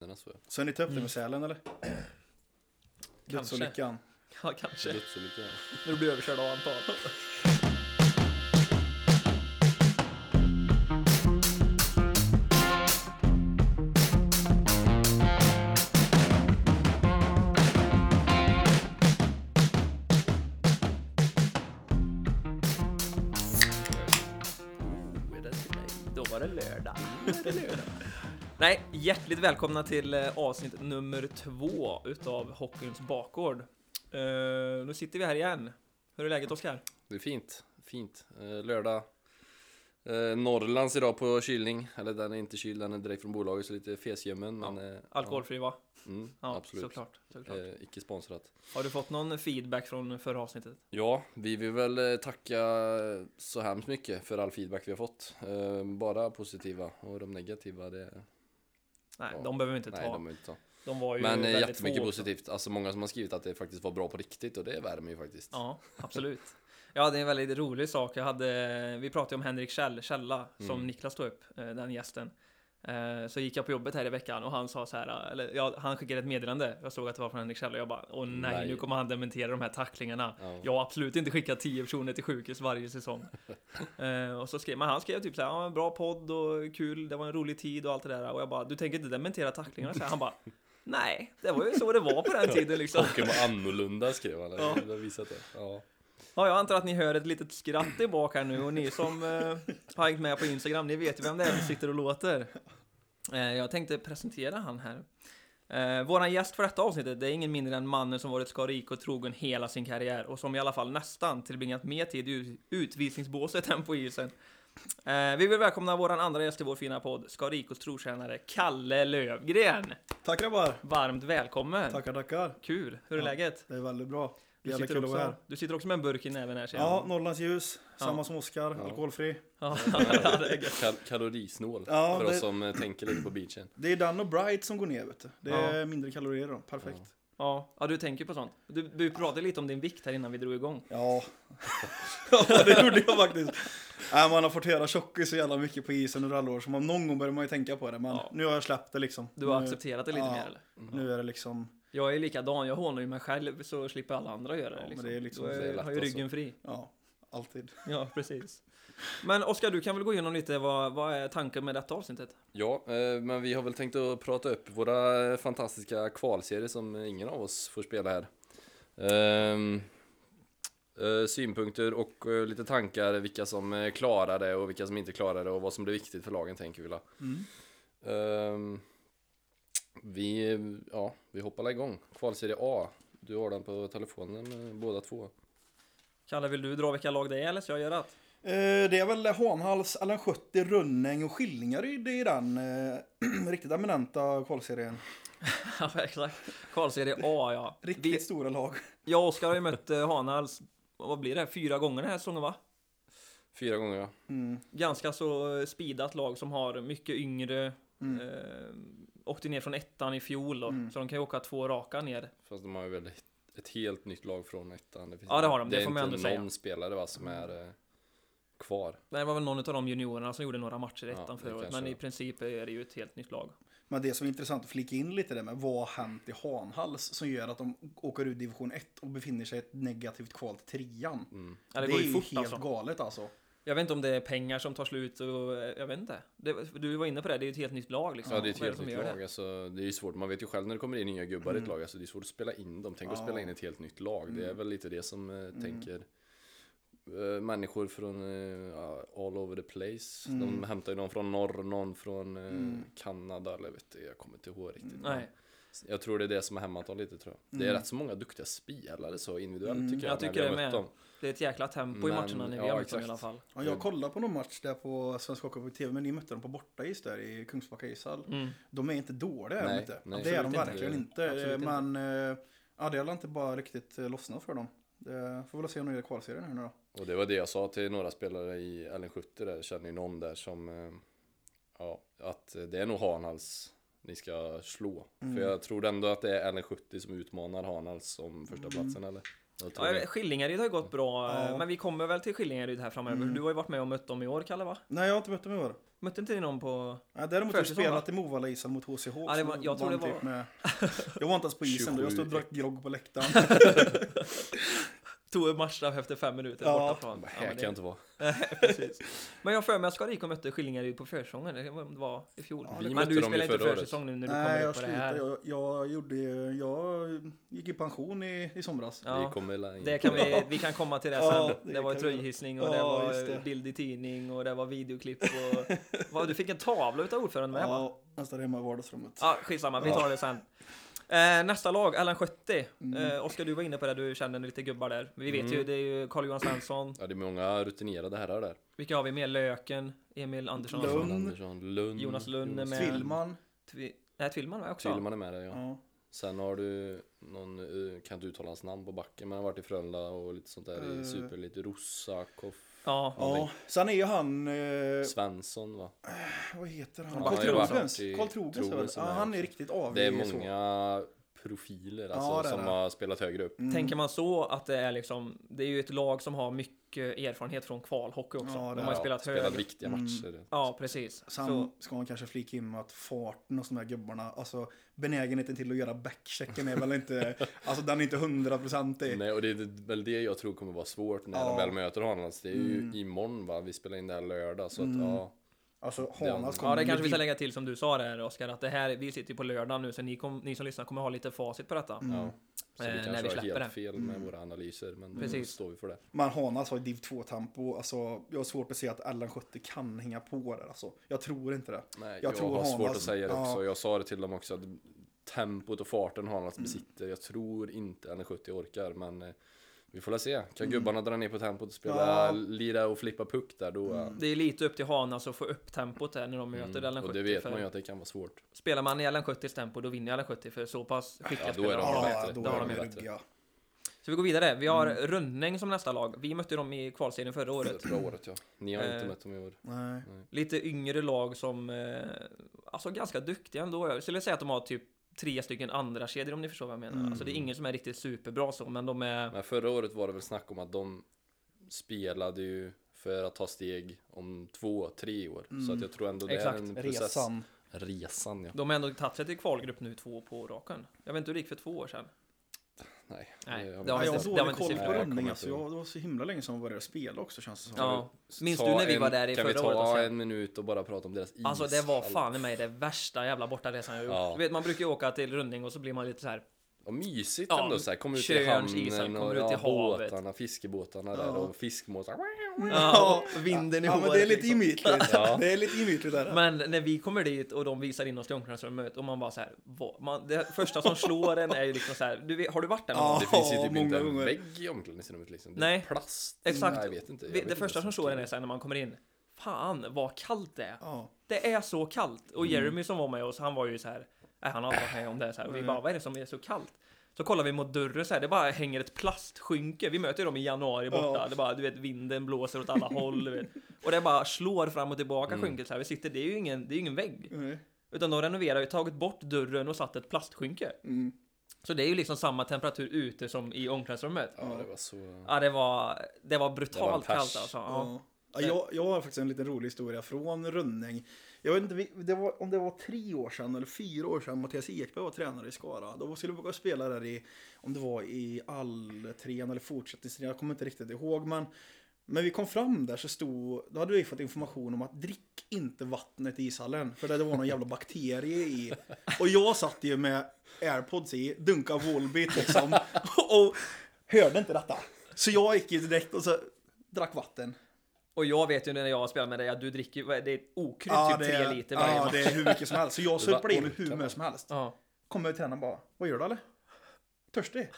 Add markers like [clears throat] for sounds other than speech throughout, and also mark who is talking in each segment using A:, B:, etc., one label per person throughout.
A: så är det.
B: Så är ni tömt
C: Mm.
B: det med sälen
C: [clears throat]
B: eller?
C: Kanske.
B: Dödsolyckan.
C: Ja, kanske.
A: Dödsolycka.
C: När du blir överkörd av en pal. Oh, är det till mig? Då var det lördag. [laughs] Då är det lördag. Nej, hjärtligt välkomna till eh, avsnitt nummer två utav Hockeyns bakgård. Eh, nu sitter vi här igen. Hur är läget Oskar?
A: Det är fint. Fint. Eh, lördag. Eh, Norrlands idag på kylning. Eller den är inte kyld, den är direkt från bolaget så lite fesljummen. Men, eh,
C: Alkoholfri va?
A: Ja, mm,
C: Ja,
A: absolut.
C: såklart. såklart.
A: Eh, icke sponsrat.
C: Har du fått någon feedback från förra avsnittet?
A: Ja, vi vill väl eh, tacka så hemskt mycket för all feedback vi har fått. Eh, bara positiva och de negativa, det...
C: Nej,
A: Ja.
C: de behöver vi inte ta.
A: Nej, de
C: de...
A: är inte så.
C: var ju
A: Men eh,
C: väldigt
A: jättemycket
C: få också.
A: positivt. Alltså många som har skrivit att det faktiskt var bra på riktigt och det värmer ju faktiskt.
C: Ja, absolut. Ja, det är en väldigt rolig sak. Jag hade, vi pratade om Henrik Kjell, Källa, som
A: Mm.
C: Niklas tog upp, eh, den gästen. Eh, Så gick jag på jobbet här i veckan och han sa så här, eller ja, han skickade ett meddelande. Jag såg att det var från Henrik Kjell och jag bara, åh nej,
A: Nej.
C: nu kommer han dementera de här tacklingarna.
A: Ja.
C: Jag har absolut inte skickat 10 personer till sjukhus varje säsong. Eh, och så skrev man, han skrev typ så här, ja, bra podd och kul, det var en rolig tid och allt det där. Och jag bara, du tänker inte dementera tacklingarna? Så här, han bara, nej, det var ju så det var på den tiden liksom.
A: Hockeyn var annorlunda skrev han.
C: Ja.
A: Vi har visat det. Ja.
C: Ja, jag antar att ni hör ett litet skratt tillbaka här nu och ni som eh, har hängt med på Instagram, ni vet ju vem det är som sitter och låter. Eh, jag tänkte presentera han här. Eh, våran gäst för detta avsnittet, det är ingen mindre än mannen som varit Skara IK trogen hela sin karriär och som i alla fall nästan tillbringat mer tid i ut- utvisningsbåset än på isen. Eh, vi vill välkomna våran andra gäst i vår fina podd, Skara IKs trotjänare Kalle Lövgren.
B: Tack grabbar!
C: Varmt välkommen!
B: Tackar tackar.
C: Kul! Hur är
B: Ja.
C: läget?
B: Det är väldigt bra.
C: Du
B: Jävla
C: sitter,
B: kul att vara
C: också,
B: här.
C: du sitter också med en burk i näven här ser jag.
B: Ja, Norrlands ljus.
C: Ja.
B: Samma som Oskar.
A: Ja.
B: Alkoholfri.
C: Ja,
B: [laughs]
A: Kal kalorisnål
B: Ja,
A: för
B: det-
A: oss som eh, tänker lite på beachen.
B: Det är den och Bright som går ner vet du. Det är
C: Ja.
B: mindre kalorier då. Perfekt.
C: ja. ja, du tänker på sånt. Du, du pratade lite om din vikt här innan vi drog igång.
B: Ja. [laughs] ja, det gjorde jag faktiskt. Nej, man har fått höra tjockis så jävla mycket på isen under alla år så man, någon gång börjar man ju tänka på det. Men
C: Ja.
B: nu har jag släppt det liksom.
C: Du har
B: nu,
C: accepterat det lite
B: ja.
C: mer eller?
B: Nu är det liksom
C: Jag är likadan, jag hånar ju mig själv så slipper alla andra göra
B: Ja,
C: det.
B: men
C: Liksom.
B: det är liksom-
C: Då
A: det är lätt
C: har ju
A: alltså.
C: ryggen fri.
B: Ja, alltid.
C: Ja, precis. Men Oskar, du kan väl gå igenom lite vad, vad är tanken med detta avsnittet?
A: Ja, eh, men vi har väl tänkt att prata upp våra eh, fantastiska kvalserier som ingen av oss får spela här. Ehm, eh, synpunkter och eh, lite tankar vilka som eh, klarar det och vilka som inte klarar det och vad som blir viktigt för lagen tänker vi la.
B: Mm.
A: Ehm, vi, ja, vi hoppar la igång. Kvalserie A. Du har den på telefonen eh, båda två.
C: Kalle, vill du dra vilka lag det är eller ska jag göra det?
B: [laughs] Eh, Det är väl Hanhals, Allan 70, Rönning och Skillingaryd i den eh, [clears throat] riktigt eminenta kvalserien.
C: Ja, exakt. Kvalserie A, ja.
B: Riktigt
C: Vi,
B: stora lag.
C: jag och Oskar har ju mött eh, Hanhals, vad blir det, fyra gånger den här säsongen va?
A: Fyra gånger ja.
B: Mm.
C: ganska så speedat lag som har mycket yngre.
B: Mm.
C: Eh, åkte ner från ettan i fjol då,
B: Mm.
C: så de kan ju åka två raka ner.
A: Fast de har ju väl ett, ett helt nytt lag från ettan. finns
C: Ja, det har de.
A: Det,
C: Det
A: är
C: får man
A: inte
C: ändå
A: någon
C: säga.
A: spelare va, som är eh, kvar.
C: Det var väl någon av de juniorerna som gjorde några matcher i
A: Ja,
C: ettan
A: det
C: förra året,
A: kanske
C: men i
A: var.
C: princip är det ju ett helt nytt lag.
B: Men det som är intressant att flika in lite där med vad har hänt i Hanhals som gör att de åker ur division 1 och befinner sig i ett negativt kval till trean.
A: Mm.
C: Ja, det, går
B: är
C: ju fort
B: helt
C: alltså.
B: galet alltså.
C: Jag vet inte om det är pengar som tar slut och eh, jag vet inte. Det, du var inne på det, det är ju ett helt nytt lag liksom.
A: Ja, det är ett
C: Vad
A: helt
C: som
A: nytt
C: gör det?
A: lag. Alltså, det är ju svårt. Man vet ju själv när det kommer in nya gubbar i ett lag. Alltså, det är svårt att spela in dem. Tänk att
B: Ja.
A: spela in ett helt nytt lag. Det är väl lite det som eh, tänker eh, människor från eh, ja, all over the place. De hämtar ju någon från norr, någon från eh, Kanada eller vet du, jag kommer inte ihåg riktigt.
C: Mm. Nej,
A: Jag tror det är det som har hämmat dem lite tror jag. Det är rätt så många duktiga spelare så individuellt tycker jag.
C: jag
A: när
C: tycker
A: vi har
C: det
A: mött
C: med.
A: dem.
C: Det är ett jäkla tempo i
A: Men-
C: matcherna när vi
A: ja,
C: har mött dem i
A: exakt.
C: alla fall.
B: Ja, jag kollade på någon match där på Svenska Hockey på TV, men ni mötte dem på bortais där i Kungsbacka ishall.
C: Mm.
B: De är inte dåliga, är de
A: Nej,
B: inte.
A: nej,
B: det är de
C: absolut inte.
B: verkligen inte.
C: Absolut inte.
B: men eh, ja, det har inte bara riktigt eh, lossnat för dem. Det får väl se om de gör kvalserien här nu då.
A: Och det var det jag sa till några spelare i LN70 där, känner ju någon där som eh, Ja, att det är nog Hanhals ni ska slå.
C: Mm.
A: För jag tror ändå att det är LN70 som utmanar Hanhals om första platsen eller? Jag tror
C: Mm. Ja, jag
A: det.
C: vet, Skillingaryd har ju gått bra,
B: Ja. Mm.
C: eh, men vi kommer väl till Skillingaryd här framöver. Du har ju varit med och mött dem i år, Kalle va?
B: Nej, jag har inte mött dem i år.
C: Mötte inte ni någon på...
B: Ja, däremot har vi
C: Försäsong,
B: spelat i Movalla isen mot HCH.
C: Ja, det var- jag tror det var-
B: typ
C: [laughs]
B: med, jag var inte ens på isen då, jag stod och
A: 27.
B: drack grogg på läktaren.
C: Tog en matchstraff efter fem minuter
B: Ja.
C: borta från...
A: Här
C: men
A: kan jag inte vara.
C: precis. Men jag har för mig att Skara IK mötte Skillingaryd på försäsongen, det var- det var i fjol.
B: Ja, vi
C: men
A: mötte
C: du
A: dem ju
C: spelar inte
A: förra året.
C: försäsong nu när du
B: Nej,
C: kommer
B: jag
C: upp på det
B: slutade.
C: här.
B: Jag, jag, gjorde, ju- jag gick i pension i, i somras.
C: Ja.
A: Vi kommer väl in.
C: Det kan vi, vi kan komma till det sen.
B: Ja,
C: det,
B: det
C: var
B: kan vi göra.
C: tröjhissning och det
B: Ja,
C: var
B: just det.
C: bild i tidning och det var
B: [laughs]
C: videoklipp och... Vad, du fick en tavla utav ordföranden med va?
B: Ja, jag står hemma i vardagsrummet.
C: Ja, skitsamma, vi tar det sen. Eh, nästa lag, Allan 70.
B: Mm.
C: Eh, Oskar, du var inne på det, du känner lite gubbar där. Vi vet
A: Mm.
C: ju, det är ju Carl-Johan Svensson.
A: Ja, det är många rutinerade herrar där.
C: Vilka har vi mer? Löken, Emil Andersson,
B: Lund.
A: Jonas Andersson, Lund.
C: Jonas Lund är med.
B: Tvillman.
C: Tvi, nej, Tvillman var också.
A: Tvilman är med där, ja.
B: Ja.
A: Sen har du någon, eh, kan inte uttala hans namn på backen, men han har varit i Frölunda och lite sånt där
B: Eh.
A: i super, lite Rosakov,
C: Ja,
B: ja. Sen är ju han... Eh,
A: Svensson va?
B: vad heter
C: Han
B: han?
C: har
B: Karl
C: ju varit
B: Trogens.
A: i
B: Karl Trogens är väl?
A: Trogens
B: Ja,
A: som är
B: han är
A: också.
B: riktigt avig.
A: Det är
B: så.
A: många profiler alltså,
B: Ja, det är
A: som
B: det.
A: har spelat högre upp.
B: Mm.
C: Tänker man så att det är liksom, det är ju ett lag som har mycket erfarenhet från kvalhockey också.
B: Ja, det
C: De har
B: har
C: ju spelat
A: Spelat
C: högre.
A: viktiga
B: Mm.
A: matcher.
C: Ja, precis.
B: Sen
C: Så,
B: ska man kanske flika in med att farten hos de här gubbarna, alltså benägenheten till att göra backchecken är
A: [laughs]
B: väl inte, alltså den är inte hundraprocentig.
A: Nej, och det är väl det jag tror kommer vara svårt när
B: Ja.
A: de väl möter Hanals. Det är ju
B: Mm.
A: imorgon va? Vi spelar in det här lördag så att
B: Mm.
A: ja.
B: Alltså
A: Det-
B: Hanas
C: ja,
B: kommer
C: det
B: med
C: kanske vi ska
B: vitt-
C: lägga till som du sa där Oskar, att det här, vi sitter ju på lördag nu, så ni, kom, ni som lyssnar kommer ha lite facit på detta.
B: Mm.
A: ja. Så
C: Eh,
A: vi
C: när
A: kanske
C: vi
A: har
C: släpper
A: helt
C: den.
A: fel med
B: Mm.
A: våra analyser men då
C: Precis.
A: står vi för det.
B: Men Hanas har ju div 2-tempo, alltså jag har svårt att se att Allan Skötte kan hänga på där alltså. Jag tror inte det.
A: Nej, jag,
B: Jag tror
A: har svårt
B: Hanas-
A: att säga det
B: ja.
A: också. Jag sa det till dem också. Att tempot och farten Hanals
B: Mm.
A: besitter. Jag tror inte NH70 orkar, men eh, vi får väl se. Kan gubbarna dra ner på tempot och spela,
B: Mm. Ja. Mm.
A: lira och flippa puck där då. eh,
C: Det är lite upp till Hanas att få upp tempot där när de möter
A: Mm.
C: Allen
A: Och det
C: 70.
A: vet
C: för
A: man ju att det kan vara svårt.
C: Spelar man i Allen 70s tempo, då vinner Allen 70 för så pass skickliga
A: Ja, då är
C: spelare
A: de
C: har
A: bra.
C: de.
A: bättre.
B: då
C: Det har
B: är
C: de
B: de
A: ju
B: ryggiga.
C: Så vi går vidare. Vi har
B: Mm.
C: Rönning som nästa lag. Vi mötte dem i kvalserien förra året.
A: Förra året ja. Ni har inte
C: Eh.
A: mött dem i år.
B: Nej.
C: Lite yngre lag som, eh, alltså ganska duktiga ändå. Jag skulle säga att de har typ tre stycken andra kedjor om ni förstår vad jag menar.
B: Mm.
C: Alltså det är ingen som är riktigt superbra så, men de är...
A: Men förra året var det väl snack om att de spelade ju för att ta steg om två, tre år. Så att jag tror ändå det
C: Exakt.
A: är en process.
B: Mm. Resan.
A: Resan ja.
C: De har ändå tagit sig till kvalgrupp nu två på raken. Jag vet inte hur det gick för två år sedan.
A: Nej.
C: Nej,
A: jag
C: det
B: Ja,
C: har
A: vet
B: jag
C: inte-
B: har
A: inte.
C: det var
B: dålig
C: inte
B: koll
A: Nej,
B: på
C: siffror.
A: jag kommer
B: rundning
A: inte
B: alltså.
A: ihåg.
B: Jag, det var så himla länge sedan man började spela också känns det som.
C: Ja. Minns
A: Ta
C: du när vi var
A: en-
C: där i
A: Kan vi
C: förra året,
A: ta
C: Oskar?
A: en minut och bara prata om deras is?
C: Alltså det var fan i mig det värsta jävla bortaresan jag gjort.
A: Ja.
C: Du vet man brukar ju åka till Rönning och så blir man lite så här.
A: Ja, mysigt
C: Ja,
A: ändå så här. Kommer ut i
C: Tjörns
A: hamnen
C: isar, kommer
A: och
C: ut i
A: ja,
C: havet.
A: båtarna, fiskebåtarna där
B: Ja.
A: och fiskmåsar.
C: Ja, [laughs] vinden i
B: Ja, men
C: håret
B: det är lite
C: liksom.
B: gemytligt.
A: Ja.
B: Det är lite gemytligt där.
C: Men när vi kommer dit och de visar in oss till omklädningsrummet och man bara så här, vad, man, det första som slår en är ju liksom så här, du vet, har du varit där någon
B: Ja.
C: gång?
A: Det finns ju typ
B: många
A: inte en
B: gånger.
A: vägg i omklädningsrummet liksom. Det är
C: Nej.
A: Plast.
C: Exakt.
A: Nej, jag vet inte. Jag
C: Vi-
A: vet
C: Det
A: inte
C: första som
A: ens
C: slår
A: vad
C: en
A: det
C: är så här när man kommer in, fan vad kallt det är.
B: Ja.
C: Det är så kallt!
A: Mm.
C: Och Jeremy som var med oss, han var ju så här, nej, han har aldrig varit med om det så här. Och vi
B: Mm.
C: bara, vad är det som är så kallt? Så kollar vi mot dörren så här, det bara hänger ett plastskynke. Vi möter ju dem i januari borta.
B: Ja.
C: Det bara, du vet, vinden blåser åt alla håll. Du vet. Och det bara slår fram och tillbaka
A: Mm.
C: skynket så här. Vi sitter, det är ju ingen, det är ju ingen vägg.
B: Nej.
C: Utan de renoverar ju, tagit bort dörren och satt ett plastskynke.
B: Mm.
C: Så det är ju liksom samma temperatur ute som i omklädningsrummet.
A: Ja, det var så.
C: Ja, det var, det var brutalt
A: pers.
C: kallt alltså. Ja.
B: Ja. Ja, jag, jag har faktiskt en liten rolig historia från Rönning. Jag vet inte vi- det var, om det var tre år sedan eller fyra år sedan Mattias Ekberg var tränare i Skara. Då skulle vi gå och spela där i, om det var i alltrean eller fortsättningstrean, jag kommer inte riktigt ihåg. Men, men vi kom fram där så stod, då hade vi fått information om att drick inte vattnet i ishallen. För där det var någon jävla bakterie i. Och jag satt ju med airpods i, dunka Volbeat liksom. [laughs] Och hörde inte detta. Så jag gick ju direkt och så drack vatten.
C: Och jag vet ju när jag spelar med dig att du dricker, vad är det är okrydd typ
B: det är-
C: tre liter varje
B: ja,
C: match.
B: det är hur mycket som helst. Så jag
A: Det var
B: surplade i mig
A: orkar
B: hur
A: bara.
B: mycket som helst.
C: Ja.
B: Kommer tränaren bara, vad gör du eller?
C: [laughs]
B: Törstig?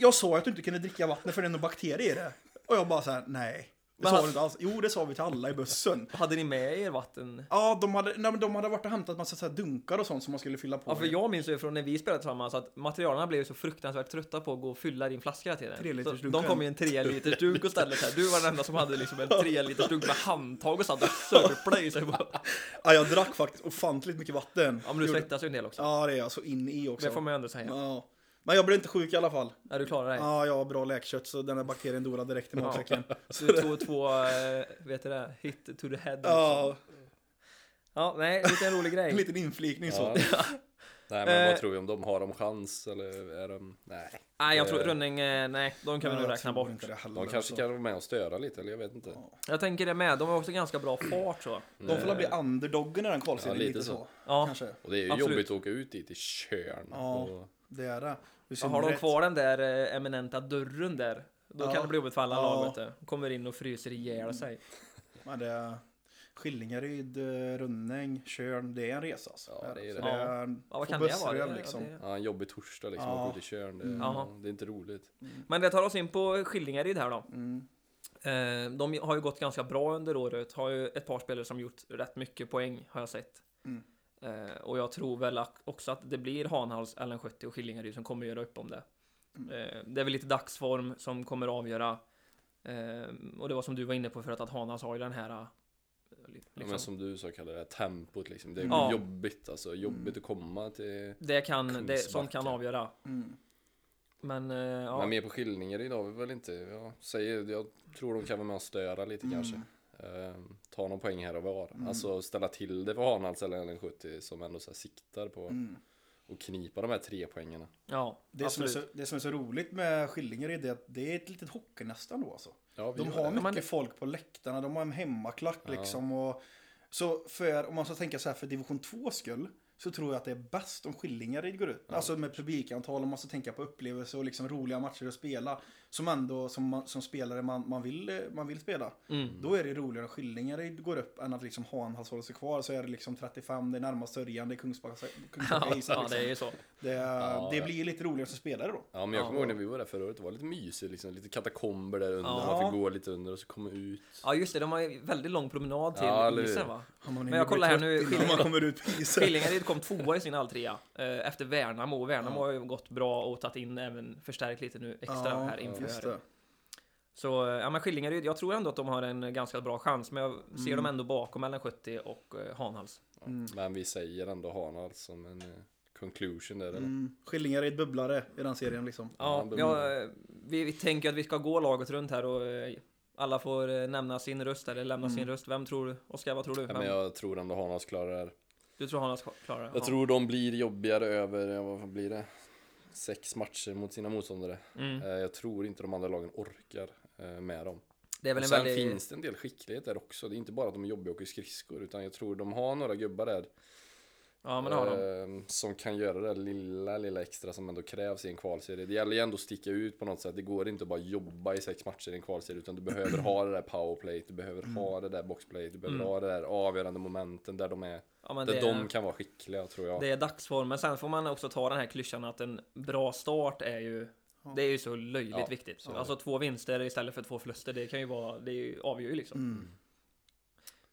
B: jag sa ju att du inte kunde dricka vatten för det är någon bakterie i det. Och jag bara så här, nej. Det
C: Men
B: sa
C: han-
B: du inte alls. Jo, det sa vi till alla i bussen.
C: Hade ni med er vatten?
B: Ja, de hade, nej, men de hade varit och hämtat massa så här dunkar och sånt som man skulle fylla på.
C: Ja, för
B: med.
C: jag minns ju från när vi spelade tillsammans att materialen blev ju så fruktansvärt trötta på att gå och fylla din flaska hela tiden.
B: Tre liters
C: Så
B: dunken.
C: de kom i en tre liters dunk och ställde sig. Du var den enda som hade liksom en tre liters dunk med handtag och satt och sörplade i sig. Ja,
B: ja, jag drack faktiskt ofantligt mycket vatten.
C: men du
B: Gjorde-
C: svettas ju en del också.
B: Ja, det är jag så in i också.
C: Det får man ju ändå säga.
B: Ja. Men jag blev inte sjuk i alla fall.
C: Ja, du klarar dig.
B: Ja, jag har bra läkkött så den här bakterien dog direkt i
C: Ja. [laughs]
B: magsäcken.
C: Så det är två, två, eh, vet du det? Hit to the head. liksom.
B: Ja,
C: ja nej, lite en rolig
B: en
C: grej.
B: liten inflikning så.
A: Ja. Nej men
C: Eh.
A: vad tror vi om dem? Har de chans eller är de... Nej.
C: Nej, jag tror
A: Eh.
C: Rönning, eh, nej, de kan vi
B: Ja,
C: nog
B: jag
C: räkna
B: tror
C: bort.
B: inte det heller,
A: De kanske
B: alltså.
A: kan vara med och störa lite eller jag vet inte.
C: Jag tänker det med, de har också ganska bra fart så.
B: De får väl bli underdoggen i den kvalserien
A: Ja,
B: lite,
A: lite
B: så.
A: så.
C: Ja.
B: Kanske.
A: Och det är ju
C: Absolut.
A: jobbigt att åka ut dit i Tjörn.
B: Ja.
A: Och...
B: Det är det. Det är
C: Ja, har de
B: rätt.
C: kvar den där eh, eminenta dörren där, då
B: Ja.
C: kan det bli jobbigt för alla
B: Ja.
C: lag vet du. Kommer in och fryser ihjäl sig.
B: Ja, det är Skillingaryd, eh, Rönning, Tjörn. Det är en resa alltså.
A: Ja, det är
B: Så
A: det.
C: Ja, vad
B: får
C: kan det vara?
B: bussrev,
C: Det-
B: liksom.
C: ja, det-
A: Ja, en jobbig torsdag liksom,
B: Ja.
A: åka ut i Tjörn. Det,
C: Jaha.
A: det är inte roligt.
C: Men det tar oss in på Skillingaryd här då.
B: Mm.
C: Eh, De har ju gått ganska bra under året, har ju ett par spelare som gjort rätt mycket poäng har jag sett.
B: Mm.
C: Eh, Och jag tror väl att- också att det blir Hanhals, Ellen 70 och Skillingaryd som kommer göra upp om det.
B: Mm.
C: Eh, Det är väl lite dagsform som kommer avgöra. Eh, Och det var som du var inne på förut, att Hanhals har ju den här... eh, li-
A: Ja,
C: Liksom.
A: Men som du sa kallar det här tempot liksom. Det är
C: Ja. Mm.
A: jobbigt alltså. Jobbigt att komma till...
C: Det kan, det, sånt
A: Kungsbacka.
C: kan avgöra.
B: Mm.
C: Men eh, ja,
A: Men mer på skillningar idag har vi väl inte. Jag, säger, jag tror de kan vara med och störa lite
B: Mm.
A: kanske. Ehm, ta någon poäng här och var. Alltså ställa till det för Hanhals eller Ellen 70 som ändå så här siktar på
B: Mm.
A: och knipa de här tre poängarna.
C: ja
B: Det, som är
C: absolut.
B: så, det som är så roligt med Skillingaryd är att det är ett litet hockeynäste ändå alltså.
A: Ja, vi
B: De
A: gör
B: har
A: det.
B: mycket
C: Men-
B: folk på läktarna, de har en hemmaklack liksom. Och, så för, om man ska tänka så här för division 2 skull så tror jag att det är bäst om Skillingaryd går ut. Alltså med publikantal, om man ska tänka på upplevelse och liksom roliga matcher att spela. Som ändå, som, man, som spelare man, man, vill, eh, man vill spela. Då är det roligare om Skillingaryd går upp än att liksom Hanhals håller sig kvar. Så är det liksom 35, det är närmast Sörjan, det är Kungsbacka Kungsbacka
C: [laughs] Ja,
B: isen,
C: ja,
B: liksom.
C: det är ju så.
B: Det, det blir lite roligare som spelare då.
A: Ja men jag kommer ihåg när vi var där förra året, det var lite mysigt liksom, lite katakomber där under, man fick gå lite under och så komma ut.
C: Ja, just det, de har ju väldigt lång promenad till
A: Ja, eller hur?
C: isen va?
B: Ja, man
C: Men
B: hinner
C: jag
B: bli
C: kollar här
B: trött
C: nu,
B: innan
C: Skilling-
B: man kommer ut på
C: [laughs]
B: isen.
C: Skillingaryd kom tvåa i sin alltrea eh, efter Värnamo. Värnamo har ju gått bra och tagit in även förstärkt lite nu extra
B: Ja,
C: här inför.
B: just det.
C: så eh, ja, men Skillingaryd, jag tror ändå att de har en ganska bra chans, men jag
A: Mm.
C: ser dem ändå bakom mellan 70 och eh, Hanhals.
A: Ja. Men vi säger ändå Hanhals som en eh, conclusion där. eller?
B: Mm, Skillingaryd bubblare i den serien liksom.
A: Ja,
C: Ja,
A: de-
C: jag, eh, vi, vi tänker att vi ska gå laget runt här och eh, alla får eh, nämna sin röst eller lämna sin röst. Vem tror du? Oskar, vad tror du?
A: Mm. Ja, men
C: Vem,
A: jag tror ändå Hanhals klarar det här.
C: Du tror Hanhals klarar det?
A: Jag tror de blir jobbigare över, ja, vad blir det? Sex matcher mot sina motståndare.
C: Mm.
A: Eh, Jag tror inte de andra lagen orkar eh, med dem.
C: Det är väl
A: Och
C: en
A: sen
C: väldigt...
A: finns det en del skicklighet där också. Det är inte bara att de är jobbiga och åker skridskor utan jag tror de har några gubbar där
C: Ja, men det har de.
A: eh, som kan göra det där lilla, lilla extra som ändå krävs i en kvalserie. Det gäller ju ändå att sticka ut på något sätt. Det går inte att bara jobba i sex matcher i en kvalserie utan du behöver ha det där powerplay, du behöver ha det där boxplay, du behöver ha det där avgörande momenten där de är,
C: Mm. Ja, men
A: där
C: det,
A: de
C: är,
A: kan vara skickliga tror jag.
C: det är dagsform, men sen får man också ta den här klyschan att en bra start är ju det är ju så löjligt
A: Ja,
C: viktigt.
A: så är det.
C: alltså två vinster istället för två förluster, det kan ju vara, det är ju, avgör ju liksom.
A: Mm.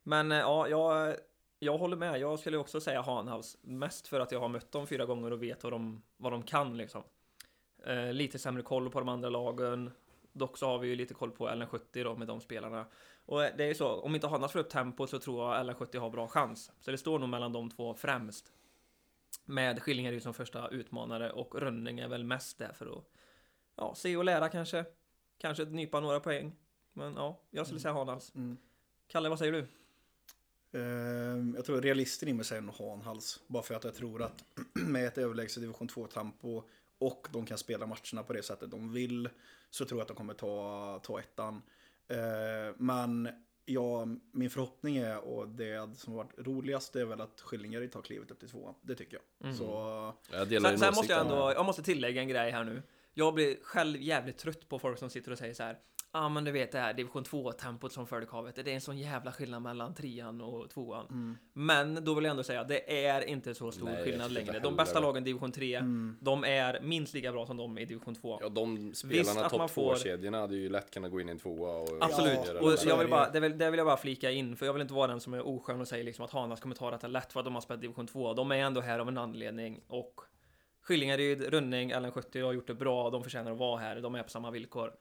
C: Men eh, ja, jag, jag håller med. Jag skulle också säga Hanhals. Mest för att jag har mött dem fyra gånger och vet vad de, vad de kan liksom. Eh, lite sämre koll på de andra lagen. Dock så har vi ju lite koll på LN70 då med de spelarna. Och eh, det är ju så, om inte Hanhals får upp tempo så tror jag LN70 har bra chans. Så det står nog mellan de två främst. Med Skillingaryd som första utmanare och Rönning är väl mest där för att ja, se och lära kanske. Kanske nypa några poäng. Men ja, jag skulle säga Hanhals.
B: Mm.
C: Kalle, vad säger du?
B: Ehm, Jag tror realisten i mig säger nog Hanhals. Bara för att jag tror att [clears throat] med ett överlägset division 2-tempo och de kan spela matcherna på det sättet de vill så tror jag att de kommer ta, ta ettan. Ehm, Men ja, min förhoppning är och det som har varit roligast är väl att Skillingaryd tar klivet upp till tvåan. Det tycker jag.
A: Mm.
B: Så
A: Jag delar din
C: Sen, sen
A: åsikt
C: måste jag
A: där.
C: ändå, jag måste tillägga en grej här nu. Jag blir själv jävligt trött på folk som sitter och säger så här. Ja ah, men du vet det här division 2-tempot som förde kavet. Det är en sån jävla skillnad mellan trean och tvåan. Men då vill jag ändå säga att det är inte så stor
A: Nej, jag
C: skillnad
A: tycker inte
C: längre. De
A: heller
C: bästa
A: det.
C: lagen i division 3, de är minst lika bra som de i division 2.
A: Ja, de
C: Visst
A: spelarna
C: att man
A: topp
C: får-
A: 2-kedjorna hade ju lätt kunnat gå in i en tvåa och...
C: Absolut,
A: Ja,
C: och
A: det
B: så
A: där.
C: jag
B: är
C: vill
B: det
C: bara,
B: ju.
C: det, vill, det vill jag bara flika in, för jag vill inte vara den som är oskön och säger liksom att Hanas kommer ta detta lätt för att de har spelat division 2. De är ändå här av en anledning och Skillingaryd, Rönning, Ellen 70 har gjort det bra, de förtjänar att vara här, de är på samma villkor.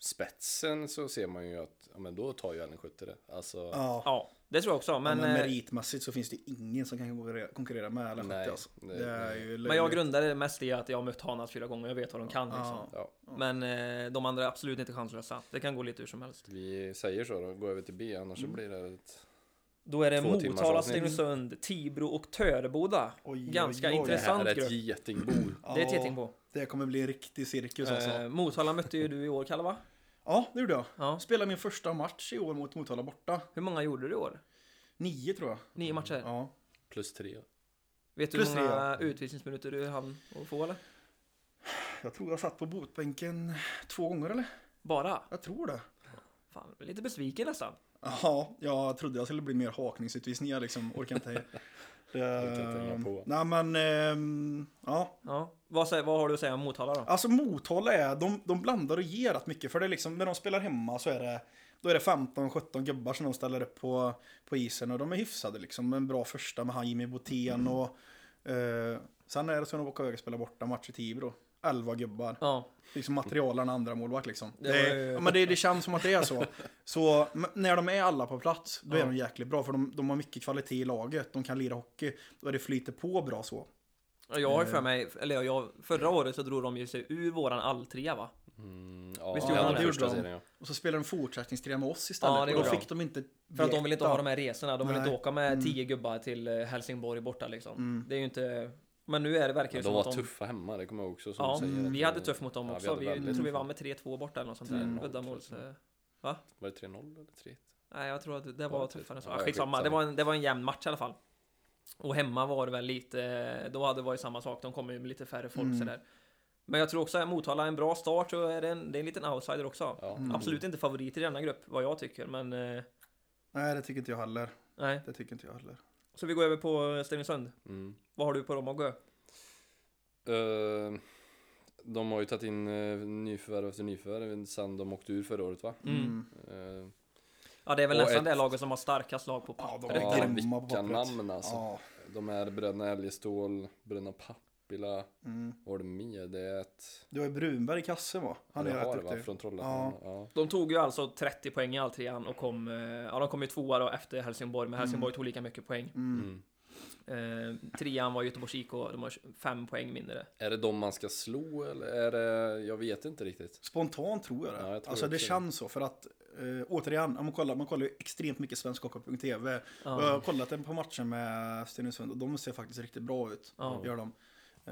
A: spetsen så ser man ju att, ja men då tar ju Ellen 70 det. Alltså,
B: ja,
C: Ja, Det tror jag också,
B: Men,
C: men...
B: men
C: eh,
B: meritmässigt så finns det ingen som kan konkurrera- konkurrera med alla
A: Nej,
B: sjuttio alltså.
A: nej,
B: Det är
A: nej.
B: ju
C: Men jag
B: löjligt.
C: grundar det mest i att jag har mött Hanas fyra gånger, jag vet vad de kan liksom.
A: Ja,
C: Men eh, de andra är absolut inte chanslösa. Det kan gå lite hur som helst.
A: vi säger så då, gå över till B annars så blir det ett...
C: Då är det
A: Två timmars
C: Motala,
A: avsnitt.
C: Stenungsund, Tibro och Töreboda.
B: Oj, oj,
C: Ganska
B: oj.
A: Det
C: intressant.
A: här är ett
C: grupp.
A: getingbo.
C: Det är
B: Ja,
C: ett getingbo.
B: Det kommer bli en riktig cirkus alltså.
C: Eh, Motala mötte ju du i år, Kalle va?
B: Ja, det gjorde jag.
C: Ja.
B: Spelade min första match i år mot Motala borta.
C: Hur många gjorde du i år?
B: Nio tror jag.
C: Nio matcher?
B: Mm.
A: Eh.
B: Ja.
A: Plus tre.
C: Vet du hur
B: Plus
C: många utvisningsminuter du hann att få eller?
B: Jag tror jag satt på botbänken två gånger eller?
C: Bara?
B: Jag tror det.
C: Fan, jag är lite besviken nästan.
B: Ja, jag trodde jag skulle bli mer hakningsutvisningar liksom.
A: [laughs]
B: Orkar inte. Det-
A: Orkar inte hänga på.
B: Nej men, ehm, ja.
C: Ja. Vad, sä- vad har du att säga om Motala då?
B: Alltså Motala är, de, de blandar och ger rätt mycket för det är liksom, när de spelar hemma så är det då är det 15-17 gubbar som de ställer upp på, på isen och de är hyfsade liksom. En bra första med han Jimmy
C: Mm.
B: Botén och eh, sen är det så när de åker iväg och spelar borta match i Tibro. 11 gubbar.
C: Ja.
B: Liksom materialen andra målvakt liksom.
C: Det
B: Det,
C: var ju-
B: ja, men det, det känns som att det är så. Så men när de är alla på plats, då
C: Ja.
B: är de jäkligt bra för de, de har mycket kvalitet i laget. De kan lira hockey och det flyter på bra så.
C: Jag har ju
B: Eh.
C: för mig, eller jag, förra året så drog de ju sig ur våran alltrea va?
A: Mm, ja,
C: Visst
A: det
C: gjorde
A: var
C: de det?
A: första
B: Gjorde de?
A: serien, ja.
B: Och så spelar de fortsättningstrea med oss istället.
C: Ja, det
B: och
C: går
B: då
C: bra.
B: fick de inte
C: För att de vill inte ha de här resorna, de vill
B: Nej. Mm.
C: inte åka med 10 gubbar till eh, Helsingborg borta liksom. Det är ju inte... Men nu är det,
A: Ja,
C: verkar det
A: De
C: som
A: var
C: att de...
A: tuffa hemma, det kommer jag också som
C: Ja, mm,
A: du säger. att
C: vi
A: det-
C: hade tufft mot dem
A: Ja, vi
C: också.
A: hade
C: Vi
A: väldigt
C: tror vi
A: tufft.
C: vann med 3-2 borta eller något sånt där.
B: Mm.
A: 3-0,
C: Uddamåls...
A: tror
C: eh,
A: Var det 3-0 eller 3-1?
C: Nej, jag tror att det
A: Var
C: var
A: det
C: tuffare än så.
A: typ. Ja,
C: Ah, skitsamma,
A: skitsamma.
C: det var, en, det var en jämn match i alla fall. Och hemma var det väl lite... Då hade det varit samma sak, de kommer ju med lite färre folk
B: Mm.
C: sådär. Men jag tror också att Motala är en bra start och är det en, det är en liten outsider också.
A: Ja.
B: Mm.
C: Absolut inte favorit i denna grupp, vad jag tycker, men... eh,
B: Nej, det tycker inte jag heller.
C: Nej.
B: Det tycker inte jag heller.
C: Så vi går över på eh, Stenungsund.
A: Mm.
C: Vad har du på dem att gå?
A: Eh, de har ju tagit in eh, nyförvärv efter nyförvärv sen de åkte ur förra året va?
C: Mm.
B: Mm.
A: Eh,
C: Ja, det är väl
A: Och
C: nästan
A: ett-
C: det laget som har starkast lag på
B: Ja, de
C: pappret.
B: är
A: ja,
C: eller?
B: grymma på
A: vilka
B: pappret.
A: namn alltså.
B: Ja.
A: De är bröderna Älgestål, bröderna Pappila,
B: Mm.
A: vad var det mer? Det är ett...
B: Du har ju Brunberg i kassen va? Han är
A: eller
B: rätt
A: har det, va?
B: duktig.
A: Från Trollhättan. Ja.
C: De tog ju alltså 30 poäng i alltrean och kom, eh, ja, de kom ju tvåa då efter Helsingborg, men Helsingborg tog lika mycket poäng.
B: Mm.
A: Mm.
C: Eh, trean var Göteborgs IK, de har fem poäng mindre.
A: Är det de man ska slå eller är det... Jag vet inte riktigt.
B: Spontant tror jag det.
A: Ja, jag tror
B: alltså det
A: också det.
B: känns så för att eh, återigen, om man kollar, man kollar ju extremt mycket svenskhockey.tv. Och Jag har kollat en på matchen med Stenungsund och de ser faktiskt riktigt bra ut.
C: Ja.
B: Gör de.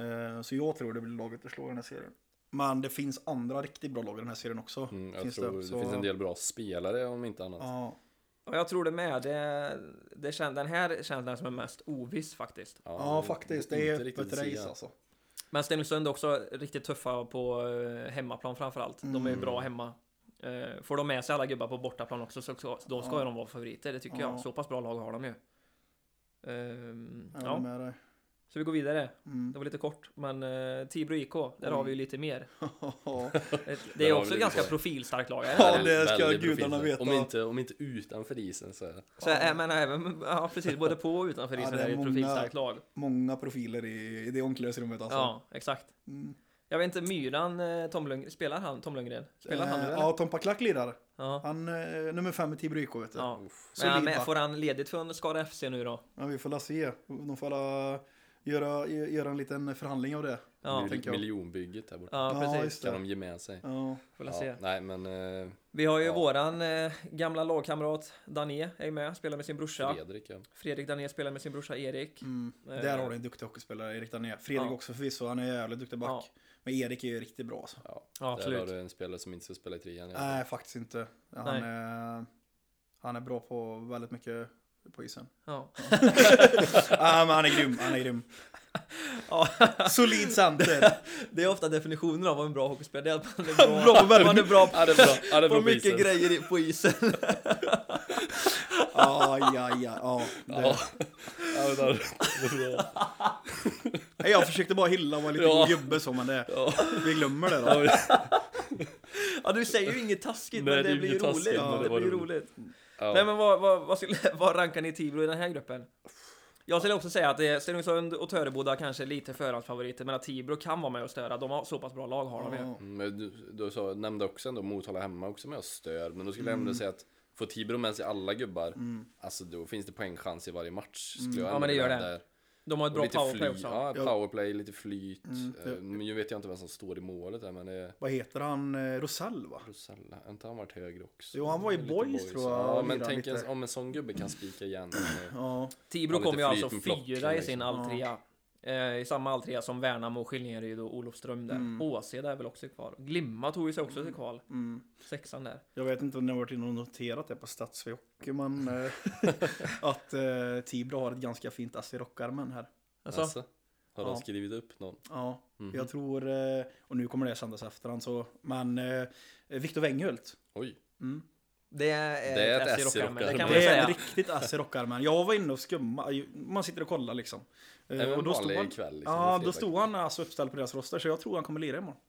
B: Eh, så jag tror det blir laget att slå i den här serien. Men det finns andra riktigt bra lag i den här serien också.
A: Mm, jag
B: Finns det?
A: tror det,
B: Så-
A: finns en del bra spelare om inte annat.
B: Ja.
C: Och jag tror det med. Det, det kän, den här känns den som är mest oviss faktiskt.
B: Ja,
A: det-
B: faktiskt.
A: inte
B: Det är
A: riktigt
B: öppet
A: att
B: race
A: säga.
B: alltså.
C: Men Stenungsund är också riktigt tuffa på eh, hemmaplan framförallt. De är ju
B: Mm.
C: bra hemma. Eh, får de med sig alla gubbar på bortaplan också så, så då ska
B: Ja.
C: ju de vara favoriter, det tycker
B: Ja.
C: jag. Så pass bra lag har de ju. Ehm,
B: Jag håller
C: ja.
B: med dig.
C: Så vi går vidare.
B: Mm.
C: Det var lite kort, men eh, Tibro IK, där
B: Oj.
C: har vi ju lite mer. Eh,
B: [laughs] Ja,
C: Det, det
A: Där
C: är
A: har vi
C: också ett
A: det
C: ganska
A: lite.
C: profilstarkt lag. är det?
B: Ja, det ska
A: Väldigt
B: gudarna
A: profilstarkt.
B: veta.
A: Om inte, om inte utanför isen så är det.
C: Så, äh, men även, ja, precis, både på och utanför
B: Ja,
C: isen
B: det
C: är
B: är
C: det ett
B: många-
C: profilstarkt lag.
B: många profiler i, i det omklädningsrummet alltså.
C: Ja, exakt.
B: Mm.
C: Jag vet inte, Myran, eh, Tom Lundgren, spelar han Tom Lundgren? Spelar han nu
B: Eh,
C: eller?
B: Ja, Tom Paklack lirar.
C: Ja.
B: Han eh, nummer fem i Tibro IK vet du.
C: ja. Men
B: Solid
C: han med,
B: back.
C: får han ledigt från Skara FC nu då?
B: Ja, vi får la se. De får la göra, göra en liten förhandling av det.
C: Ja,
A: Mil-
B: tänker jag.
A: miljonbygget här borta.
C: ja
B: Ja,
C: precis.
B: just
A: Kan de ge med sig?
B: Ja.
C: Får väl se.
A: nej men eh,
C: Vi har ju
A: Ja.
C: våran eh, gamla lagkamrat Dané är ju med, spelar med sin brorsa.
A: Fredrik ja.
C: Fredrik Dané spelar med sin brorsa Erik.
B: Mm.
C: Eh.
B: Där har du en duktig hockeyspelare, Erik Dané. Fredrik
C: Ja.
B: också förvisso, han är jävligt duktig back.
C: Ja.
B: Men Erik är ju riktigt bra alltså.
A: ja. Där
C: Ja,
A: har
C: absolut.
A: du en spelare som inte ska spela i trean. ja.
B: Nej, faktiskt inte. Han,
C: Nej.
B: Är, han är bra på väldigt mycket på isen.
C: Ja.
B: ah, men han är grym, han är
A: [laughs]
B: grym.
C: Ja.
B: Solid center.
C: Det är ofta definitionen av vad en bra hockeyspelare är, att man är
B: [laughs]
C: bra, [laughs]
B: Bra på väldigt
C: man är bra på,
A: Ja, det är bra. Ja, det är bra
C: på
A: på
C: mycket
A: isen.
C: grejer i- på isen.
B: Ah, ja, ja, ja. Det-
A: Ja. Ja, men där-
B: Nej, Jag försökte bara hylla och vara lite
A: Ja.
B: god gubbe så, men det,
A: Ja.
B: vi glömmer det
A: Ja,
B: då.
A: men-
C: Ja, du säger ju inget taskigt,
A: Nej,
C: men
A: det
C: det
A: är
C: blir ju
A: inget taskigt,
C: roligt.
A: men
C: Ja,
A: det
C: det
A: var
C: blir ju
A: roligt.
C: roligt.
A: ja.
C: Nej, men vad, vad, vad, skulle, [laughs] vad rankar ni Tibro i den här gruppen? Jag skulle också säga att det är Stenungsund och Töreboda kanske är lite förhandsfavoriter, men att Tibro kan vara med och störa. De har så pass bra lag har de ju.
B: Ja.
A: Mm, Men du, du sa, nämnde också ändå Motala hemma också med och stör. Men då skulle jag ändå säga att Får Tibro med sig alla gubbar,
B: Mm.
A: alltså då finns det poängchans i varje match. Skulle
B: Mm.
A: jag
C: Ja, men det
A: ändå
C: gör
A: vilja
C: det.
A: där.
C: De har ett
A: Och
C: bra
A: lite
C: powerplay
A: fly-
C: också.
A: Ja,
B: Ja.
A: powerplay, lite flyt.
B: Mm,
A: Eh,
B: det-
A: Men nu vet jag inte vem som står i målet där, men det är
B: Vad heter han? Eh, Rosell va?
A: Rosella. Har inte han varit högre också?
B: Jo, han var i
A: Lite
B: Boys, tror jag,
A: Ja,
B: och
A: men
B: lirade
A: tänk
B: lite.
A: ens om en sån gubbe kan spika igen. eh,
B: Ja.
C: Tibro
A: Ja, lite
C: kom ju alltså
A: flyt med plock,
C: fyra i
A: liksom.
C: sin alltrea. Eh, I samma alltrea som Värnamo, Skillingaryd och Olofström där.
B: Mm.
C: Åse där är väl också kvar. Glimma tog ju sig också till kval.
B: Mm.
C: Sexan där.
B: Jag vet inte om ni har varit inne och noterat det på Stadsved Hockey, men
A: [laughs]
B: eh, att eh, Tibro har ett ganska fint ass i rockarmen här.
C: Alltså,
A: Alltså, har de
B: Ja.
A: skrivit upp någon?
B: Ja,
A: Mhm.
B: jag tror, eh, och nu kommer det sändas efterhand så, men eh, Viktor Wenghult.
A: Oj,
B: Mm.
C: det är,
A: Det är ett
C: ett
A: S i
C: S i rockarmen, det
A: rockarmen.
C: kan man
B: Det är ett
C: säga.
B: riktigt ass i rockarmen. Jag var inne och skumma, man sitter och kollar liksom. Eh,
A: även
B: och då stod
A: vanlig
B: han,
A: kväll. Liksom,
B: ja,
A: fredag.
B: då stod han alltså uppställd på deras roster, så jag tror han kommer lira imorgon.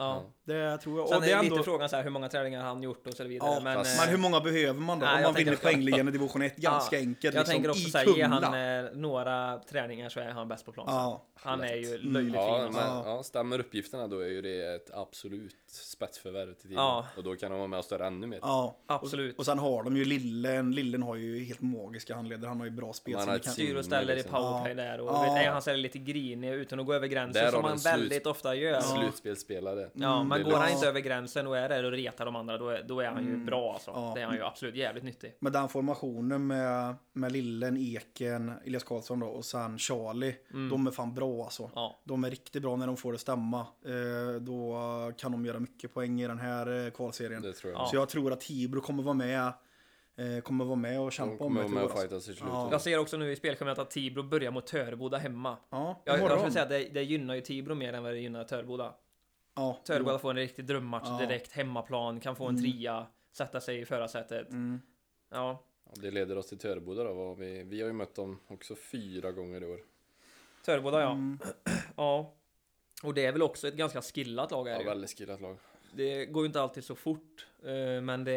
C: Ja.
B: Det tror jag.
C: Sen
B: Och
C: är
B: det
C: det
B: är
C: lite
B: ändå,
C: frågan så här, hur många träningar har han gjort och så vidare.
B: Ja,
C: men,
A: fast-
C: eh,
B: men hur många behöver man då?
C: Nej,
B: om
C: jag
B: man
C: tänker
B: vinner
C: också-
B: poängligan i division 1 ganska
C: Ja,
B: enkelt.
C: jag tänker
B: liksom,
C: också
B: i
C: såhär, ge
B: Kumla.
C: han eh, några träningar så är han bäst på plan.
B: Ja.
C: han är ju
B: lätt. Mm.
C: löjligt fin.
A: Ja, men,
C: alltså.
A: ja. stämmer uppgifterna då är ju det ett absolut spetsförvärv till tiden.
C: Ja.
A: Och då kan de vara med och störa ännu mer.
B: Ja,
C: Absolut.
B: och sen har de ju Lillen. Lillen har ju helt magiska handleder. Han har ju bra spel.
A: Man
B: som
A: har
B: det
A: ett
B: kan-
C: Styr och ställer i
A: liksom.
C: powerplay
B: Ja.
C: där och
B: Ja.
C: vet, ej, han ställer lite grinig utan att gå över gränsen
A: Där
C: som
A: har
C: han
A: den slut-
C: väldigt ofta gör.
B: Ja. Mm,
A: Slutspelsspelare.
C: Ja,
A: det
C: men
A: är
C: går han
A: lugnt.
C: inte över gränsen och är där och retar de andra, då är, då är han
B: Mm.
C: ju bra alltså.
B: Ja.
C: Det är han ju absolut jävligt nyttig.
B: Men den formationen med, med Lillen, Eken, Elias Karlsson då och sen Charlie.
C: Mm.
B: De är fan bra alltså.
C: Ja.
B: De är riktigt bra när de får det stämma. Eh, då kan de göra mycket poäng i den här eh, kvalserien.
A: Det tror jag.
C: Ja.
B: Så jag tror att Tibro kommer vara med. Eh, kommer vara med och
A: De
B: kämpa om
A: kommer
B: det
A: vara
B: till
A: med
B: år,
A: och
B: alltså.
A: fightas i slutet.
B: Ja.
C: Jag ser också nu i spelschemat att Tibro börjar mot Töreboda hemma.
B: Ja,
C: Jag, jag
B: imorgon.
C: skulle säga att det, det gynnar ju Tibro mer än vad det gynnar Töreboda.
B: ja,
C: Töreboda får en riktig drömmatch
B: Mm. Ja.
C: direkt, hemmaplan, kan få en tria, sätta sig i förarsätet.
B: Mm.
C: Ja,
A: Ja, Det leder oss till Töreboda då. vad Vi, vi har ju mött dem också fyra gånger i år.
C: Töreboda ja.
B: Mm.
C: ja. Och det är väl också ett ganska skillat lag är
A: Ja,
C: det ju.
A: väldigt skillat lag.
C: Det går ju inte alltid så fort, eh, men det,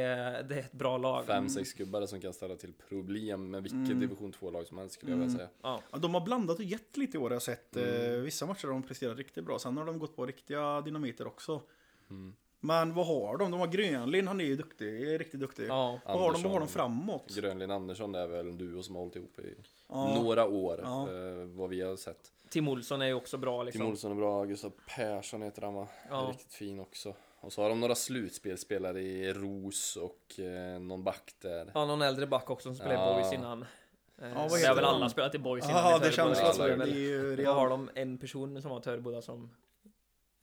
C: det är ett bra lag. Mm.
A: Fem,
B: Mm.
A: sex gubbar som kan ställa till problem med vilket division 2-lag som helst skulle jag
B: Mm.
A: vilja säga.
C: Ja.
B: Ja, de har blandat och gett lite i år. Jag har sett eh,
A: Mm.
B: vissa matcher där de presterat riktigt bra. Sen har de gått på riktiga dynamiter också.
A: Mm.
B: Men vad har de? De har Grönlin, han är ju duktig. Är riktigt duktig.
C: Ja.
B: Vad, har de,
A: Andersson.
B: vad har de framåt?
A: Grönlin Andersson det är väl en duo som har hållit ihop i
B: Ja.
A: några år,
B: Ja.
A: eh, vad vi har sett.
C: Tim Olsson är ju också bra liksom.
A: Tim Olsson är bra, Gustav Persson heter han va?
C: Ja.
A: Riktigt fin också. Och så har de några slutspelspelare i Ros och eh, någon back där.
C: Ja, någon äldre back också som spelade
A: Ja.
C: i boys innan. Ja,
B: vad
C: det
B: heter
C: har väl
B: han?
C: alla spelat i boys innan.
B: Ja,
C: i liksom.
B: det
C: Töreboda,
B: känns
A: Töreboda
B: ju
C: så
B: så.
A: alla
B: Det
A: är
B: är ju
C: Vad har
B: redan...
C: de en person som har Töreboda som...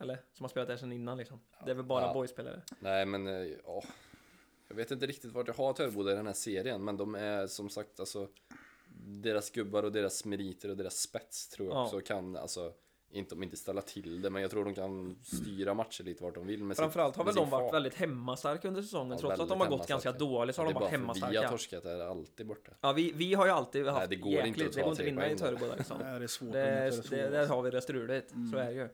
C: Eller? Som har spelat där sedan innan liksom. Det är väl bara
A: Ja.
C: boyspelare.
A: Nej men, eh, ja. Jag vet inte riktigt vart jag har Töreboda i den här serien, men de är som sagt alltså deras gubbar och deras meriter och deras spets tror jag
C: Ja.
A: också kan, alltså inte om inte ställa till det, men jag tror de kan styra matcher lite vart de vill med sin-
C: Framförallt har
A: med
C: väl
A: sin
C: de varit
A: fart.
C: väldigt hemmastarka under säsongen.
A: Ja,
C: trots att de
A: väldigt
C: har gått ganska
A: hemmastarka.
C: dåligt så har
A: det
C: de
A: är
C: varit
A: bara för vi har
C: hemmastarka.
A: torskat är det alltid borta.
C: Ja, vi, vi har ju alltid haft
A: det går inte
C: jäkligt...
A: att ta
C: det går inte
A: tre
C: att vinna i
A: poäng där.
C: Töreboda liksom.
B: Det här är svårt.
C: Det,
B: men jag
C: är-
B: tror
C: det,
B: är
C: där
B: svårt.
C: har vi det struligt, så är det ju.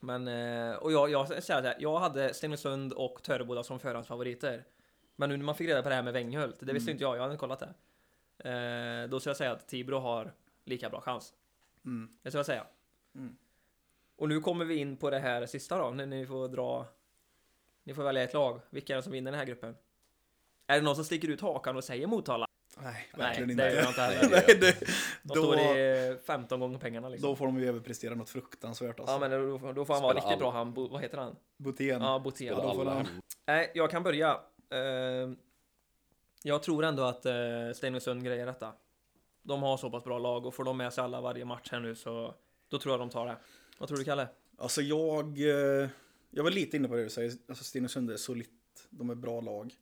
C: Men, eh, och jag, jag, säger så här, jag hade Stenungsund och Töreboda som förhandsfavoriter. Men nu när man fick reda på det här med Wenghult, det
A: Mm.
C: visste inte jag, jag hade inte kollat det. Eh, då skulle jag säga att Tibro har lika bra chans.
B: Mm.
C: Det skulle jag säga.
B: Mm.
C: Och nu kommer vi in på det här sista då, när ni får dra... Ni får välja ett lag, vilka är det som vinner den här gruppen? Är det någon som sticker ut hakan och säger Motala?
B: Nej, verkligen
C: Nej, det
B: [laughs]
C: gör
B: inte.
C: jag inte heller.
A: Nej,
C: [laughs]
B: Nej, det,
C: De
B: då,
C: står i eh, 15 gånger pengarna liksom.
B: då får de ju överprestera något fruktansvärt alltså.
C: Ja men då, får- då får han vara
A: Spelar
C: riktigt
A: all-
C: bra han, Bo, vad heter han?
B: Butén.
C: Ja, Botén.
A: Spelar
B: då får
A: alla
B: de-
A: hemma.
C: Nej, jag kan börja. Ehm, jag tror ändå att uh, Stenungsund grejer detta. De har så pass bra lag och får de med sig alla varje match här nu så då tror jag de tar det. Vad tror du Kalle?
B: Alltså jag, eh, jag var lite inne på det du säger, alltså Stenungsund är solitt, de är bra lag.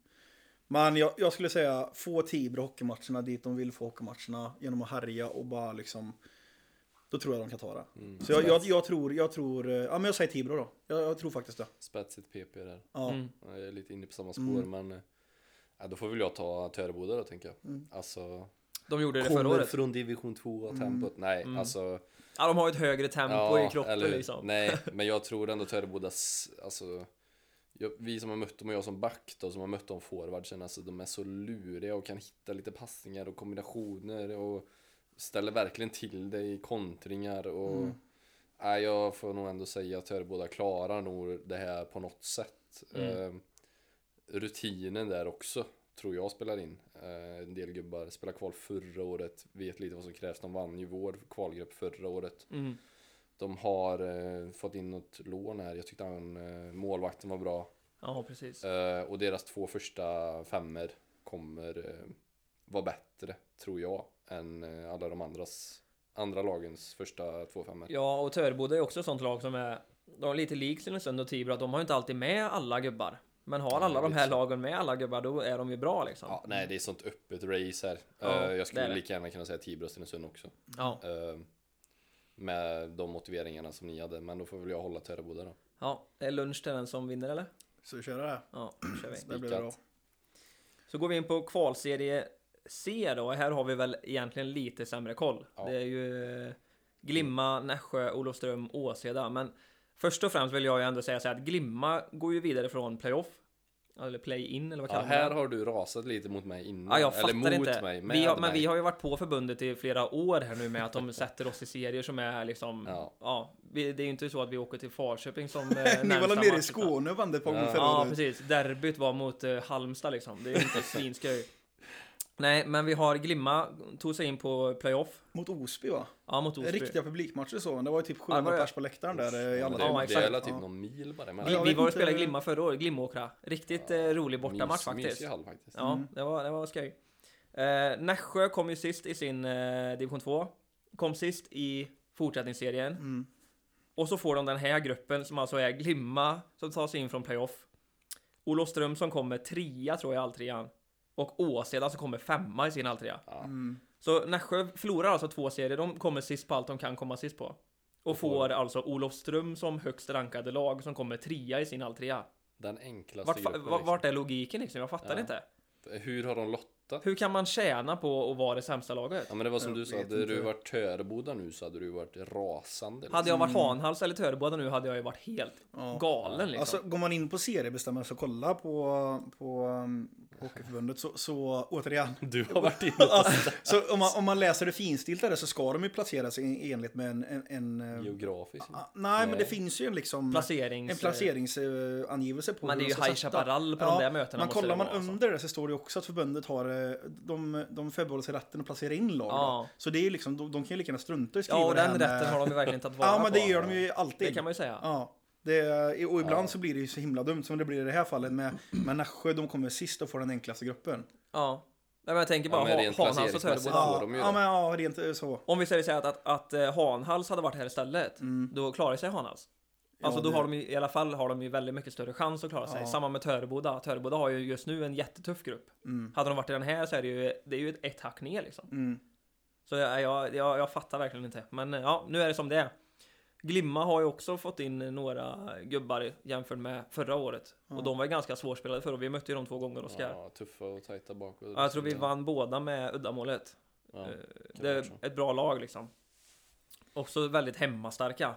B: Men jag, jag skulle säga, få Tibro hockeymatcherna dit de vill få hockeymatcherna genom att härja och bara liksom, då tror jag de kan ta
C: Mm.
B: det.
A: Mm.
B: Så jag, jag, jag tror, jag tror, eh, ja men jag säger Tibro då. Jag, jag tror faktiskt det.
A: Spetsigt PP där.
B: Ja.
C: Mm.
A: Jag är lite inne på samma spår men eh, ja, då får väl jag ta Töreboda då tänker jag. Alltså,
C: De gjorde det förra
A: kommer
C: året. Mm.
A: från division 2 och tempot. Nej, alltså.
C: Ja, de har ett högre tempo
A: ja,
C: i kroppen
A: eller hur?
C: liksom. [laughs]
A: Nej, men jag tror ändå Törebodas, alltså. Jag, vi som har mött dem och jag som back då, som har mött dem forwardsen, alltså de är så luriga och kan hitta lite passningar och kombinationer och ställer verkligen till det i kontringar och
C: Mm.
A: nej, jag får nog ändå säga att Töreboda
C: Mm.
A: klarar nog det här på något sätt. Eh, Ehm, rutinen där också tror jag spelar in. Eh, en del gubbar spelade kval förra året, vet lite vad som krävs. De vann ju vår kvalgrupp förra året.
C: Mm.
A: De har eh, fått in något lån här. Jag tyckte han, eh, målvakten var bra.
C: Ja, precis.
A: Eh, och deras två första femmer kommer eh, vara bättre, tror jag, än eh, alla de andras, andra lagens första två femmer.
C: Ja, och Törboda är också ett sånt lag som är de är lite lik Stenungsund och Tibro, att de har ju inte alltid med alla gubbar. Men har
A: Ja,
C: alla de
A: lite
C: här
A: så.
C: lagen med alla gubbar, då är de ju bra liksom.
A: Ja, nej, det är sånt öppet race här.
C: Ja,
A: Eh, jag
C: det är
A: skulle
C: det.
A: lika gärna kunna säga Tibro och Stenungsund också.
C: Ja,
A: Eh, med de motiveringarna som ni hade, men då får väl jag hålla Töreboda då.
C: ja. Är lunch till den som vinner eller?
B: Så vi kör det här.
C: Ja, då kör vi.
B: Det blir bra.
C: Så går vi in på kvalserie C då, och här har vi väl egentligen lite sämre koll.
A: Ja.
C: Det är ju eh, Glimma, Nässjö, Olofström, Åseda. Men först och främst vill jag ju ändå säga så här att Glimma går ju vidare från playoff. Eller play-in eller vad
A: Ja,
C: kallar
A: här
C: man det?
A: har du rasat lite mot mig innan.
C: Ja, jag
A: eller
C: fattar
A: mot
C: inte.
A: mig.
C: vi har,
A: med
C: men
A: mig.
C: vi har ju varit på förbundet i flera år här nu med
A: [laughs]
C: att de sätter oss i serier som är liksom... Ja.
A: Ja.
C: vi, det är ju inte så att vi åker till
A: [laughs]
C: Falköping som...
B: [laughs]
C: eh,
B: Ni var väl
C: närmsta
B: nere i
C: match, utan-
B: Skåne och vann det ett par gånger
A: Ja.
B: förra
C: Ja,
B: året?
C: precis. Derbyt var mot eh, Halmstad liksom. Det är
B: [laughs]
C: ju inte svinskoj. Nej, men vi har Glimma, tog sig in på playoff.
B: Mot Osby va?
C: Ja, mot Osby.
B: Riktiga publikmatcher så, men det var ju typ
C: Ja, det var
B: 700
C: det.
B: pers på läktaren där eh, i alla
A: det, ja,
C: Ja,
B: timmar.
A: det är
C: exakt.
A: hela typ
B: Ja.
A: någon mil bara
C: Vi,
B: jag
A: emellan.
C: vi
B: vet
C: var och
B: inte-
C: spelade Glimma förra året, Glimåkra. Riktigt eh, rolig bortamatch faktiskt.
A: Mysig hall faktiskt.
C: Ja,
B: Mm.
C: det var, det var skoj. Eh, Nässjö kom ju sist i sin eh, division 2. Kom sist i fortsättningsserien.
B: Mm.
C: Och så får de den här gruppen som alltså är Glimma som tar sig in från playoff. Olofström som kommer trea tror jag i alltrean. Och Åseda som kommer femma i sin alltrea.
A: Ja.
B: Mm.
C: Så Nässjö förlorar alltså två serier, de kommer sist på allt de kan komma sist på. Och
A: Och får-
C: får alltså Olofström som högst rankade lag som kommer trea i sin alltrea.
A: Den enklaste
C: Vart, fa-
A: gruppen,
C: va- vart är logiken liksom? Jag fattar
A: Ja.
C: inte.
A: liksom. Hur har de lottat?
C: Hur kan man tjäna på att vara det sämsta laget?
A: Ja men det var som
B: Jag
A: du sa,
B: vet
A: hade du
B: inte.
A: varit Töreboda nu så hade du varit rasande. liksom.
C: Hade jag varit Hanhals eller Töreboda nu hade jag ju varit helt
B: Mm. Ja.
C: galen liksom.
B: Alltså går man in på seriebestämmelser och kollar på, på, um, på Hockeyförbundet så, så återigen. [laughs]
A: liksom.
B: Alltså,
A: Du har varit inne på
B: Så om man, om man läser det finstiltade så ska de ju placeras i enligt med en... en, en eh,
A: geografiskt.
B: ah, nej, men
A: Nej.
B: det finns ju en liksom...
C: Placerings...
B: En placeringsangivelse på
C: Men
B: hur
C: det är
B: de
C: ju
B: ska
C: High
B: sätta.
C: Chaparral på de där mötena
B: Man
C: måste det
B: kollar man
C: vara, alltså.
B: under det så står det ju också att förbundet har eh, De, de förbehåller sig rätten att placera in lag.
C: Ja.
B: då. Så det är ju liksom, de, de kan ju lika gärna strunta i att skriva
C: Ja, och
B: det här
C: den
B: med-
C: rätten har de ju verkligen tagit
B: [laughs]
C: vara
B: Ja men det
C: på.
B: gör de ju alltid.
C: Det kan man ju säga.
B: Ja. Det, och ibland
A: Ja.
B: så blir det ju så himla dumt som det blir i det här fallet med, med Nässjö. De kommer sist och får den enklaste gruppen.
C: Ja. Nej, men jag tänker bara
A: Ja, men
C: ha-
A: rent
C: Hanhals och
A: placeringsmässigt.
C: Töreboda.
A: får
B: Ja,
A: de ju
B: ja
A: det.
B: men ja, rent eh, så.
C: Om vi säger så här att, att, att eh, Hanhals hade varit här istället, då klarar sig Hanhals. Alltså
B: Mm. Ja,
C: då
B: det-
C: har de ju, i alla fall har de ju väldigt mycket större chans att klara sig.
B: Ja.
C: Samma med Töreboda. Töreboda har ju just nu en jättetuff grupp.
B: Mm.
C: Hade de varit i den här så är det ju, det är ju ett, ett hack ner liksom.
B: Mm.
C: Så jag, jag, jag, jag fattar verkligen inte. Men eh, ja, nu är det som det är. Glimma har ju också fått in några gubbar jämfört med förra året. Och de var ju ganska svårspelade förra Vi mötte ju dem två gånger Oskar. Ja.
A: Ja, tuffa och tajta bakåt.
C: jag tror vi vann båda med uddamålet.
A: Ja,
C: Eh,
A: kan
C: det
A: vara
C: är
A: så.
C: ett bra lag liksom. Också väldigt hemmastarka.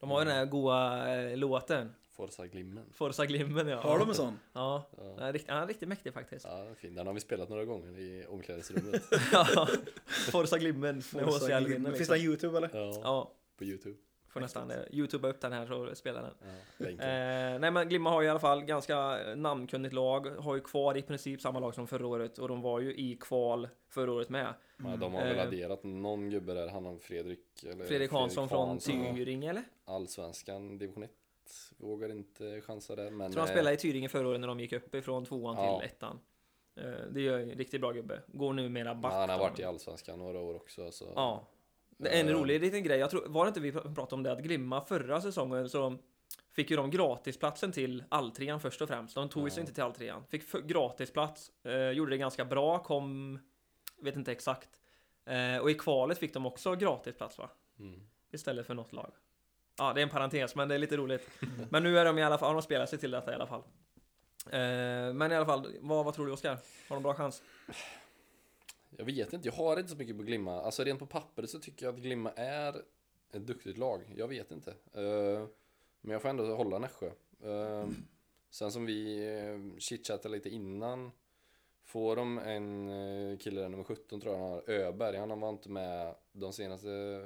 C: De har ju den här goa eh, låten.
A: Forza Glimmen.
C: Forza Glimmen ja.
B: Har de en sån?
C: Ja,
A: Ja.
C: den är riktigt, han är riktigt mäktig faktiskt.
A: Ja, fin. Den har vi spelat några gånger i omklädningsrummet.
C: Ja. Forza Glimmen med
B: Forza
C: HCL
B: Glimmen.
C: vinner
B: Alltså, Finns den
C: liksom.
B: Youtube eller?
A: ja,
C: [laughs] Ja,
A: på Youtube.
C: får nästan eh, youtuba upp den här så spelar den.
A: Ja, länken.
C: Eh, nej men Glimma har ju i alla fall ganska eh, namnkunnigt lag, har ju kvar i princip samma lag som förra året och de var ju i kval förra året med.
A: ja,
B: Mm.
A: de har väl
C: eh.
A: adderat någon gubbe där, han har Fredrik eller
C: Fredrik Hansson från
A: Hansson, ja.
C: Tyringe eller?
A: Allsvenskan division 1. Vågar inte chansa där men
C: Jag tror han
A: eh,
C: spelade i Tyringe förra året när de gick upp ifrån tvåan
A: Ja.
C: till ettan. Eh, det är ju en riktigt bra gubbe. Går numera back.
A: han har
C: då.
A: varit i Allsvenskan några år också så
C: Ja. Det är En
A: Eh.
C: rolig liten grej, jag tror, var det inte vi pr- pratade om det, att Glimma förra säsongen så fick ju de gratisplatsen till alltrean först och främst. De tog ju sig
A: Ja.
C: inte till alltrean. Fick för, gratisplats, eh, gjorde det ganska bra, kom, vet inte exakt. Eh, och i kvalet fick de också gratisplats va?
A: Mm.
C: Istället för något lag. Ja, det är en parentes, men det är lite roligt. Men nu är de i alla fall, har de spelat sig till detta i alla fall. Eh, men i alla fall, vad, vad tror du Oskar? Har de bra chans?
A: Jag vet inte, jag har inte så mycket på Glimma. Alltså rent på pappret så tycker jag att Glimma är ett duktigt lag. Jag vet inte. Eh, men jag får ändå hålla Nässjö. Eh, sen som vi uh, chitchattade lite innan. Får de en eh, kille där, nummer 17 tror jag han har, Öberg. Han var inte med de senaste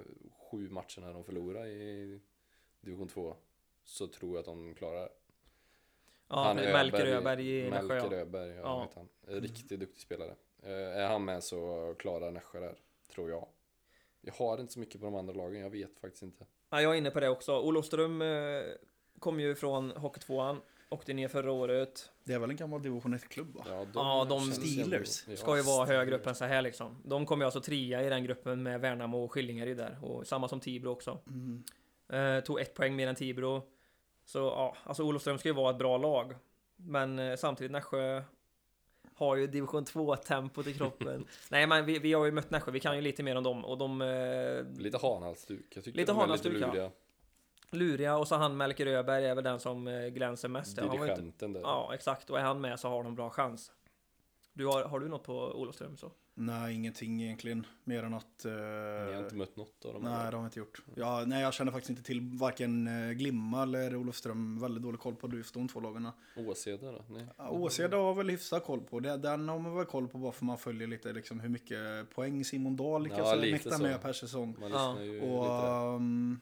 A: sju matcherna de förlorade i division 2. Så tror jag att de klarar det.
C: Ja,
A: Han
C: Melker
A: Öberg-
C: Öberg i Nässjö.
A: Melker
C: ja.
A: Öberg, ja,
C: Ja.
A: Vet han. Eh, Riktigt duktig spelare. Eh, är han med så klarar Nässjö där, tror jag. Jag har inte så mycket på de andra lagen, jag vet faktiskt inte.
C: Ja, jag är inne på det också. Olofström eh, kom ju från Hockeytvåan, åkte ner förra året.
B: Det är väl en gammal division 1-klubb va?
A: Ja, de,
C: Ja, de
A: känns ändå-
B: Steelers
A: ja,
C: Ska ju vara högre upp
A: Steelers.
C: än så här liksom. De kom ju alltså trea i den gruppen med Värnamo och Skillingaryd där. Och samma som Tibro också.
B: Mm.
C: Eh, tog ett poäng mer än Tibro. Så ja, alltså Olofström ska ju vara ett bra lag. Men eh, samtidigt Nässjö har ju division 2-tempot i kroppen. Nej men vi, vi har ju mött Nässjö, vi kan ju lite mer om dem. Och de... Eh,
A: Lite hanhalsduk. Jag tycker
C: Lite
A: de är lite
C: hanhalsduk, ja.
A: luriga.
C: luriga och så han Melker Öberg är väl den som eh, glänser mest. Han var ju inte-
A: Dirigenten där.
C: Ja, exakt. Och är han med så har de bra chans. Du har, har du något på Olofström så?
B: Nej, ingenting egentligen. Mer än att... eh,
A: Ni har inte mött något av dem?
B: Nej, det har vi inte gjort. Ja, nej, jag känner faktiskt inte till varken eh, Glimma eller Olofström. Väldigt dålig koll på just de två lagarna.
A: Åseda då? Nej.
B: Ja, Åseda har väl hyfsat koll på. Det, den har man väl koll på bara för man följer lite liksom, hur mycket poäng Simon Dahl lyckas
A: Ja, lite
B: mäkta
A: så.
B: med per säsong.
A: Man
C: Ja.
A: lyssnar ju
B: Och
A: lite där.
B: ehm,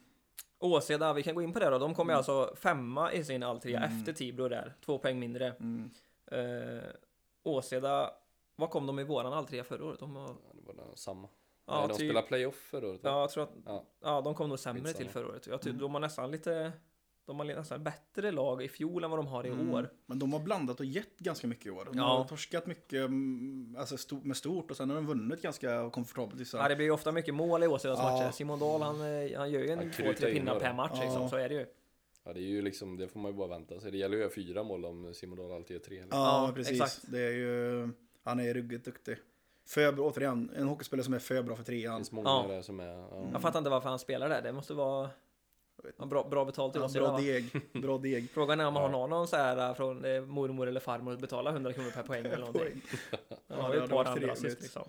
C: Åseda, vi kan gå in på det då. De kommer ju alltså femma i sin alltrea
B: Mm.
C: efter Tibro där. Två poäng mindre.
B: mm,
C: Eh, Åseda, vad kom de i våran alltrea förra året? De var,
A: Ja, det var den samma.
C: ja,
A: Nej, de
C: typ-
A: spelade playoff förra året. va?
C: Ja, jag tror att, ja.
A: Ja.
C: de kom nog sämre
A: Skitsamma.
C: till förra året. Jag tycker
B: Mm.
C: de har nästan lite... De har nästan bättre lag i fjol än vad de har i
B: mm.
C: år.
B: Men de har blandat och gett ganska mycket i år. De
C: Ja.
B: har torskat mycket mm, alltså, sto- med stort och sen har de vunnit ganska komfortabelt. i så här-
C: Ja, det blir ju ofta mycket mål i Åsedas
B: Ja.
C: matcher. Simon Dahl, han, eh, han gör ju en
A: Han
C: två,
A: kryper
C: tre
A: in
C: pinnar
A: några.
C: per match
B: Ja.
C: liksom, så är det ju.
A: Ja, det är ju liksom, det får man ju bara vänta sig. Det gäller ju att göra fyra mål om Simon Dahl alltid gör tre. eller?
B: Ja,
C: Ja,
B: precis.
C: exakt.
B: Det är ju, han är ruggigt duktig. För, bra- återigen, en hockeyspelare som är för bra för
A: Det
B: trean.
A: finns många
C: Ja.
A: där som är... Ja.
C: Jag fattar inte varför han spelar där. Det måste vara
B: Jag vet
C: ja, bra, bra betalt i
B: Ja,
C: Åseda.
B: bra
C: va?
B: deg, bra deg.
C: Frågan är om man
A: Ja.
C: har någon så här äh, från eh, mormor eller farmor att betala 100 kronor per
B: [laughs]
C: poäng eller någonting.
B: Poäng.
C: Han
B: Ja,
C: har
B: det
C: ju ett
B: hade
C: par
B: varit
C: andra
B: trevligt.
C: assist liksom.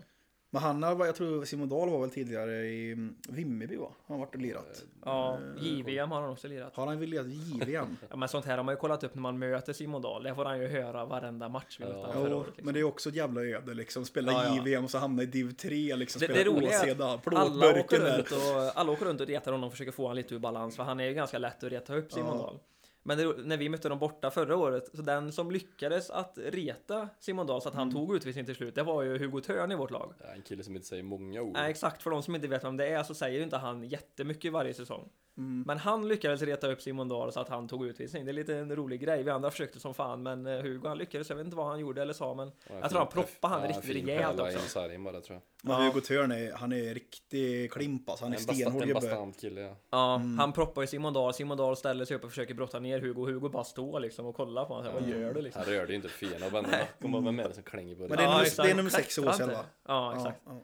B: Men han har, jag tror Simon Dahl var väl tidigare i mm, Vimmerby va? Han har varit och lirat.
C: Ja,
B: Eh,
C: JVM har han också lirat.
B: Har han väl lirat i
C: [laughs]
B: JVM?
C: Ja, men sånt här har man ju kollat upp när man möter Simon Dahl. Det får han ju höra varenda match vi
A: Ja.
C: mötte han förra
B: Jo,
C: året.
B: men
C: Liksom.
B: det är också ett jävla öde liksom. Spela
C: Ja, ja.
B: JVM och så hamna i div 3 liksom.
C: Det-
B: spela
C: det roliga är att
B: Åseda,
C: Alla åker,
B: plåtburken där.
C: runt och, alla åker runt och retar honom och försöker få honom lite ur balans för han är ju ganska lätt att reta upp Simon
B: Ja.
C: Dahl. Men det, när vi mötte dem borta förra året, så den som lyckades att reta Simon Dahl så att
B: Mm.
C: han tog utvisning till slut, det var ju Hugo Thörn i vårt lag.
A: Ja, En kille som inte säger många ord.
C: Nej, exakt. För de som inte vet vem det är så säger ju inte han jättemycket varje säsong.
B: Mm.
C: Men han lyckades reta upp Simon Dahl så att han tog utvisning. Det är lite en rolig grej. Vi andra försökte som fan, men eh, Hugo han lyckades. Jag vet inte vad han gjorde eller sa, men
A: Ja,
C: jag tror han
A: fin-
C: proppade han
A: ja,
C: riktigt
A: fin
C: rejält
A: pärla
C: också.
A: i sargen bara tror jag.
B: Men
C: Ja.
B: Hugo Thörn är, han är riktig klimp alltså. Han är
A: En bastant,
B: stenhård
A: en
B: gubbe.
A: bastant kille ja.
C: Ja,
B: Mm.
C: han proppar ju Simon Dahl. Simon Dahl ställer sig upp och försöker brotta ner Hugo. Hugo bara står liksom och kollar på honom. så här, Vad gör du liksom?
A: Han rörde ju inte fenorna och bänderna. Kom bara, vem är det som klänger på
B: Men det är nummer-
C: exakt.
B: det är nummer sex i
C: Klättrar
B: Åsele,
C: inte.
B: va?
C: Ja,
B: Ja,
C: exakt.
B: ja.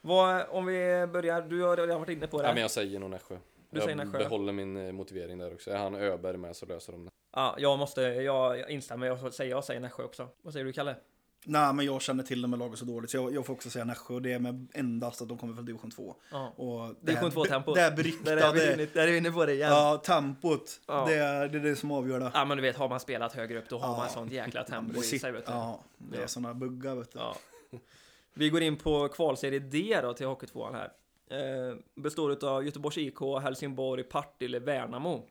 C: Vad, om vi börjar, du har redan varit inne på det.
A: Ja,
C: här.
A: men jag säger nog Nässjö.
C: Du
A: jag
C: säger Nässjö.
A: behåller min eh, motivering där också. Är han Öberg med så löser de det.
C: Ja, jag måste, jag, jag instämmer. Jag säger, jag säger Nässjö också. Vad säger du Kalle?
B: Nej, men jag känner till de här lagen så dåligt så jag, jag får också säga Nässjö. Och Det är med endast att de kommer från division 2.
C: Ja.
B: Och det här
C: Division
B: be-
C: 2-tempot.
B: Det här
C: Där är vi inne-
B: beryktade
C: där är vi inne på det igen.
B: ja, tempot.
C: Ja.
B: Det, är, det är det som avgör det.
C: Ja men du vet, har man spelat högre upp då har
B: Ja.
C: man sånt jäkla tempo i
B: det,
C: sig
B: sitter,
C: vet du.
B: ja, det är
C: Ja.
B: sådana buggar vet du.
C: Ja. Vi går in på kvalserie D då till Hockeytvåan här. Eh, består av Göteborgs IK, Helsingborg, Partille, Värnamo.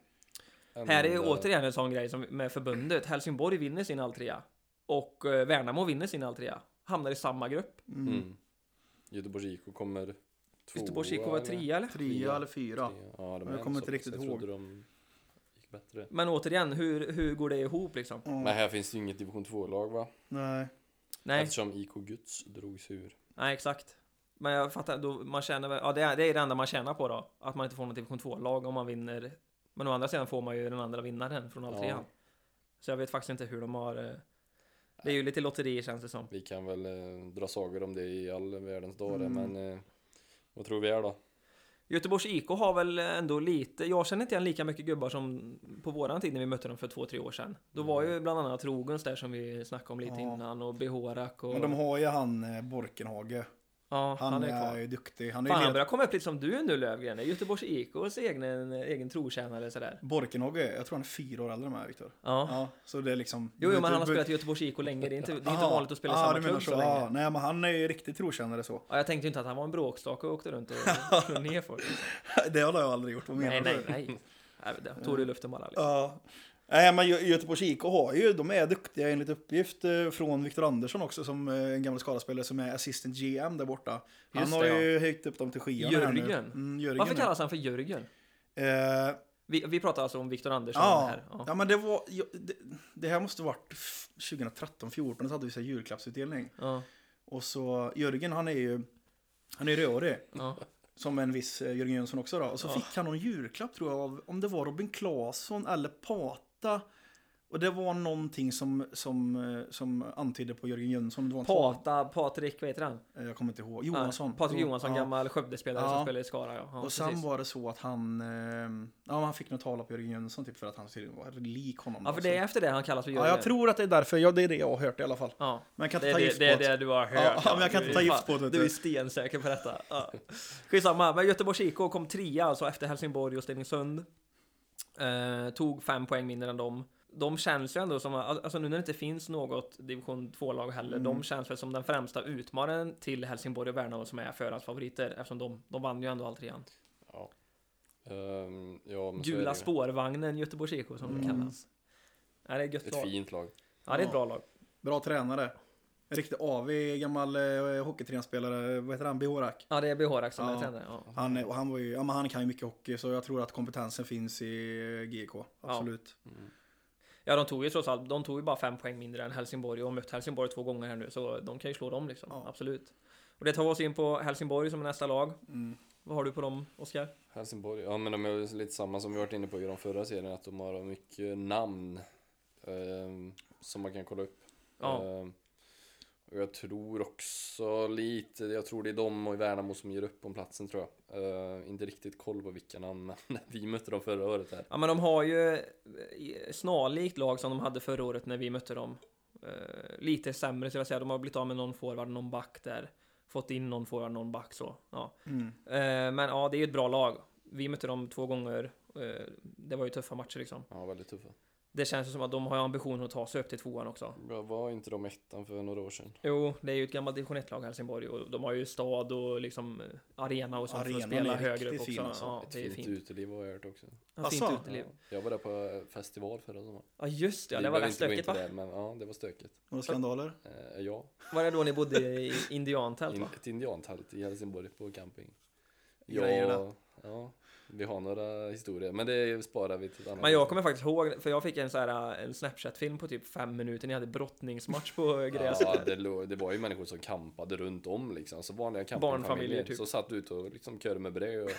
A: Ändå
C: Här är ju
A: där-
C: återigen en sån grej som med förbundet. Helsingborg vinner sin alltrea. Och eh, Värnamo vinner sin alltrea. Hamnar i samma grupp.
A: Mm. Göteborgs IK kommer tvåa
C: Göteborgs IK var
A: eller?
C: trea eller?
B: Trea eller fyra.
A: Ja, de
B: Jag
A: är
B: kommer
A: så
B: inte
A: pass.
B: riktigt
A: jag
B: ihåg. Mm.
A: trodde de gick bättre.
C: Men återigen, hur, hur går det ihop liksom?
B: Ja,
A: Men här finns det ju inget division 2-lag va?
B: Nej.
C: Nej,
A: Eftersom IK Guts drogs ur.
C: nej exakt. Men jag fattar, då, man tjänar väl, ja det är, det är det enda man tjänar på då. Att man inte får något division 2-lag om man vinner. Men å andra sidan får man ju den andra vinnaren från
A: Ja.
C: alltrean. Så jag vet faktiskt inte hur de har... eh, Det är ju lite lotteri känns det som.
A: Vi kan väl eh, dra sagor om det i all världens dagar
B: Mm.
A: men eh, vad tror vi är då?
C: Göteborgs IK har väl ändå lite, jag känner inte igen lika mycket gubbar som på våran tid när vi mötte dem för två, tre år sedan. Då var ju bland annat Rogens där som vi snackade om lite
B: Mm. Ja.
C: innan och Behorak och...
B: Men de har ju han eh, Borkenhage.
C: ja,
B: Han,
C: han är
B: är,
C: kvar.
B: ju duktig. Han är ju
C: Fan, han
B: led...
C: börjar komma upp lite som du nu Lövgren, Det är Göteborgs IKs egen, egen trotjänare sådär.
B: Borkenhage, jag tror han är fyra år äldre än mig Viktor.
C: Ja.
B: Ja, så det är liksom...
C: Jo, jo, men han har
B: du-
C: spelat i Göteborgs IK länge, det är inte, det är inte
B: Aha.
C: vanligt att spela i
B: Ja,
C: samma
B: du menar
C: klubb så,
B: Ja,
C: länge.
B: nej, men han är ju riktigt trotjänare så. [laughs]
C: Ja, jag tänkte ju inte att han var en bråkstake och åkte runt och slog ner folk.
B: det har jag aldrig gjort, vad menar
C: Nej, nej,
B: du?
C: nej. nej. det Tog du i luften bara. Liksom.
B: Ja, Nej, men Gö- Göteborgs IK har ju, de är duktiga enligt uppgift eh, från Viktor Andersson också som eh, en gammal skadespelare som är assistant GM där borta. Han
C: Just
B: har
C: det, ja.
B: ju höjt upp dem till skyarna här nu.
C: Jörgen.
B: Mm, Jörgen.
C: Varför
B: nu.
C: kallas han för Jörgen?
B: Eh,
C: Vi, vi pratar alltså om Viktor Andersson
B: ja,
C: här.
B: ja. men det var, ja, det, det här måste varit f- 2013, 14 så hade vi så här julklappsutdelning.
C: ja,
B: Och så Jörgen han är ju, han är ju rörig.
C: ja.
B: Som en viss eh, Jörgen Jönsson också då. Och så
C: Ja.
B: fick han någon julklapp tror jag av, om det var Robin Claesson eller Pata. Och det var någonting som, som, eh, som antydde på Jörgen Jönsson. Det var en två-
C: Pata, Patrik, vad heter han?
B: eh, Jag kommer inte ihåg. Johansson.
C: Ja, Patrik Johansson,
B: Ja.
C: gammal Skövdespelare
B: Ja.
C: som spelar i Skara. Ja, ja,
B: och sen
C: precis.
B: var det så att han, eh, ja, han fick något tal på Jörgen Jönsson typ för att han tydligen var lik honom.
C: ja,
B: då,
C: för
B: så-
C: det är efter det han kallas för Jörgen.
B: alltså ja, jag tror att det är därför. Ja, det är det jag har hört i alla fall.
C: Ja.
B: Men jag kan inte
C: Det är
B: ta
C: det,
B: gift på
C: det, är
B: det.
C: det du har hört.
B: Ja, men jag kan inte ta
C: du-
B: gift på
C: fan,
B: det, typ.
C: Du är
B: vet
C: stensäker på detta. Ja. [laughs] Skitsamma, men Göteborgs IK kom trea alltså efter Helsingborg och Stenungsund. Eh, tog fem poäng mindre än dem. De känns ju ändå som, alltså nu när det inte finns något division 2-lag heller,
B: Mm.
C: de känns väl som den främsta utmanaren till Helsingborg och Värnamo som är förhandsfavoriter eftersom de, de vann ju ändå all trean.
A: Ja. Ehm, ja, men så är det
C: Gula
A: ju.
C: spårvagnen Göteborgs IK som det
B: Mm.
C: kallas. Ja, det är ett gött
A: Ett
C: lag.
A: fint lag.
C: Ja, det är ett
B: Ja.
C: bra lag.
B: Bra tränare. En riktig AV, gammal eh, hockeytränspelare. Vad heter han? Behorak.
C: Ja, det är Behorak som är
B: Ja.
C: tränare. Ja.
B: Han, är- och han, var ju, ja, men han kan ju mycket hockey så jag tror att kompetensen finns i GK. Absolut.
C: Ja, de tog ju trots allt, de tog ju bara fem poäng mindre än Helsingborg och har mött Helsingborg två gånger här nu, så de kan ju slå dem liksom.
B: Ja.
C: Absolut. Och det tar oss in på Helsingborg som är nästa lag.
B: Mm.
C: Vad har du på dem, Oskar?
A: Helsingborg, ja men de är lite samma som vi varit inne på i de förra serien att de har mycket namn ehm, som man kan kolla upp.
C: Ja.
A: Ehm, och jag tror också lite, jag tror det är de och Värnamo som ger upp om platsen tror jag. Ehm, inte riktigt koll på vilka namn men [laughs] vi mötte dem förra året här.
C: Ja, men de har ju eh, snarlikt lag som de hade förra året när vi mötte dem. Eh, lite sämre skulle jag säga. De har blivit av med någon forward, någon back där. Fått in någon forward, någon back så. Ja.
B: Mm.
C: Eh, men ja, det är ju ett bra lag. Vi mötte dem två gånger. Eh, det var ju tuffa matcher liksom.
A: Ja, väldigt tuffa.
C: Det känns ju som att de har ambitionen att ta sig upp till tvåan också.
A: Ja, Var inte de ettan för några år sedan?
C: Jo, det är ju ett gammalt division 1-lag Helsingborg och de har ju stad och liksom eh, arena och sånt för att
B: Arenan
C: spela
B: är
C: högre upp
B: riktigt
C: också.
B: fin alltså.
C: Ja,
A: Ett
C: det är
A: fint,
C: fint.
A: uteliv har jag hört också.
C: Ja, fint
B: Alltså.
C: uteliv.
A: Jag var där på festival förra sommaren.
C: Ja just det, ja,
A: Vi
C: det var
A: behöver
C: rätt
A: inte gå in
C: stökigt
A: på
C: va?
A: det, men ja, det var stökigt.
B: Några skandaler?
A: Eh, ja,
C: Var det då ni bodde i indiantält
A: in,
C: va?
A: ett indiantält i Helsingborg på camping.
B: Grejer
A: Ja,
B: där.
A: ja, vi har några historier, men det sparar vi till ett annat
C: Men jag
A: tillfälle.
C: kommer faktiskt ihåg, för jag fick en, så här, eh, en Snapchat-film på typ fem minuter, ni hade brottningsmatch på eh, gräset.
A: Ja, det, låg- det var ju människor som kampade runt om liksom, så vanliga campingfamiljer.
C: Barnfamiljer, typ.
A: Så satt ute och liksom körde med bröd och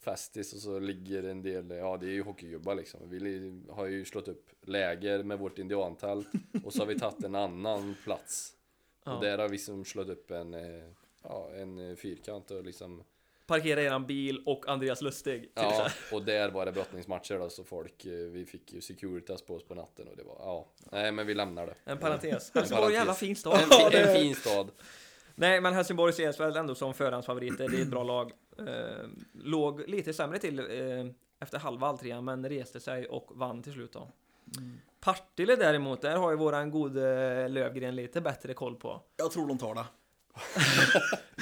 A: festis och så ligger en del, ja det är ju hockeygubbar liksom. Vi li- har ju slått upp läger med vårt indiantält och så har vi tagit en annan plats.
C: Ja.
A: Och där har vi liksom slått upp en, eh, ja, en eh, fyrkant och liksom
C: Parkera eran bil och Andreas Lustig. typ så
A: Ja,
C: här.
A: och där var det brottningsmatcher då, så folk, eh, vi fick ju Securitas på oss på natten och det var, ja, nej men vi lämnar det.
C: En parentes. Helsingborg är en jävla
A: parentes.
C: fin stad.
A: En, fi- en fin stad.
C: Nej, men E Helsingborg ses väl ändå som förhandsfavoriter. Det är ett bra lag. Eh, låg lite sämre till eh, efter halva alltrean, men reste sig och vann till slut. Då. Partille däremot, där har ju våran gode Lövgren lite bättre koll på.
B: Jag tror de tar det.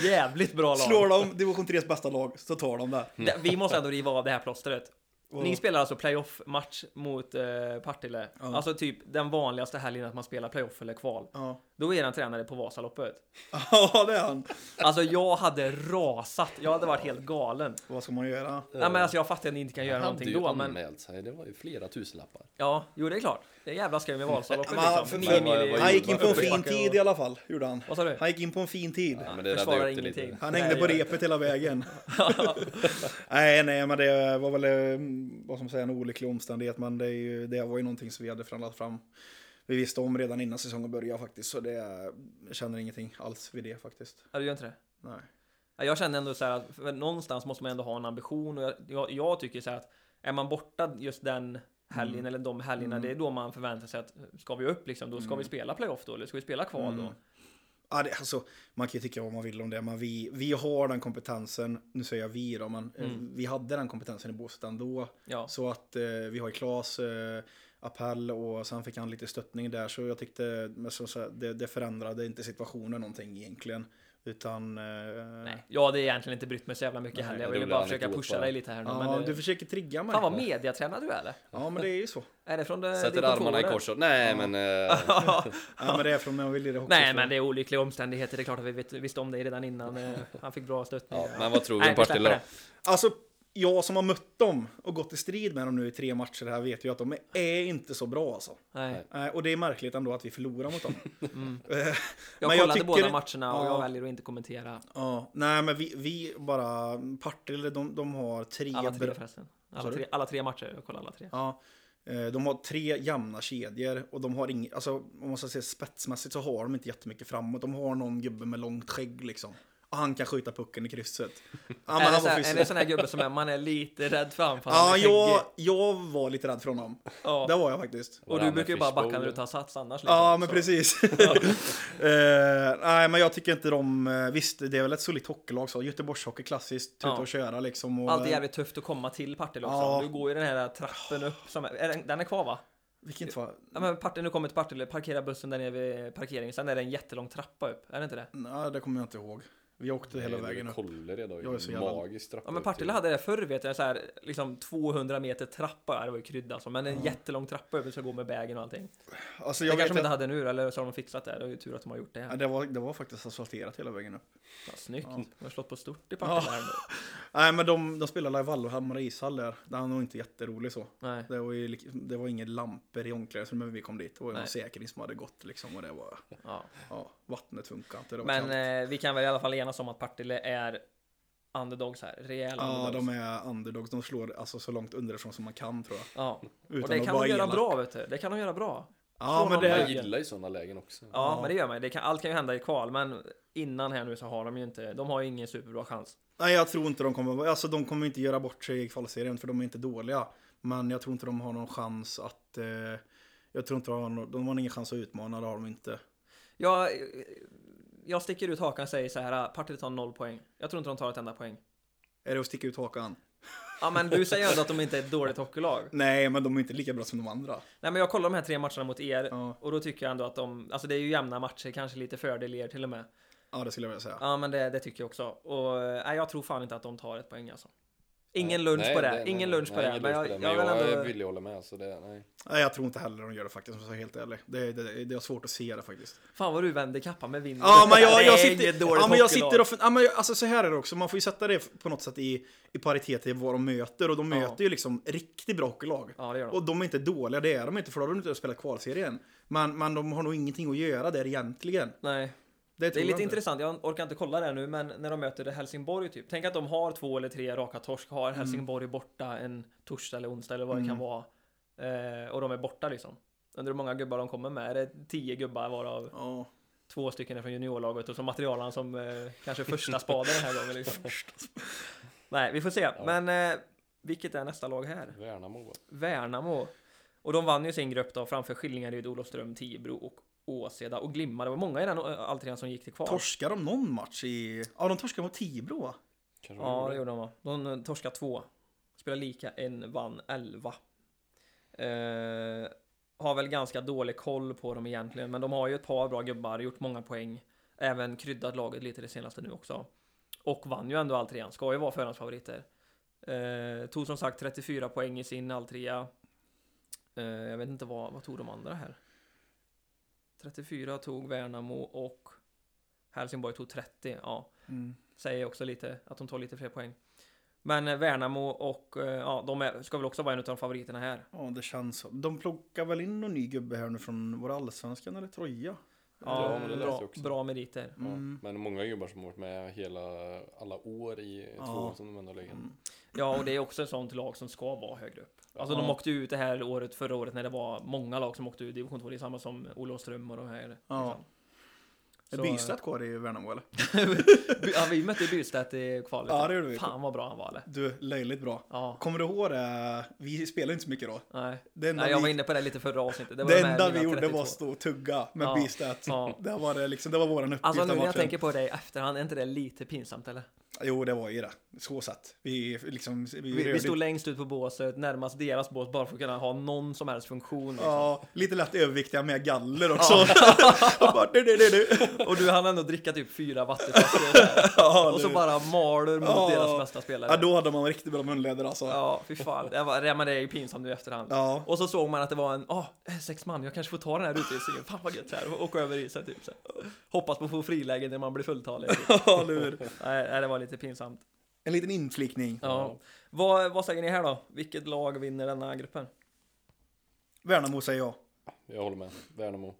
C: Jävligt bra lag!
B: Slår de division 3s bästa lag så tar de det.
C: Det- Vi måste ändå riva av det här plåstret.
B: Vadå?
C: Ni spelar alltså playoff-match mot eh, Partille.
B: Ja.
C: Alltså typ den vanligaste helgen att man spelar playoff eller kval.
B: Ja,
C: Då är den tränare på Vasaloppet.
B: ja [laughs] det är han.
C: Alltså jag hade rasat. Jag hade varit helt galen.
B: Och vad ska man göra?
C: Nej men alltså jag fattar att ni inte kan göra
A: Han hade
C: någonting
A: ju
C: då men
A: anmält sig, det var ju flera tusenlappar.
C: Ja, jo det är klart. Det är jävla skoj med Vasaloppet
B: Men han-
C: liksom.
B: för-
A: Men vad- vad
B: Han gick in på en
A: Uppförsbacke
B: fin tid i alla fall, gjorde han.
C: Vad sa du?
B: Han gick in på en fin tid.
A: Ja, men det räddade
C: Försvarar
A: upp det lite.
C: ingenting.
B: Han hängde på
C: Nej,
B: repet hela
C: [laughs]
B: vägen.
C: ja.
B: Nej, nej, men det var väl eh, vad som säger, en olycklig omständighet, men det, är ju, det var ju någonting som vi hade förhandlat fram. Vi visste om redan innan säsongen började faktiskt, så det jag känner ingenting alls vid det faktiskt.
C: ja, du gör inte det.
B: Nej.
C: Ja, Jag känner ändå så här att för någonstans måste man ändå ha en ambition och jag, jag, jag tycker så här att är man borta just den helgen eller de helgerna,
B: Mm.
C: det är då man förväntar sig att ska vi upp liksom, då ska vi spela playoff då eller ska vi spela kval då?
B: Mm. Ja, det, alltså, man kan ju tycka vad man vill om det, men vi, vi har den kompetensen, nu säger jag vi då, men eh,
C: Mm.
B: vi hade den kompetensen i Båstad ändå.
C: Ja.
B: Så att eh, vi har ju Klas eh, appell och sen fick han lite stöttning där, så jag tyckte men så, så, här, det, det förändrade inte situationen någonting egentligen. Utan... eh,
C: Nej, jag hade egentligen inte brytt mig så jävla mycket
B: Nej,
C: heller. Jag
A: det
C: ville
A: blir
C: bara
A: aldrig
C: försöka
A: klokt
C: pusha
A: bara.
C: dig lite här nu.
B: Ja,
C: men, eh,
B: du försöker trigga mig.
C: Fan vad mediatränad du är eller?
B: Ja, men det är ju
C: [laughs]
B: så.
C: Är det från det,
A: Sätter
C: det
A: armarna i
C: kontoret?
A: kors och, nej men...
C: [laughs]
A: eh,
B: Ja, men det är från när jag ville det också.
C: Nej
B: så.
C: men det är olyckliga omständigheter, det är klart att vi vet, visste om det redan innan eh, han fick bra stöttning.
A: ja, men vad tror
C: Nej,
A: du
C: vi
A: om Partille
C: släpper
A: då?
C: det.
B: Alltså, jag som har mött dem och gått i strid med dem nu i tre matcher här vet ju att de är inte så bra alltså.
C: Nej. mm.
B: Eh, Och det är märkligt ändå att vi förlorar
C: [laughs]
B: mot dem. [laughs] Eh, Men
C: Jag
B: jag
C: kollade båda
B: tycker-
C: matcherna och
B: Ja.
C: jag väljer att inte kommentera
B: Ja, nej men vi, vi bara, Partille de, de har tre...
C: alla tre
B: bra-
C: förresten.
B: Sa
C: Alla
B: du?
C: tre, alla tre matcher, jag kollade alla tre.
B: Ja, eh, de har tre jämna kedjor och de har inget, alltså om man ska säga spetsmässigt så har de inte jättemycket framåt. De har någon gubbe med långt skägg liksom. Och han kan skjuta pucken i krysset. Ja, men
C: är, det
B: han
C: så
B: var
C: här, är
B: fysisk.
C: det sån här gubbe som är, man är lite rädd för anfall?
B: Ja, jag, jag var lite rädd för honom. Det
C: ja.
B: var jag faktiskt.
C: Och
A: Var
C: du
A: han
C: brukar ju
A: med
C: bara backa
A: fishbowl?
C: när du tar sats annars. liksom.
B: Ja, men
C: Så.
B: precis. [laughs] Eh, nej, men jag tycker inte de... eh, Visst, det är väl ett solitt hockeylag så. Göteborgshockey, klassiskt. Tuta
C: Ja.
B: och köra liksom. Och,
C: Allt är jävligt tufft att komma till Partille också.
B: Ja.
C: Du går ju den här trappen upp. Som är, är den- den är kvar va?
B: Vilken tva...
C: Ja, men Partille, nu kommer till Partille, parkerar bussen där nere vid parkeringen. Sen är det en jättelång trappa upp. Är det inte det?
B: Nej, det kommer jag inte ihåg. Vi åkte hela vägen upp.
A: Kållered har
B: Jag är så
A: ju en
B: jävla-
A: magisk trappa
C: Ja men
A: upp till-
C: Partille hade det förr vet jag, så här, liksom 200 meter trappa, Ja, det var ju krydda alltså, men en jättelång trappa över som går med bägen och allting.
B: Alltså,
C: det
B: jag vet
C: kanske de inte
B: att...
C: hade nu eller så har de fixat det, det är ju tur att de har gjort det.
B: Ja,
C: Här.
B: det, var, det var faktiskt asfalterat hela vägen upp.
C: Ja, snyggt,
B: Ja.
C: de har slått på stort i Partille här nu.
B: Nej, men de, de spelade i Vallhamra ishall där. Den var nog inte jätterolig så.
C: Nej.
B: Det var, ju, lik- det var inga lampor i omklädningsrummet när vi kom dit. Det var ju någon
C: Nej.
B: säkring som hade gått liksom. Och det var,
C: Ja.
B: ja, vattnet funkade inte. Det var kallt.
C: Men eh, vi kan väl i alla fall enas om att Partille är underdogs här, rejäla
B: Ja,
C: underdogs.
B: de är underdogs. De slår alltså så långt underifrån som man kan tror jag.
C: Ja.
B: Utan
C: Och det
B: att
C: kan
B: vara
C: de göra
B: elak.
C: bra vet du, det kan de göra bra.
B: Ja, men det
A: Man
C: Från
B: är...
A: gillar ju sådana lägen också
C: Ja,
B: Ja.
C: men det gör man. Det kan, allt kan ju hända i kval, men innan här nu så har de ju inte, de har ju ingen superbra chans.
B: Nej, jag tror inte de kommer... Alltså de kommer inte göra bort sig i kvalserien för de är inte dåliga. Men jag tror inte de har någon chans att... Eh, jag tror inte de har, någon, de har ingen chans att utmana, det har de inte.
C: Jag, jag sticker ut hakan och säger så här, "Ah, Partille tar noll poäng. Jag tror inte de tar ett enda poäng.
B: Är det att sticka ut hakan?
C: Ja men du säger ju ändå att de inte är ett dåligt hockeylag.
B: Nej, men de är inte lika bra som de andra.
C: Nej men jag kollar de här tre matcherna mot er
B: Ja,
C: och då tycker jag ändå att de, alltså det är ju jämna matcher, kanske lite fördel er till och med.
B: ja det skulle jag vilja säga.
C: Ja men det, det tycker jag också. Och nej, jag tror fan inte att de tar ett poäng alltså. Ingen
A: Nej,
C: lunch på det,
A: nej, nej,
C: ingen
A: nej,
C: lunch på
A: nej,
C: det.
A: ingen
C: Men
A: lunch på
C: jag,
A: det,
C: jag,
A: men
C: vill
A: jag är
C: ändå...
A: villig att hålla med så det, nej
B: Nej, jag tror inte heller de gör det faktiskt, om jag ska vara helt ärlig. Det, det, det är svårt att se det faktiskt.
C: Fan vad du vänder kappan med vinden.
B: Ja men jag,
C: Mm. Det
B: jag
C: är inget
B: sitter,
C: dåligt
B: ja, men jag
C: hockeylag.
B: sitter och fun- ja, men jag- alltså så här är det också, man får ju sätta det på något sätt i, i paritet till vad de möter och de
C: Ja.
B: möter ju liksom riktigt bra hockeylag.
C: Ja det gör de.
B: Och de är inte dåliga, det är de inte för då har de inte spelat kvalserien. Men, men de har nog ingenting att göra där egentligen.
C: Nej.
B: Det,
C: Det
B: tror
C: är
B: jag
C: lite
B: inte.
C: intressant, jag orkar inte kolla det nu, men när de möter Helsingborg typ. Tänk att de har två eller tre raka torsk, har Helsingborg borta en torsdag eller onsdag eller vad det kan
B: Mm.
C: vara. Eh, och de är borta liksom. Undrar hur många gubbar de kommer med? Är det tio gubbar varav
B: Ja.
C: två stycken är från juniorlaget och så materialen som eh, kanske första spaden den här gången liksom. Nej, vi får se. Men eh, vilket är nästa lag här?
A: Värnamo va?
C: Värnamo. Och de vann ju sin grupp då framför Skillingaryd, Olofström, Tibro och Åseda och Glimmar. Det var många i den eh, alltrean som gick till kvar.
B: Torskar de någon match i... Ja de torskar mot Tibro va?
A: Kanske
C: Ja,
A: de
C: det
A: gjorde.
C: gjorde de va. De eh, torskade två. Spelade lika, en vann elva. Eh, har väl ganska dålig koll på dem egentligen, men de har ju ett par bra gubbar, gjort många poäng. Även kryddat laget lite det senaste nu också. Och vann ju ändå alltrean, ska ju vara förhandsfavoriter. Eh, tog som sagt 34 poäng i sin alltrea. Eh, jag vet inte vad, vad tog de andra här? 34 tog Värnamo och Helsingborg tog 30, ja säger också lite att de tar lite fler poäng. Men eh, Värnamo och eh, ja, de är, ska väl också vara en av de favoriterna här.
B: Ja det känns så. De plockar väl in någon ny gubbe här nu från våra allsvenskan eller Troja?
A: Ja,
C: Ja,
A: men det läser
C: bra,
A: jag också.
C: bra meriter.
A: Ja,
B: Mm.
A: Men många gubbar som har varit med hela, alla år i
B: Ja.
A: tvåan som de ändå har legat
C: Mm. Ja, och det är också ett sånt lag som ska vara högre upp. Alltså de
B: Ja.
C: åkte ut det här året, förra året, när det var många lag som åkte ut i division 2. Det är samma som Olofström och de här.
B: Ja.
C: liksom.
B: Är
C: Så,
B: Bystedt kvar i Värnamo eller?
C: eh, By- ja, vi mötte Bystedt i kvalet.
B: Ja, det gjorde vi.
C: Fan vad bra han var eller?
B: Du, löjligt bra.
C: Ja,
B: Kommer du ihåg det? Vi spelade inte så mycket då.
C: nej.
B: Det enda
C: nej. Jag var
B: vi,
C: inne på det lite förra avsnittet. Det var
B: det
C: de här
B: enda
C: mina
B: vi gjorde
C: 32.
B: var att stå och tugga med
C: Ja.
B: Beastat.
C: Ja.
B: Det, var det, liksom, det var våran uppgift.
C: Alltså nu
B: den
C: när jag
B: matchen.
C: tänker på det i efterhand, är inte det lite pinsamt eller?
B: Jo, det var ju det. Så satt. Vi, liksom, vi,
C: Vi,
B: rörde-
C: vi stod längst ut på båset, närmast deras bås, bara för att kunna ha någon som helst funktion. Liksom.
B: Ja, lite lätt överviktiga med galler också. [laughs] Och bara, du, du, du, du.
C: liksom. Och du hann ändå dricka typ fyra vattenflaskor.
B: [laughs] Ja,
C: och så
B: du.
C: bara maler mot
B: Ja.
C: deras bästa spelare.
B: ja, då hade man riktigt bra munläder alltså. Ja.
C: Ja, fy fan. Det, var, det, men det är ju pinsamt nu i efterhand.
B: Ja.
C: Och så såg man att det var en, ah, sex man, jag kanske får ta den här utrustningen. Fan vad gött det här, och åka över isen typ. Så. här. Hoppas på att få friläge när man blir fulltalig.
B: [laughs] eller hur?
C: Nej, nej, det var lite pinsamt.
B: En liten inflikning.
C: Ja. Vad, vad säger ni här då? Vilket lag vinner denna gruppen?
B: Värnamo säger jag.
A: Jag håller med. Värnamo.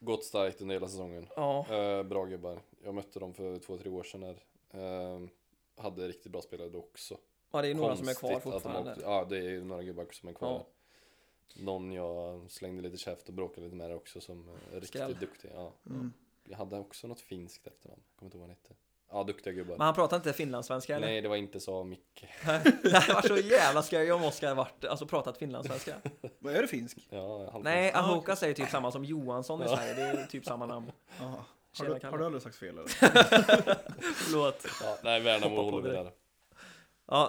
A: Gått starkt under hela säsongen.
C: Ja,
A: Eh, bra gubbar. Jag mötte dem för två, tre år sedan. Där. Eh, hade riktigt bra spelare också.
C: ja det är några som är
A: Konstigt
C: kvar
A: att de
C: fortfarande.
A: åkte- Ja, det är ju några gubbar som är kvar.
C: Ja.
A: där. Någon jag slängde lite käft och bråkade lite med där också som är riktigt
C: Skräll.
A: duktig. Ja.
B: Mm.
A: Jag hade också något finskt efternamn. Kommer inte ihåg vad han hette. Ja, duktiga gubbar.
C: Men han pratar inte finlandssvenska eller?
A: Nej, det var inte så Micke.
C: [laughs] Det hade varit så jävla skoj om Oskar varit, alltså
A: [laughs]
C: pratat finlandssvenska.
B: Vad är det finsk?
A: Ja, han
C: Nej,
B: Ah,
C: Ahoka säger typ samma som Johansson i
A: Ja.
C: Sverige, det är typ samma namn.
B: Ja. Har,
C: Tjena,
B: du,
C: Kalle.
B: har du aldrig sagt fel eller?
C: Förlåt.
A: Ja, nej, Värnamo
C: Hoppa på
A: håller vi
C: direkt.
A: där.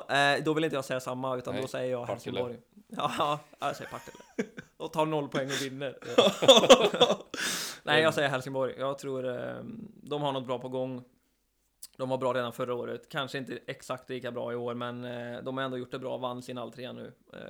C: Ja, eh, då vill inte jag säga samma, utan då
A: Nej,
C: säger jag
A: Partille.
C: Helsingborg. Ja, jag säger Partille. Och tar noll poäng
A: [laughs]
C: och vinner. Nej, jag säger Helsingborg. Jag tror eh, de har något bra på gång. De var bra redan förra året. Kanske inte exakt lika bra i år, men eh, de har ändå gjort det bra. Vann sin all tre nu. Eh,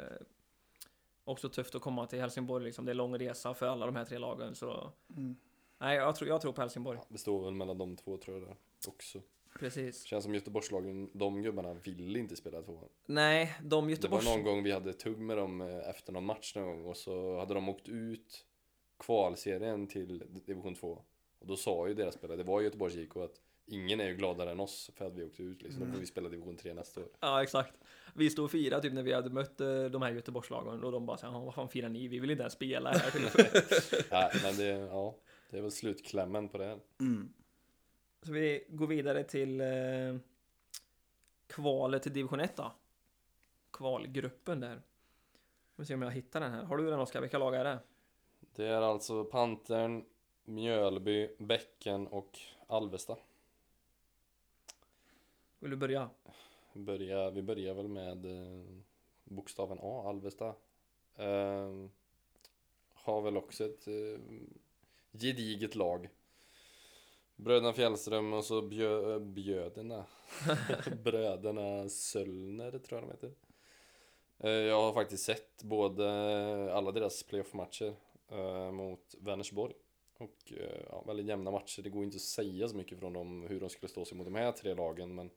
C: också tufft att komma till Helsingborg. Liksom. Det är lång resa för alla de här tre lagen. Så...
B: Mm.
C: Nej, jag tror, jag tror på Helsingborg.
A: Ja, Det står väl mellan de två tror jag där också.
C: Precis.
A: Känns som Göteborgslagen, de gubbarna ville inte spela tvåan.
C: Nej, de
A: Det
C: Göteborgs...
A: var någon gång vi hade tugg med dem eh, efter någon match någon gång och så hade de åkt ut kvalserien till division 2. Och då sa ju deras spelare, det var Göteborgs IK att ingen är ju gladare än oss för att vi åkte ut liksom. Då får vi spela division 3 nästa år.
C: Ja, exakt. Vi stod och firade typ när vi hade mött eh, de här Göteborgslagen och de bara såhär, vad fan firar ni? Vi vill inte ens spela
A: [laughs]
C: här. typ.
A: Nej, men det, ja, det är väl slutklämmen på det här.
B: Mm.
C: så vi går vidare till eh, kvalet till division 1 då. Kvalgruppen där. Vi får se om jag hittar den här. Har du den Oskar? Vilka lag är det?
A: Det är alltså Pantern, Mjölby, Bäcken och Alvesta.
C: Vill du börja?
A: Börja, vi börjar väl med eh, bokstaven A, Alvesta. Ehm, har väl också ett eh, gediget lag. Bröderna Fjällström och så bjö, bjöderna. [laughs] Bröderna Söllner tror jag de heter. Eh, jag har faktiskt sett både eh, alla deras playoff-matcher eh, mot Vänersborg. Och eh, ja, väldigt jämna matcher. Det går inte att säga så mycket från dem hur de skulle stå sig mot de här tre lagen. Men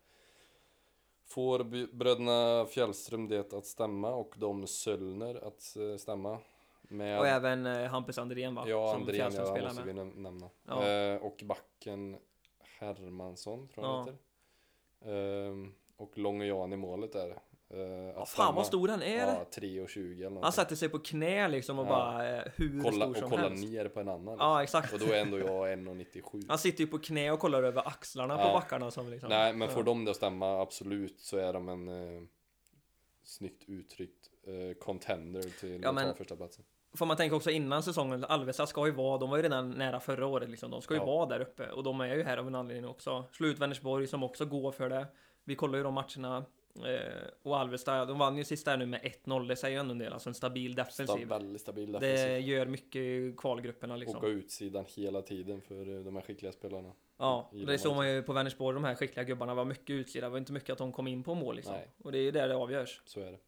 A: Får by- bröderna Fjällström det att stämma och de Söllner att eh, stämma med
C: Och även eh, Hampus Andrén va?
A: ja,
C: Som
A: Andrén
C: Fjällström
A: ja,
C: spelar
A: måste vi
C: med.
A: näm- nämna.
C: Ja.
A: Eh, och backen Hermansson tror jag
C: Ja.
A: han heter. Ehm, och Lång och Jan i målet där. Eh, att
C: Ja, fan vad
A: stämma.
C: stor han är!
A: Ja, 3,20 eller
C: han
A: någonting.
C: satte sig på knä liksom och
A: Ja.
C: bara eh, hur
A: kolla,
C: stor som
A: och kolla
C: helst.
A: ner på en annan.
C: Ja, Alltså, exakt.
A: Och då är ändå jag
C: [laughs]
A: 1,97.
C: Han sitter ju på knä och kollar över axlarna på
A: Ja.
C: backarna som liksom.
A: Nej, men får
C: Ja.
A: de det att stämma, absolut, så är de en eh, snyggt uttryckt eh, contender till
C: Ja,
A: att
C: men-
A: ta första platsen.
C: Får man tänka också innan säsongen, Alvesta ska ju vara, de var ju redan nära förra året liksom. De ska ju
A: Ja.
C: vara där uppe och de är ju här av en anledning också. Slå ut Vänersborg som också går för det. Vi kollar ju de matcherna. Eh, och Alvesta, de vann ju sista här nu med 1-0, det säger ju ändå en del. Alltså en stabil
A: Stabil,
C: defensiv.
A: väldigt stabil
C: Det
A: defensiv.
C: gör mycket i kvalgrupperna liksom.
A: Och utsidan hela tiden för eh, de här skickliga spelarna.
C: Ja,
A: gillar
C: det
A: man
C: såg
A: inte.
C: man ju på Vänersborg, de här skickliga gubbarna var mycket utsida. Det var inte mycket att de kom in på mål liksom.
A: Nej.
C: Och det är ju där det avgörs.
A: Så är det.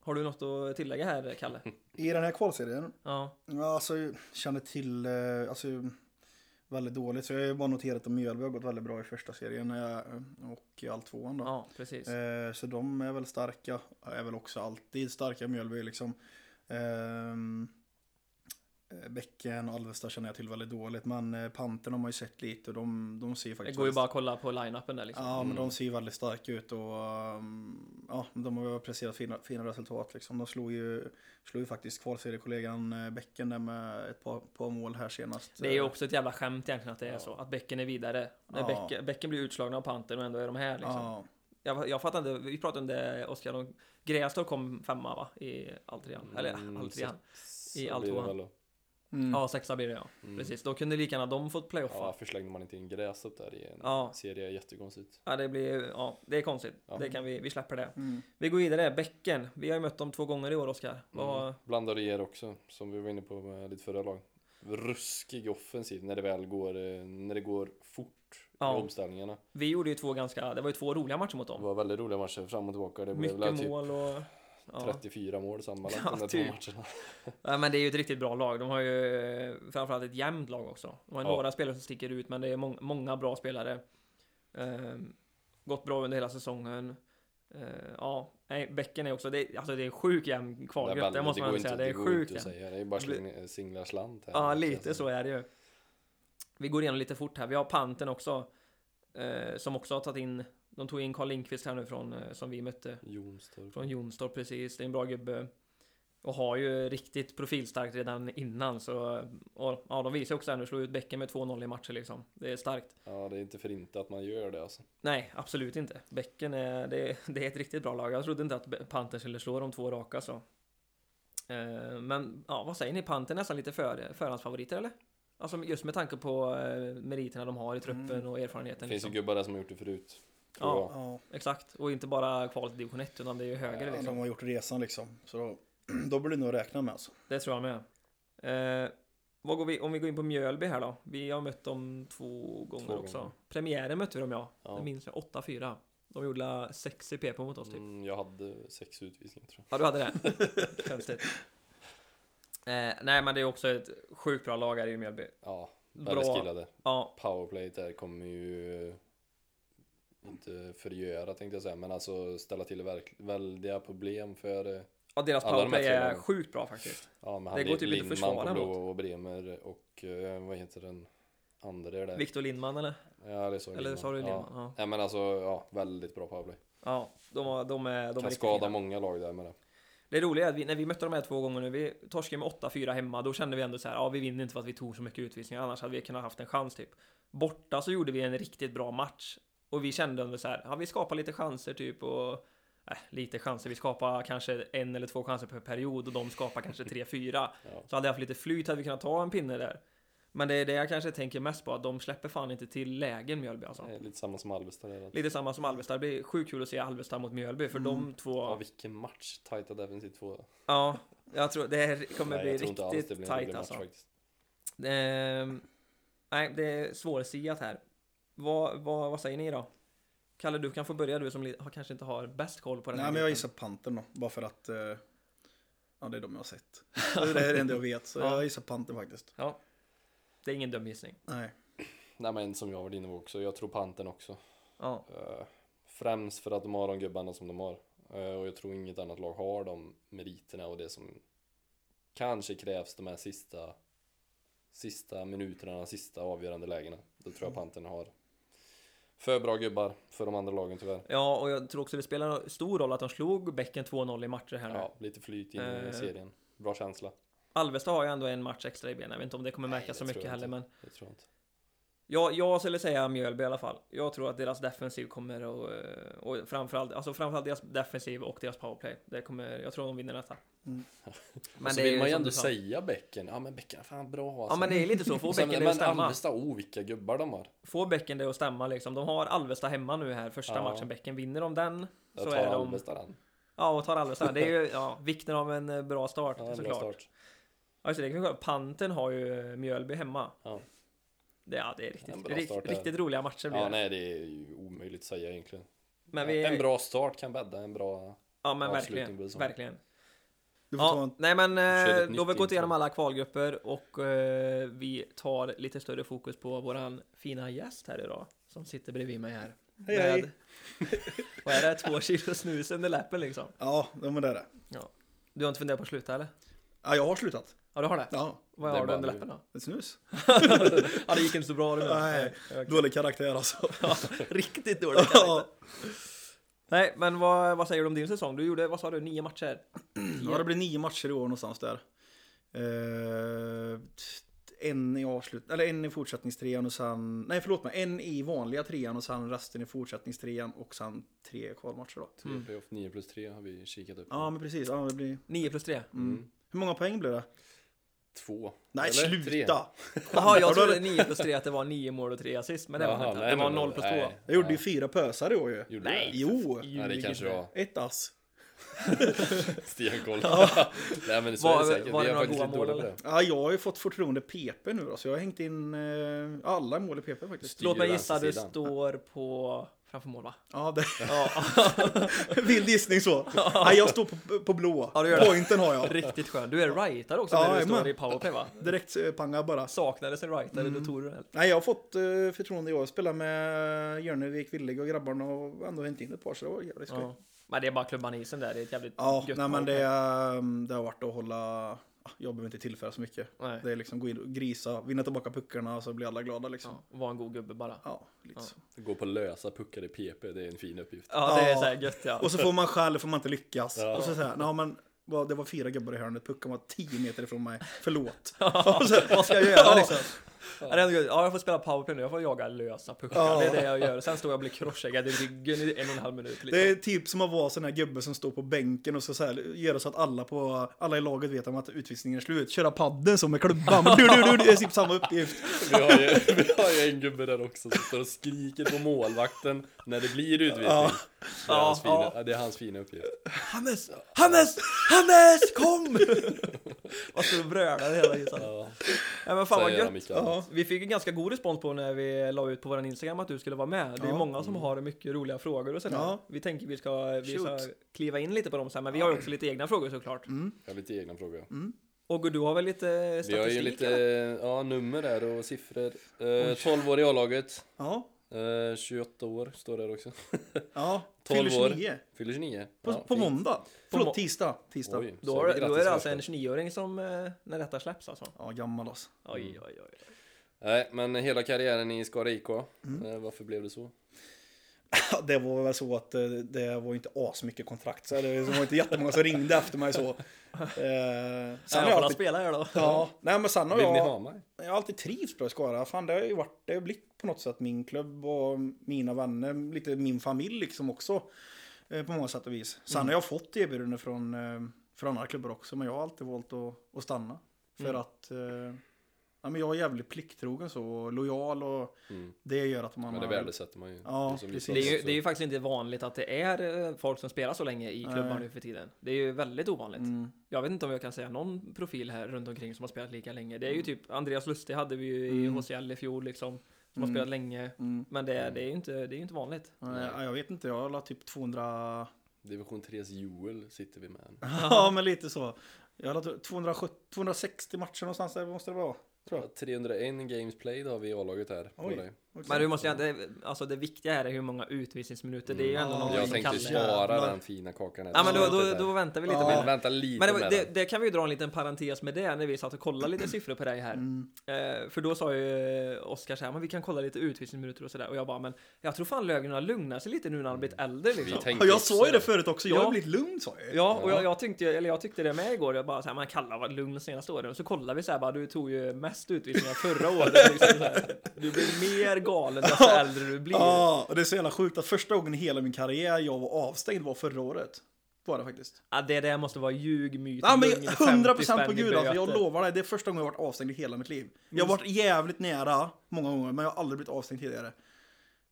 C: Har du något att tillägga här,
A: [laughs]
C: Kalle?
B: I den här kvalserien
C: Ja.
B: Ja, alltså jag känner till eh, alltså, väldigt dåligt. Så jag har ju bara noterat att Mjölby har gått väldigt bra i första serien eh, och i all tvåan då.
C: Ja, precis.
B: Eh, Så de är väl starka, är väl också alltid starka Mjölby liksom. Ehm, eh, Bäcken och Alvesta känner jag till väldigt dåligt, men eh, Pantern har man ju sett lite och de, de ser ju
C: Det
B: faktiskt
C: går ju
B: väldigt-
C: bara att kolla på line-upen där liksom.
B: Ja, men de
A: Mm.
B: ser ju väldigt starka ut och um, ja, de har ju presterat fina, fina resultat. Liksom. De slog ju, slog ju faktiskt kvalseriekollegan eh, Bäcken där med ett par, par mål här senast.
C: Det är ju också ett jävla skämt egentligen att det är
A: eh, Ja.
C: så, att bäcken är vidare. När
B: Ja.
C: bäcken, bäcken blir utslagna av Pantern och ändå är de här liksom.
B: Ja,
C: Jag, jag fattar inte, vi pratade om det Oskar, om Grästorp kom femma va? I Alltrean, eller
A: Mm,
C: Alltrean.
A: så- så
C: I
A: blir
C: allt
A: det
C: tvåan.
A: väl då.
B: Mm.
C: Ja, sexa blir det ja.
A: Mm.
C: Precis, då kunde lika gärna de fått
A: Ja,
C: playoffa.
A: varför slängde man inte in gräs upp där i en
C: Ja.
A: serie? Jättekonstigt.
C: Ja, det blir, ja, det är konstigt.
A: Ja.
C: Det kan vi, vi släpper det.
B: Mm.
C: Vi går vidare, bäcken. Vi har ju mött dem två gånger i år, Oskar. Vad-
A: Mm. Blandade er också, som vi var inne på med lite förra lag. Ruskig offensiv när det väl går, eh, när det går fort
C: Ja.
A: i omställningarna.
C: Vi gjorde ju två ganska, det var ju två roliga matcher mot
A: Det
C: dem.
A: var väldigt roliga matcher fram och tillbaka. Det blev väl
C: Mycket
A: typ
C: mål och... Ja.
A: 34 mål sammanlagt
C: [laughs] Ja,
A: de där
C: typ.
A: två matcherna.
C: ja, men det är ju ett riktigt bra lag. De har ju eh, framförallt ett jämnt lag också. De har
A: Ja.
C: några spelare som sticker ut, men det är mång- många bra spelare. Ehm, gått bra under hela säsongen. Ehm, ja, nej, bäcken är också, det är, alltså det är en sjuk jämn
A: är
C: kvalgrupp,
A: väldigt-
C: det måste man
A: går
C: ändå säga.
A: inte-
C: Det är
A: går
C: sjukt
A: inte att
C: jämnt.
A: säga. Det är bara
C: Det blir-
A: sling- singlar slant här.
C: Ja,
A: Alltså,
C: lite så är det ju. Vi går igenom lite fort här. Vi har Panten också. Eh, som också har tagit in, de tog in Carl Lindqvist här nu från, eh, som vi mötte.
A: Jonstorp.
C: Från Jonstorp precis, det är en bra gubbe. Och har ju riktigt profilstarkt redan innan så... eh, Och, ja, de visar ju också här nu, slår ut Bäcken med 2-0 i matcher liksom. Det är starkt.
A: Ja, det är inte för inte att man gör det alltså.
C: Nej, absolut inte. Bäcken är, det, det är ett riktigt bra lag. Jag trodde inte att Be- Panten skulle slå de två raka så. Eh, men ja, vad säger ni? Panten är nästan lite för, förhandsfavoriter eller? Alltså just med tanke på eh, meriterna de har i truppen
B: Mm.
C: och
A: Det
C: erfarenheten.
A: finns ju
C: Liksom.
A: gubbar där som har gjort det förut. tror
C: Ja,
A: jag.
B: Ja.
C: Exakt, och inte bara kvalet till division 1 utan det är ju högre
B: Ja,
C: liksom.
B: De har gjort resan liksom. Så då, [clears throat] då blir det nog att räkna med alltså.
C: Det tror jag med. Eh, vad går vi, om vi går in på Mjölby här då. Vi har mött dem två gånger
A: gånger.
C: också. Premiären mötte vi dem ja.
A: Ja.
C: Det minns jag. 8-4. De gjorde la 6 i PP mot oss typ.
A: Mm, jag hade sex utvisningar tror
C: Ja, du hade det. [laughs] Konstigt. Eh, nej, men det är också ett sjukt bra lag här i Mjölby.
A: jag. Ja, väldigt
C: Bra.
A: skillade.
C: Ja,
A: Powerplayet där kommer ju eh, inte förgöra tänkte jag säga, men alltså ställa till verk- väldiga problem för eh,
C: ja deras
A: Alla de här
C: powerplay
A: tre
C: är
A: lagen.
C: sjukt bra faktiskt.
A: ja, men
C: Det
A: han
C: går typ inte att
A: Lindman
C: försvara
A: på blå och Bremer och eh, vad heter den andra där?
C: Viktor Lindman eller?
A: Ja, det sa jag
C: Eller
A: Lindman.
C: sa du Lindman?
A: Ja.
C: Ja.
A: Nej men alltså, ja, väldigt bra powerplay.
C: Ja, de, har- de är, de är
A: kan
C: riktigt
A: skada
C: fina.
A: många lag där med det.
C: Det roliga är att vi, när vi mötte de här två gångerna, vi torskade med 8-4 hemma, då kände vi ändå så här, ja vi vinner inte för att vi tog så mycket utvisningar, annars hade vi kunnat haft en chans typ. Borta så gjorde vi en riktigt bra match, och vi kände ändå så här, ja vi skapar lite chanser typ och... Äh, lite chanser, vi skapar kanske en eller två chanser per period och de skapar
A: [laughs]
C: kanske tre, fyra.
A: Ja.
C: Så hade jag haft lite flyt hade vi kunnat ta en pinne där. Men det är det jag kanske tänker mest på, att de släpper fan inte till lägen Mjölby alltså.
A: Det är Lite samma som Alvesta där.
C: Lite samma som Alvesta, det blir sjukt kul att se Alvesta mot Mjölby, för de två...
A: Mm. Ja, vilken match! Tajta defensivt två.
C: Ja, jag tror det här kommer
A: Nej,
C: bli
A: jag tror inte alls det
C: riktigt
A: blir en rolig
C: tight
A: match
C: alltså.
A: faktiskt.
C: Ehm, nej, det är svårsiat här. Vad, vad, vad säger ni då? Kalle, du kan få börja du som li- har, kanske inte har bäst koll på den
B: Nej
C: här
B: men jag
C: gruppen.
B: gissar Pantern då. Bara för att eh, ja, det är de jag har sett. Så det är det enda jag vet. Så
C: [laughs] Ja.
B: jag gissar Pantern faktiskt.
C: Ja, det är ingen dum gissning.
B: Nej.
A: Nej men som jag var inne på också, jag tror Panten också.
C: Ja,
A: Eh, Främst för att de har de gubbarna som de har. Eh, Och jag tror inget annat lag har de meriterna och det som kanske krävs de här sista sista minuterna, de sista avgörande lägena. Det tror jag
C: Mm.
A: Panten har. För bra gubbar för de andra lagen tyvärr.
C: ja och jag tror också det spelar stor roll att de slog Bäcken 2-0 i matcher här nu.
A: Ja, lite flyt in i
C: Eh.
A: serien. Bra känsla.
C: Alvesta har ju ändå en match extra i benen, jag vet inte om det kommer
A: Nej,
C: märkas
A: det
C: så
A: tror
C: mycket
A: jag
C: heller men
A: Det tror jag inte.
C: Ja, jag skulle säga Mjölby i alla fall. Jag tror att deras defensiv kommer och, eh, och framförallt, alltså framförallt deras defensiv och deras powerplay. Det kommer, jag tror de vinner detta.
A: [laughs]
B: Mm.
A: Men så
C: det är
A: Alltså,
C: liksom
A: vill man ju
C: som
A: ändå
C: du sa.
A: säga Bäcken. Ja men Bäcken, är fan bra alltså.
C: Ja men det är lite så, få
A: Och sen-
C: bäcken det att
A: Men
C: stämma.
A: Alvesta, oh vilka gubbar de har.
C: Få bäcken det att stämma liksom. De har Alvesta hemma nu här, första
A: Ja.
C: matchen bäcken. Vinner de den
A: Jag
C: så
A: tar
C: är de...
A: Alvesta den.
C: Ja, och tar Alvesta. Det är ju
A: [laughs]
C: ja, vikten av en eh, bra start
A: Ja, en bra
C: såklart.
A: start.
C: Ja, just det, det kan vi kolla. Panten har ju eh, Mjölby hemma.
A: Ja.
C: Det, ja, det är
A: En
C: riktigt,
A: bra
C: rikt,
A: start där.
C: riktigt roliga matcher blir
A: Ja,
C: det.
A: nej det är ju omöjligt att säga egentligen.
C: Men vi...
A: En bra start kan bädda en bra...
C: ja, men
A: avslutning
C: verkligen.
A: på säsongen.
C: Verkligen.
B: Du får ta
C: Ja,
B: en...
C: nej men
A: Kör ett
C: eh,
A: nytt
C: då har vi gått
A: intro.
C: igenom alla kvalgrupper och eh, vi tar lite större fokus på våran fina gäst här idag som sitter bredvid mig här.
B: Hej, hej.
C: [laughs] vad är det? Två kilo snus under läppen liksom.
B: Ja, ja, men det är det.
C: Du har inte funderat på att sluta eller?
B: Ja, jag har slutat.
C: Ja du har det?
B: Ja,
C: Vad
A: Det är
C: har du
A: bara
C: under
A: nu.
C: läppen då? [laughs]
B: ett snus.
C: ja det gick inte så bra det
B: Nej,
C: Okej.
B: dålig karaktär alltså.
C: Ja, Riktigt dåligt
B: Ja.
C: Nej men vad, vad säger du om din säsong? Du gjorde, vad sa du, nio matcher?
B: Ja, det blir nio matcher i år någonstans där. Eh, en i avslut... Eller en i fortsättningstrean och sen... Nej, förlåt mig. En i vanliga trean och sen resten i fortsättningstrean och sen tre kvalmatcher då.
A: 3
C: Mm.
A: playoff, 9 plus 3 har vi kikat upp.
B: Ja, men precis. Ja, det blir...
A: mm.
C: Nio plus tre?
B: Mm. Hur många poäng blir det?
A: två.
B: Nej,
A: eller Tre.
B: sluta!
C: Jaha, jag
B: Har du-
C: trodde 9 plus 3 att det var 9 mål och 3 assist, men det var det
A: Jaha,
C: inte.
A: nej,
C: Det var
A: nej,
C: 0 plus 2.
A: nej.
B: Jag gjorde ju fyra pösar i år ju.
A: Gjorde
C: Nej.
A: du
B: Jo!
A: det? Nej, det kanske var
B: Ett ass.
A: stenkoll. [laughs] Nej, men så
C: Var-
A: är det säkert.
C: var det
A: Vi är
C: några
A: faktiskt
C: goa
A: lite
C: mål,
A: dåliga på
C: eller?
A: det.
B: Ja, jag har ju fått förtroende PP nu då, så jag har hängt in eh, alla mål i PP faktiskt.
A: Styr
C: Låt mig gissa, du
A: vänstersidan.
C: står på framför
B: [laughs]
C: mål va?
B: Ja, det,
C: Ja,
B: vild gissning så. Nej, jag står på, på blå.
C: Ja, det gör det.
B: Pointen har jag.
C: riktigt skön. Du är rightare också
B: Ja,
C: när du
B: jajamän.
C: står i powerplay va?
B: Direkt eh, panga bara.
C: Saknades en rightare,
B: Mm.
C: då tog du den.
B: Nej, jag har fått eh, förtroende i år. Spelar med Jörnevik, Willig och grabbarna och ändå hängt in ett par, så det var jävligt skoj.
C: Ja. Men det är bara klubban i isen där, det är ett jävligt
B: Ja,
C: gött
B: nej, men det,
C: powerplay.
B: ehm, det har varit att hålla... ah, Jag behöver inte tillföra så mycket.
C: Nej.
B: Det är liksom gå in och grisa, vinna tillbaka puckarna så blir alla glada liksom.
C: Ja, och vara en god gubbe bara.
B: Ja, lite så.
A: Gå på lösa puckar i PP, det är en fin uppgift.
C: Ja, det är
B: Ja.
C: såhär gött ja.
B: [laughs]
C: [laughs]
B: Och så får man skäll för man inte lyckas.
A: Ja.
B: Och så säger nej men vad, det var fyra gubbar i hörnet, pucken var tio meter ifrån mig,
C: [laughs]
B: förlåt. Och så, vad ska jag göra liksom?
C: Ja. det är ändå gött. ja, jag får spela powerplay nu, jag får jaga lösa puckar.
B: Ja.
C: Det är det jag gör. Sen står jag och blir crosscheckad i ryggen i en och en halv minut. Liksom.
B: Det är typ som att vara sån här gubbe som står på bänken och så, så här, göra så att alla, på, alla i laget vet om att utvisningen är slut. Köra padden som
A: [laughs]
B: med klubban. Men Du, du, du, det är typ samma
A: [laughs]
B: uppgift.
A: Vi har, ju, vi har ju en gubbe där också som står och skriker på målvakten när det blir utvisning.
B: Ja.
A: Det, är hans
C: Ja,
A: fina, det är hans fina uppgift.
C: Hannes! Hannes! Hannes! Kom! [laughs] Vad står du och brölar hela tiden.
A: Ja.
C: Nej men fan vad
A: Säger han,
C: gött.
A: Mikael.
B: Ja.
C: Vi fick ju ganska god respons på när vi la ut på våran Instagram att du skulle vara med. Det
B: Ja.
C: är
B: Mm.
C: många som har mycket roliga frågor och sådär.
B: Ja.
C: Vi tänker vi ska, vi ska
B: Shoot. Mm.
C: kliva in lite på dem sen, men vi har ju också lite egna frågor såklart.
A: Jag har lite egna frågor.
C: Och du har väl lite
A: Vi har ju
C: statistik?
A: lite ja, nummer där och siffror. Eh, 12 år i A-laget.
B: Ja,
A: Eh, 28 år står det där också. [laughs]
B: ja.
A: 12
B: Fyller
A: år.
B: 29.
A: Fyller 29.
B: På,
A: Ja,
B: på
A: fint.
B: måndag.
C: må-
B: Förlåt, tisdag. tisdag.
A: Oj,
C: Då,
A: så
C: har,
A: grattis
C: då är det
A: till
C: alltså en
A: förresten.
C: 29-åring som, eh, när detta släpps alltså.
B: Ja, gammal alltså.
A: Mm.
C: Oj, oj, oj.
A: Nej, men hela karriären i Skara IK.
C: Mm.
A: Eh, varför blev det så?
B: Ja, [laughs] Det var väl så att eh, det var ju inte asmycket kontrakt. Så det var inte jättemånga som ringde efter mig så. Eh,
C: Sen
B: sen har
C: jag
B: jag
C: får
B: alltid,
C: spela här då.
B: ja, nej, men sen har
A: Vill ni
B: jag,
A: ha mig?
B: jag har alltid trivts på Skara. Fan, det har ju varit, det har blivit på något sätt min klubb och mina vänner, lite min familj liksom också. eh, På många sätt och vis. Sen
A: Mm.
B: har jag fått erbjudanden från, eh, från andra klubbar också, men jag har alltid valt att, att stanna. För
A: Mm.
B: att eh, ja, men jag är jävligt plikttrogen så, och lojal och
A: Mm.
B: det gör att man...
A: Men det
B: har-
A: värdesätter man ju.
B: Ja,
A: Det är som vi
B: precis.
A: sa
C: Det är, ju,
A: också.
C: det är ju faktiskt inte vanligt att det är eh, folk som spelar så länge i klubbar
B: Nej.
C: nu för tiden. Det är ju väldigt ovanligt.
B: Mm.
C: Jag vet inte om jag kan säga någon profil här runt omkring som har spelat lika länge. Det är ju typ Andreas Lustig hade vi ju i
B: Mm.
C: HCL i fjol liksom. Som har
B: Mm.
C: spelat länge.
B: Mm.
C: Men det, är- det är ju inte, det är ju inte vanligt.
A: Nej.
B: Nej. Jag vet inte, jag la
A: [laughs]
B: typ 200...
A: Division 3s Joel sitter vi med.
B: ja, men lite så. Jag la typ 270, 260 matcher någonstans där måste det vara. Tror jag.
A: 301 games played har vi i A-laget här. på
B: Oj.
A: dig.
C: Men du måste ju det, alltså det viktiga här är hur många utvisningsminuter. Det är ju ändå
B: Mm.
C: någonting
A: Jag
B: som
A: tänkte
B: Kalle. spara.
A: spara
B: Jävlar.
A: den fina kakan här.
C: Ja men då, då,
A: Slutet
C: då
A: här.
C: väntar vi lite
B: Ja.
C: med
A: Men
C: den.
A: vänta lite
C: Men det,
A: med
C: det,
A: den.
C: det kan vi ju dra en liten parentes med det när vi satt och kollade lite siffror på dig här.
B: Mm.
C: Eh, för då sa ju Oskar så här, men vi kan kolla lite utvisningsminuter och sådär. Och jag bara, men jag tror fan Löfgren har lugnat sig lite nu när han har blivit äldre
A: Vi
C: liksom.
A: tänkte
B: Ja, jag sa
A: också
B: ju det förut också, jag
C: Ja.
B: har blivit lugn sa jag ju.
C: Ja, och
A: Ja.
C: jag, jag, tyckte, eller jag tyckte det med igår. Jag bara såhär, man kallar var lugn de senaste åren. Och så kollar vi såhär, bara, du tog ju mest utvisningar förra
B: [laughs]
C: året. Liksom, så här. du blir mer galen desto äldre du blir.
B: Ja, och det är så jävla sjukt att första gången i hela min karriär jag var avstängd var förra året. Var det faktiskt.
C: Ja, det där måste vara ljug, myt,
B: Ja, men
C: lögn, 50 spänn
B: 100% på
C: i
B: gud alltså, jag
C: böter.
B: lovar dig, det är första gången jag har varit avstängd i hela mitt liv. Jag har varit jävligt nära många gånger, men jag har aldrig blivit avstängd tidigare.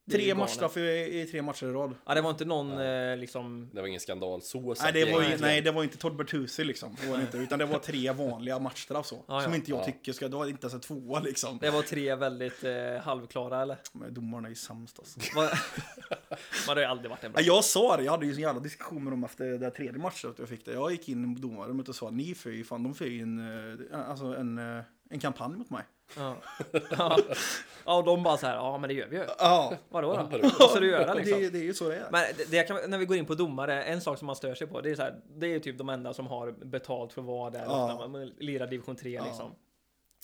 C: Det är ju
B: Tre
C: galet.
B: matchstraffer i, i tre matcher i rad.
C: Ja, det var inte någon eh, liksom...
A: Det var ingen skandal så
B: Nej det,
A: säkert
B: var ju,
A: egentligen.
B: nej, det var inte Todd Bertuzzi liksom. Det var det inte, utan det var tre vanliga matchstraff så.
C: Ja, ja.
B: Som inte jag
A: Ja.
B: tycker ska, det var inte ens en tvåa liksom.
C: Det var tre väldigt eh, halvklara eller?
B: Men domarna är ju sämst alltså. [laughs]
C: Vad- Man har ju aldrig varit en bra.
B: Nej, Jag sa det, jag hade ju en jävla diskussion med dem efter det där tredje matchen att jag fick det. Jag gick in i domarrummet och sa ni för ju fan, de för ju en, eh, alltså en, eh, en kampanj mot mig.
C: Ja. Ja. ja, och de bara så här, ja men det gör vi ju.
B: Ja,
C: Vadå då?
A: Vadå?
C: Vad ska du göra liksom?
B: det, det är ju så det är.
C: Men det, det kan, när vi går in på domare, en sak som man stör sig på, det är så här, det är typ de enda som har betalt för att vara där
B: Ja.
C: när man lirar division 3
B: Ja.
C: liksom.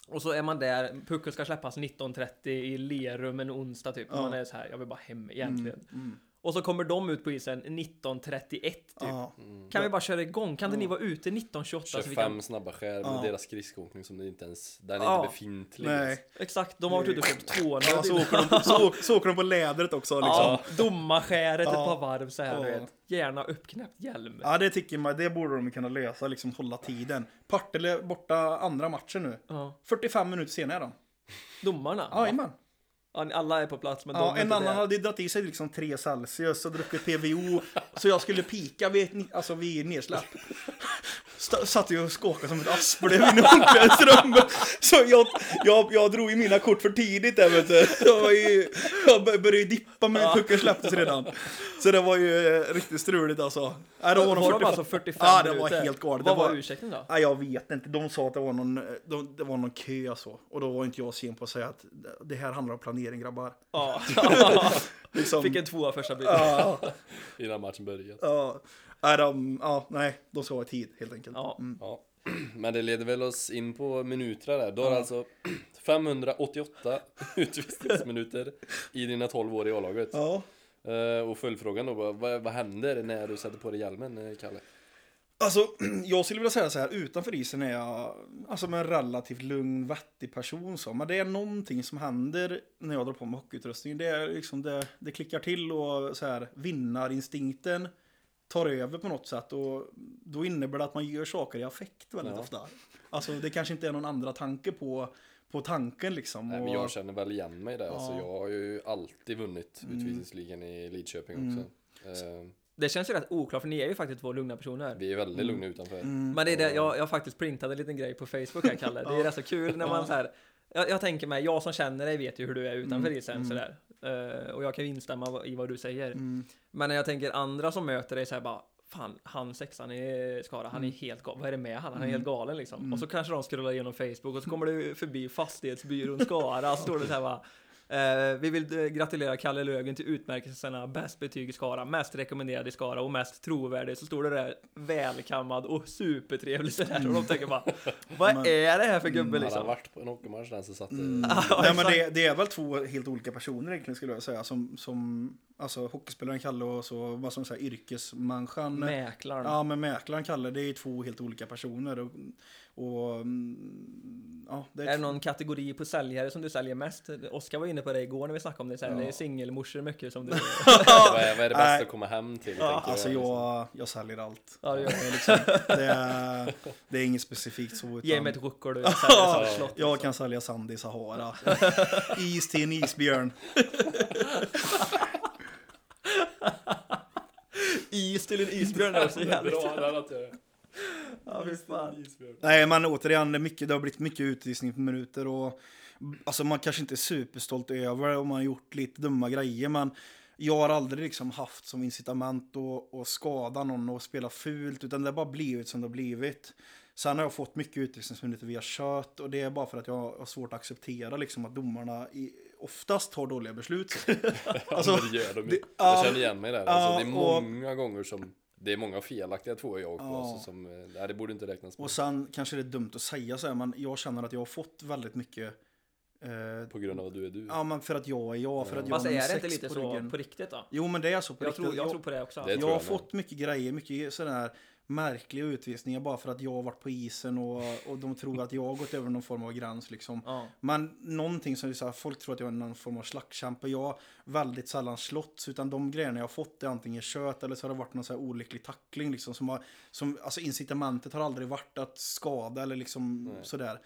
C: Och så är man där, pucken ska släppas 19.30 i Lerum en onsdag typ.
B: Ja.
C: Man är så här, jag vill bara hem egentligen.
B: Mm.
C: Och så kommer de ut på isen 1931 typ.
B: Ja.
C: Kan vi bara köra igång? Kan inte
B: Ja.
C: ni vara ute 1928? Så vi
A: 25
C: kan...
A: Alltså, snabba skär med
B: alltså, Ja.
A: deras skridskoåkning som det inte ens, den är
C: Ja.
A: inte befintlig. ens.
B: Nej.
C: Exakt, de har varit ute typ och köpt 200
B: Ja, så,
C: innan.
B: åker de på, så, så åker de på lädret också liksom.
C: Ja,
B: Ja,
C: domarskäret ett
B: Ja.
C: par varv så här, du
B: Ja.
C: vet. Gärna uppknäppt hjälm.
B: det tycker man, det borde de kunna lösa, liksom hålla tiden. Partille borta andra matchen nu.
C: Ja.
B: 45 minuter senare är de.
C: Domarna?
B: Ja, Jajamän.
C: Ja, Alla är på plats men de
B: Ja,
C: är
B: en
C: inte
B: annan
C: där.
B: hade ju dragit i sig liksom 3 Celsius och druckit PVO. så jag skulle pika vid, ett ni- alltså vid nedsläpp. St- satt ju och skakade som ett asplöv inne i omklädningsrummet. Så jag, jag, jag drog ju mina kort för tidigt där vet du. Jag, var ju, jag bör- började ju dippa men pucken släpptes redan. Så det var ju eh, riktigt struligt alltså. Nej, då
C: Var de
B: 45
C: alltså 45
B: Ja, det var
C: minuter?
B: helt galet.
C: Vad
B: Det
C: var
B: var-
C: ursäkten då?
B: Nej, jag vet inte. De sa att det var någon, eh, de, det var någon kö så. Och då var inte jag sen på att säga att det här handlar om planering grabbar.
C: [laughs] Ja.
B: Liksom,
C: Fick en tvåa första biten.
B: ja,
A: Innan matchen börjar.
B: ja, nej, de, ja, nej, de ska vara i tid helt enkelt.
C: Ja.
B: Mm.
A: Ja. [clears throat] Men det leder väl oss in på minuter där. Du har alltså [clears throat] 588 [laughs] utvisningsminuter i dina 12 år i A-laget.
B: Ja.
A: Eh, Och följdfrågan då, vad, vad vad händer när du sätter på dig hjälmen, eh, Kalle?
B: Alltså, jag skulle vilja säga så här, utanför isen är jag alltså, en relativt lugn, vettig person. Så. Men det är någonting som händer när jag drar på mig hockeyutrustningen. Det, är liksom, det, det klickar till och så här, vinnarinstinkten tar över på något sätt. Och då innebär det att man gör saker i affekt väldigt
A: Ja.
B: ofta. Alltså, det kanske inte är någon andra tanke på, på tanken liksom.
A: Nej,
B: och,
A: men jag känner väl igen mig där. Alltså,
B: Ja. Mm.
A: jag har ju alltid vunnit utvisningsligan i Lidköping också. Eh,
C: Det känns ju rätt oklart för ni är ju faktiskt två lugna personer.
A: Vi är väldigt
B: Mm.
A: lugna utanför.
C: Men det är det, jag, jag faktiskt printade en liten grej på Facebook här Kalle. Det är rätt så kul när man så här. Jag, jag tänker mig, jag som känner dig vet ju hur du är utanför
B: Mm.
C: isen sådär. Eh, och jag kan ju instämma vad- i vad du säger.
B: Mm.
C: Men när jag tänker andra som möter dig så här bara Fan, han sexan i Skara, han är helt galen. Vad är det med han? Han är helt galen liksom. Och så kanske de scrollar igenom Facebook och så kommer du förbi fastighetsbyrån Skara. Så står det så här bara. Eh, vi vill eh, gratulera Kalle Lögen till utmärkelserna Bäst betyg i Skara, Mest rekommenderad i Skara och Mest trovärdig. Så står det där välkammad och supertrevlig sådär. Och de tänker bara, vad
B: Men-
C: är det här för gubbe
A: Hade han
C: liksom?
A: varit på en hockeymatch där så satt
B: Mm.
C: Ja,
B: Nej, men
C: exakt.
B: det, det är väl två helt olika personer egentligen skulle jag säga. Som, som alltså, hockeyspelaren Kalle och så, vad som säger, yrkesmänniskan.
C: Mäklaren.
B: Ja, men mäklaren Kalle, det är ju två helt olika personer. Och, och mm, ja, det
C: Är det
B: [laughs]
C: någon kategori på säljare som du säljer mest? Oskar var inne på det igår när vi snackade om det. Så här,
B: Ja.
C: Det är singelmorsor mycket som du...
B: [laughs]
A: vad, är, vad är det bästa
B: Nej.
A: att komma hem till?
B: Ja,
A: tänker
B: alltså
A: jag, liksom.
B: jag, jag säljer allt.
C: Ja, det gör
B: är liksom, det, är, det är inget specifikt så. Utan,
C: Ge mig ett liksom. ruckel du säljer som ett slott.
B: jag kan sälja sand i
C: [laughs]
B: Sahara. Is till en isbjörn.
C: Is till en isbjörn är också jävligt.
B: [laughs]
A: Bra, det hade jag.
C: Ja, fy fan.
B: Nej, men återigen, det, är mycket, det har blivit mycket utvisningsminuter och alltså, man kanske inte är superstolt över det och man har gjort lite dumma grejer, men jag har aldrig liksom haft som incitament att, att skada någon och spela fult, utan det har bara blivit som det har blivit. Sen har jag fått mycket utvisningsminuter via kött och det är bara för att jag har svårt att acceptera liksom, att domarna i, oftast tar dåliga beslut.
A: Alltså,
B: Alltså,
A: det gör de ju.
B: det-
A: jag
B: ja.
A: känner igen mig där.
B: Ja,
A: Alltså, det är
B: och-
A: många gånger som det är många felaktiga tvåor jag åkt på.
B: Ja.
A: Alltså, som, eh, nej, det borde inte räknas med.
B: Och sen kanske det är dumt att säga så här, men jag känner att jag har fått väldigt mycket eh,
A: På grund av att du är du.
B: Ja men för att jag är jag, för att jag
C: Fast
B: har nummer
C: är det inte
B: sex
C: lite
B: på
C: så
B: ryggen.
C: på riktigt då?
B: Jo men det är så på
C: Jag
B: riktigt.
C: tror, jag tror på det också.
A: Det
B: jag,
A: tror
B: jag har
A: jag med.
B: fått mycket grejer, mycket sådana här märkliga utvisningar bara för att jag har varit på isen och, och de tror att jag har gått över någon form av gräns liksom.
C: Ja.
B: Men någonting som är så här, folk tror att jag är någon form av slagskämpe. Jag har väldigt sällan slåtts utan de grejerna jag har fått är antingen kött eller så har det varit någon så här olycklig tackling liksom. Som har, som, alltså incitamentet har aldrig varit att skada eller liksom sådär.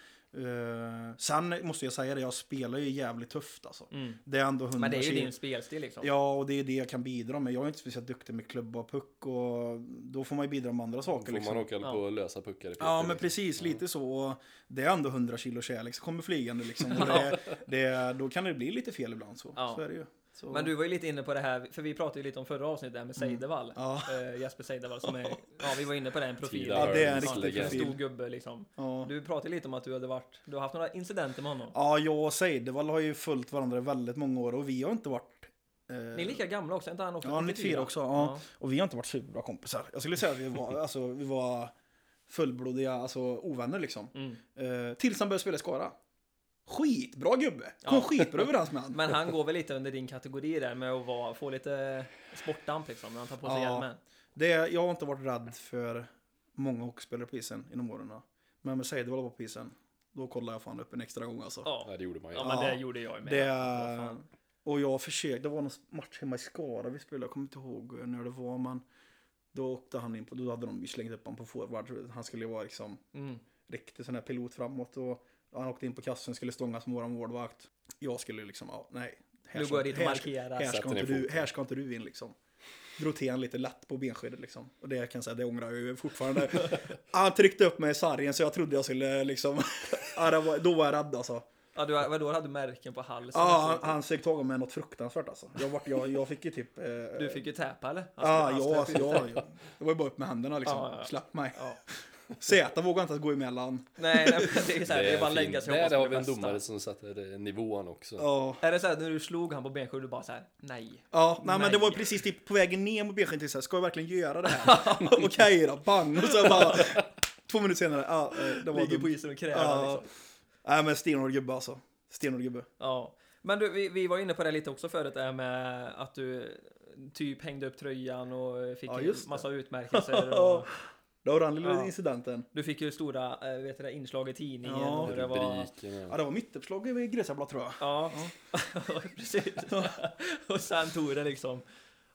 B: Eh, sen måste jag säga det, jag spelar ju jävligt tufft alltså.
C: Mm.
B: Det är ändå 100
C: Men det är ju
B: kilo.
C: din spelstil liksom.
B: Ja, och det är det jag kan bidra med. Jag är inte speciellt duktig med klubba och puck och då får man ju bidra med andra
A: Får
B: saker. Liksom.
A: man åka
C: Ja.
A: på lösa puckar i
B: Ja,
A: Peter,
B: men
A: liksom.
B: precis. Lite så. Och det är ändå 100 kilo kärlek som kommer flygande liksom. Och det, det, då kan det bli lite fel ibland så.
C: Ja.
B: Så är det ju. Så.
C: Men du var ju lite inne på det här, för vi pratade ju lite om förra avsnittet där med Seidevall.
B: Mm. Ja.
C: Eh, Jesper Seidevall som
B: [laughs]
C: är, ja vi var inne på den profilen.
A: Tida
B: Ja, det är en
A: Hörns
B: riktig
A: legend.
C: En
B: profil.
C: stor gubbe liksom.
B: Ja.
C: Du pratade lite om att du hade varit, du har haft några incidenter med honom.
B: Ja, jag och Seidevall har ju följt varandra i väldigt många år och vi har inte varit... eh,
C: Ni är lika gamla också, är inte han också
B: Ja, 94 också. Ja. Och vi har inte varit superbra kompisar. Jag skulle säga att vi var, alltså, vi var fullblodiga alltså, ovänner liksom.
C: Mm.
B: Eh, tills han började spela i Skara. Skitbra gubbe! Kom
C: Ja.
B: skitbra överens med han.
C: [laughs] Men han går väl lite under din kategori där med att vara, få lite sportdamp liksom när han tar på sig
B: Ja.
C: hjälmen.
B: Det, jag har inte varit rädd för många hockeyspelare på isen genom åren. Men med Seidevold var på isen, då kollade jag fan upp en extra gång alltså.
C: Ja.
A: Ja, det gjorde man ju.
C: ja, men
B: Ja.
C: det gjorde jag med.
B: Det-
C: Vad fan.
B: Och jag försökte, det var någon match hemma i Skara vi spelade, jag kommer inte ihåg när det var men då åkte han in på, då hade de ju slängt upp honom på forward. Han skulle ju vara liksom
C: Mm.
B: riktig sån här pilot framåt och han åkte in på kassen, skulle stångas med våran målvakt. Jag skulle liksom, ja, nej. Här
C: Nu
B: ska-
C: går jag dit och
B: här-
C: markerar.
B: Här ska,
A: Sätter
B: inte
A: ner
B: du,
A: foten.
B: här ska inte du in liksom. Drog till han lite lätt på benskyddet liksom. Och det kan jag säga, det ångrar jag ju
C: [laughs]
B: fortfarande. Han tryckte upp mig i sargen så jag trodde jag skulle liksom, [laughs] ja, det var, då var jag rädd alltså.
C: Ja, du, vadå, hade du märken på halsen?
B: Ja, han, han sög tag om mig något fruktansvärt alltså. Jag, vart, jag, jag fick ju typ... Eh,
C: Du fick ju täpa eller? Han
B: Ja,
C: skulle-
B: ja,
C: han
B: alltså,
C: skulle-
B: ja, ja. Det var ju bara upp med händerna liksom.
C: Ja, ja, ja.
B: Släpp mig. Zäta vågade inte ens gå emellan.
C: Nej, nej, men det är ju såhär, det, är bara att
A: en
C: lägga sig och
A: Där
C: hoppas på
A: har vi
C: det
A: en
C: bästa.
A: domare som sätter eh, nivån också.
B: Ja.
C: Är det såhär när du slog han på benskyddet, du bara såhär, nej.
B: Ja, nej, men det
C: Nej.
B: var ju precis typ på vägen ner mot benskyddet. så här, Ska jag verkligen göra det
C: [laughs]
B: här? [laughs] Okej då, bang! Och så bara... Två minuter senare, ja, eh, det var
C: Ligger på
B: dumt.
C: isen och kräver
B: Ja.
C: liksom.
B: Nej men stenhård gubbe alltså. Stenhård gubbe.
C: Ja. Men du, vi, vi var inne på det lite också förut, det här med att du typ hängde upp tröjan och fick
B: Ja,
C: en
B: just det. [laughs]
C: massa utmärkelser. Och
B: Det var den lilla
C: Ja.
B: incidenten.
C: du fick ju stora eh, vet du, det, inslag i tidningen.
B: Ja.
C: och det var...
A: Rubriken
B: Ja,
A: och...
B: det var mittuppslag i Gräsabla tror jag.
C: Ja, [laughs]
B: [laughs]
C: precis. och sen tog det liksom,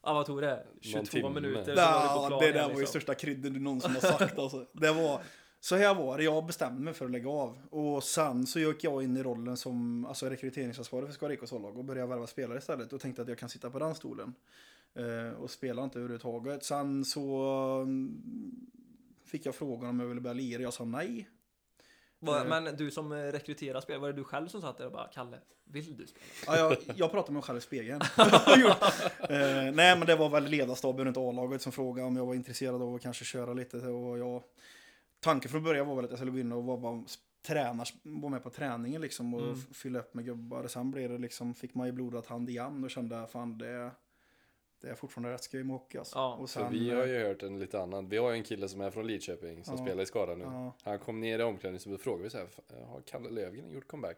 C: ja vad tog det? 22
A: timme.
C: minuter så var du på
B: Ja,
C: planen.
B: det där var ju
C: liksom.
B: största krydden du någonsin har
C: [laughs]
B: sagt alltså. Det var, så här var det, jag bestämde mig för att lägga av. Och sen så gick jag in i rollen som alltså, rekryteringsansvarig för Skara IKs lag och började värva spelare istället och tänkte att jag kan sitta på den stolen. Eh, och spela inte överhuvudtaget. Sen så mm, fick jag frågan om jag ville börja lira, jag sa nej.
C: Var-
B: Eh.
C: Men du som eh, rekryterar spel, var det du själv som satt där och bara Kalle, vill du
B: Ja,
C: spela?
B: jag, jag pratade med mig själv i spegeln. [laughs] eh, nej, men det var väl ledarstaben runt A-laget som frågade om jag var intresserad av att kanske köra lite. Och jag, tanken från början var väl att jag skulle gå in och vara, bara, tränar, vara med på träningen liksom och
C: Mm.
B: f- fylla upp med gubbar. Sen blev det liksom, fick man ju blodad hand igen och kände fan det, det är fortfarande rätt skoj med hockey alltså.
C: Ja,
B: och
A: För vi har ju hört en lite annan. Vi har ju en kille som är från Lidköping som
B: Ja.
A: spelar i Skara nu.
B: Ja.
A: Han kom ner i omklädningsrummet och frågade vi så här, "Fan, har Kalle Löfgren gjort comeback?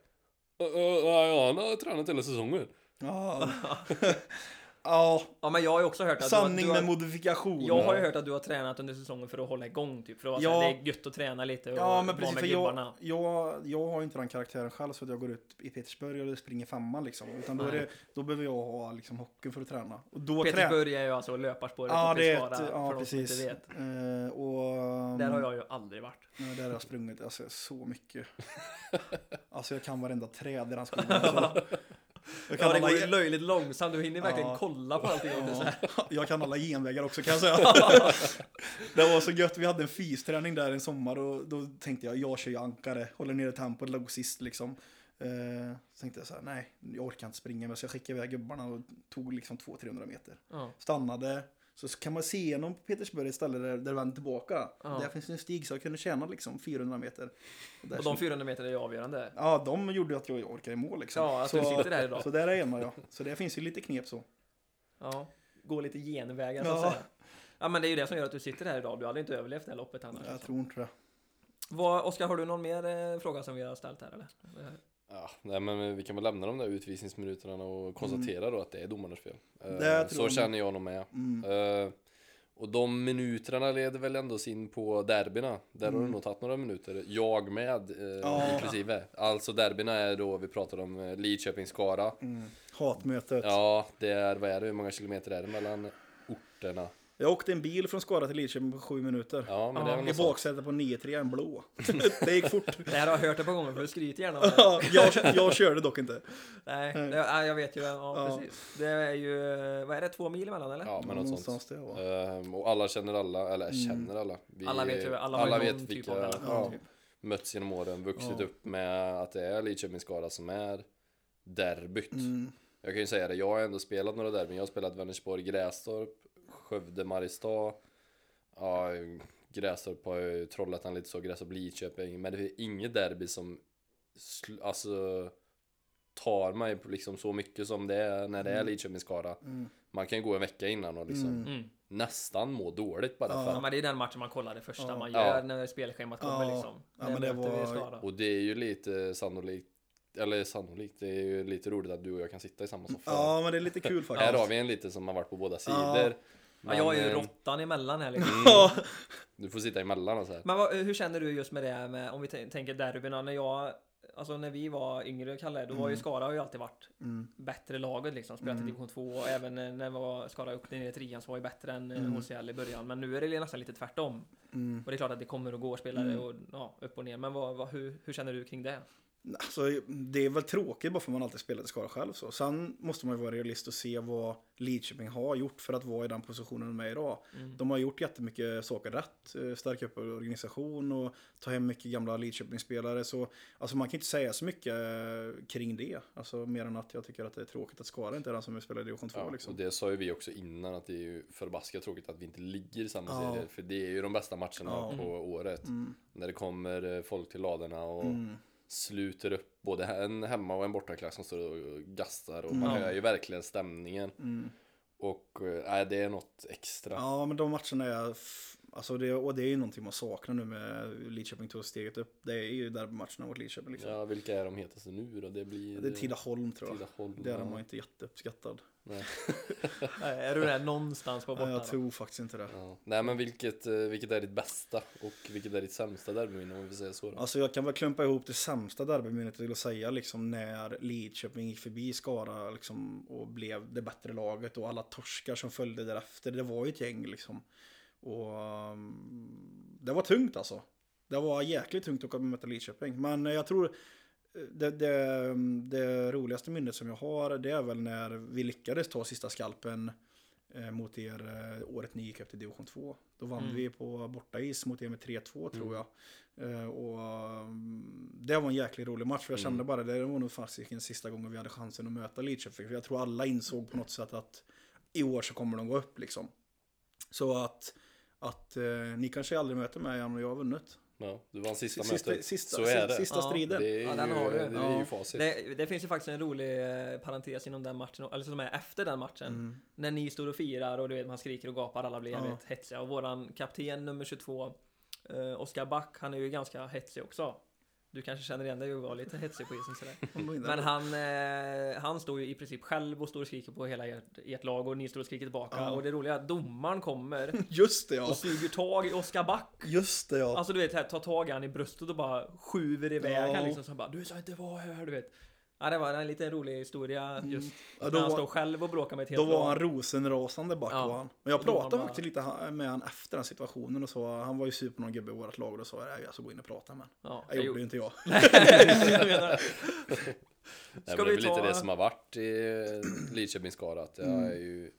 A: "Ö, ö, Ja, han har tränat hela säsongen.
B: [laughs]
C: [laughs]
B: Ja, ja
C: Ja men jag har ju också hört att
B: sanning
C: du har,
B: med
C: du har,
B: modifikation.
C: Jag har ju hört att du har tränat under säsongen för att hålla igång typ, för att
B: Ja.
C: ja. det är gött att träna lite och
B: Ja, men precis.
C: vara
B: För
C: med
B: jag,
C: gubbarna.
B: jag, jag har ju inte den karaktären själv så att jag går ut i Petersburg eller springer femman liksom. Utan då, är
C: Nej.
B: det, då behöver jag ha liksom hockeyn för att träna. Och då trä-
C: Petersburg är ju alltså löparspåret
B: Ja,
C: uppe
B: det
C: i
B: är
C: Skara,
B: ett,
C: för
B: ja
C: de som inte
B: precis. Mm.
C: vet.
B: Eh, och,
C: Där har jag ju aldrig varit.
B: Nej, där har jag sprungit alltså, så
C: [laughs]
B: mycket. alltså jag kan varenda träd i den skogen. Alltså. Jag,
C: Ja,
B: kan
C: det går
B: alla,
C: ju löjligt långsamt, du hinner verkligen
B: Ja.
C: kolla på allting. Ja. Så här.
B: ja, [laughs] jag kan alla genvägar också kan jag
C: [laughs]
B: säga. det var så gött, vi hade en fysträning där en sommar och då tänkte jag, jag kör ju ankare, håller nere tempot, låg sist liksom. Eh, så tänkte jag så här, nej, jag orkar inte springa, men så jag skickade iväg gubbarna och tog liksom 200-300 meter.
C: Ja.
B: Stannade, så kan man se igenom på Petersburg ett ställe där, där det vänder tillbaka.
C: Ja.
B: Där finns en stig så jag kunde tjäna liksom 400 meter. där
C: Och de 400 meterna är ju avgörande.
B: Ja, de gjorde att jag orkade i mål liksom.
C: Ja, att du sitter där idag.
B: Så där är man ja. Så det finns ju lite knep så.
C: Ja. Gå lite genvägar så att
B: Ja.
C: säga. Ja men det är ju det som gör att du sitter här idag, du hade inte överlevt det här loppet annars.
B: Jag
C: liksom.
B: tror inte det.
C: Vad, Oskar, har du någon mer eh, fråga som vi har ställt här eller? Eh,
A: Ja, nej, men vi kan väl lämna de där utvisningsminuterna och konstatera då att det är domarnas fel. Eh,
B: Mm. Det tror
A: så
B: jag.
A: känner jag nog med.
B: Mm.
A: Eh, och de minuterna leder väl ändå in på derbyna. Där har det nog tagit några minuter. Jag med, eh,
B: Mm. Ja.
A: inklusive. Alltså derbyna är då vi pratar om eh, Lidköping-Skara.
B: Mm. Hatmötet.
A: Ja, det är, vad är det, hur många kilometer är det mellan orterna?
B: Jag åkte en bil från Skara till Lidköping på sju minuter.
A: Ja, men det är väl
B: I
A: något sånt.
B: baksätet på 9-3, en blå. [laughs] det gick fort.
C: Det här har jag hört ett par gånger för du skryter gärna om
B: [laughs]
C: det.
B: jag, jag körde dock inte.
C: Nej,
B: Nej.
C: det, ja, jag vet ju. Ja,
B: Ja.
C: precis. Det är ju, vad är det, två mil emellan eller?
A: Ja, men något sånt.
B: Någonstans Mm. där, va?
A: Ehm, och alla känner alla, eller känner alla. Vi,
C: Alla vet ju- alla har ju någon typ av relation,
A: ja,
C: typ.
A: mötts genom åren, vuxit
B: Ja.
A: upp med att det är Lidköping Skara som är derbyt.
B: Mm.
A: Jag kan ju säga det, jag har ändå spelat några derbyn. Jag har spelat Vänersborg, Grästorp, Skövde, Mariestad, ja, Grästorp har ju Trollhättan lite så, Grästorp, Lidköping. Men det är inget derby som sl- alltså tar mig på liksom så mycket som det är när det är Lidköping Skara.
B: mm,
A: Man kan ju gå en vecka innan och liksom
C: Mm.
A: nästan må dåligt bara för
C: Ja,
A: att
C: men det är den matchen man kollar det första
B: Ja.
C: man gör
A: Ja.
C: när spelschemat kommer
B: Ja.
C: liksom.
B: Ja, men det
C: möter vi
B: var-
C: Skara.
A: Och det är ju lite sannolikt Eller sannolikt, det är ju lite roligt att du och jag kan sitta i samma soffa.
B: Ja, men det är lite kul
A: Här har
B: faktiskt.
A: vi en lite som har varit på båda
B: Ja.
A: sidor. Mm.
C: Ja, jag är ju
A: eh,
C: råttan emellan
A: [laughs]
C: här liksom.
B: Ja,
A: Du får sitta emellan och så här.
C: Men vad, hur känner du just med det här med, om vi t- tänker derbyna, när jag Alltså när vi var yngre, Kalle, då var ju Skara har ju alltid varit
B: Mm.
C: bättre laget liksom. Spelat i division 2 och även eh, när var Skara upp ner i trean så var ju bättre än mm. HCL i början. Men nu är det nästan lite tvärtom.
B: Mm.
C: Och det är klart att det kommer och går spelare och ja, upp och ner. Men vad, vad, hur, hur känner du kring det?
B: Alltså, det är väl tråkigt bara för att man alltid spelat i Skara själv. Så. Sen måste man ju vara realist och se vad Lidköping har gjort för att vara i den positionen de är idag.
C: Mm. [laughs]
B: De har gjort jättemycket saker rätt. eh, Stärka upp organisation och ta hem mycket gamla Lidköpingsspelare. Så alltså, man kan inte säga så mycket eh, kring det. Alltså, mer än att jag tycker att det är tråkigt att Skara inte är den som spelar i division 2.
A: Ja,
B: liksom.
A: och det sa ju vi också innan att det är ju förbaskat tråkigt att vi inte ligger i samma
B: Ja.
A: serier. För det är ju de bästa matcherna
B: Ja.
A: på
B: Mm.
A: året. När det kommer eh, folk till ladorna och sluter upp både en hemma och en bortaklack som står och gastar. Och man
B: Mm.
C: Ja.
A: hör ju verkligen stämningen. Och eh, nej, det är något extra.
B: Ja, men de matcherna är... f- Alltså det, och det är ju någonting man saknar nu med Lidköping tog steget upp. Det är ju derbymatcherna mot Lidköping. Liksom.
A: Ja, vilka är de hetaste nu då? Det blir... eh,
B: Det är Tidaholm tror jag.
A: Tidaholm,
B: Där är
A: ja.
B: man inte jätteuppskattad.
A: Nej.
C: Är du där någonstans på
B: Nej,
C: borta?
B: jag tror faktiskt inte det.
A: Ja. Nej men vilket, eh, vilket är ditt bästa och vilket är ditt sämsta derbyminne om vi säger så då?
B: Alltså jag kan väl klumpa ihop det sämsta derbyminnet till att säga liksom när Lidköping gick förbi Skara liksom, och blev det bättre laget och alla torskar som följde därefter. Det var ju ett gäng liksom. Och um, det var tungt alltså. Det var jäkligt tungt att komma och möta Lidköping. Men eh, jag tror eh, det, det, det roligaste minnet som jag har det är väl när vi lyckades ta sista skalpen eh, mot er eh, året ni gick upp till division 2. Då vann
A: Mm.
B: vi på bortais mot er med 3-2 tror jag. Eh, och mm, det var en jäkligt rolig match för jag
A: Mm.
B: kände bara det var nog fasiken sista gången vi hade chansen att möta Lidköping. För jag tror alla insåg på något sätt att i år så kommer de gå upp liksom. Så att, att eh, ni kanske aldrig möter mig igen och jag har vunnit.
A: Ja, du vann sista,
B: Sista,
A: mötet.
B: sista,
A: så är det.
B: sista
C: Ja,
B: striden.
A: Det är,
C: Ja,
A: ju,
C: den har du.
A: det är
B: Ja.
A: ju facit.
C: Det, det finns ju faktiskt en rolig eh, parentes inom den matchen, eller som är efter den matchen.
B: Mm.
C: När ni står och firar och du vet, man skriker och gapar, alla blir jävligt hetsiga. Och våran kapten nummer 22, eh, Oskar Back, han är ju ganska hetsig också. Du kanske känner igen dig och var lite hetsig på isen [laughs] sådär. Men han, eh, han står ju i princip själv och står och skriker på hela ert, ert lag och ni står och skriker tillbaka.
B: Ja.
C: Och det roliga är att domaren kommer
B: Just det ja.
C: och suger tag i Oskar Back.
B: Just det ja.
C: Alltså du vet, så här, ta tag i han i bröstet och bara skjuter iväg
B: Ja.
C: han liksom. Så han bara, du sa inte vara här, du vet. Ja, det var en liten rolig historia just.
B: Mm. Ja,
C: när
B: då
C: han
B: var-
C: står själv och bråkar med ett helt
B: Då var
C: lag.
B: han rosenrasande back
C: Ja.
B: var han. Men jag
C: Då var
B: pratade
C: han bara-
B: faktiskt lite ha- med han efter den situationen och så. Han var ju sur på någon gubbe i vårt lag och då sa jag jag ska gå in och prata med han.
C: Ja,
B: Det
C: jag
B: gjorde ju inte jag.
C: Jag menar,
A: Nej,
C: Ska
A: men det är
C: vi
A: väl
C: ta-
A: lite det som har varit i eh, Lidköpings skara. Att det, är ju,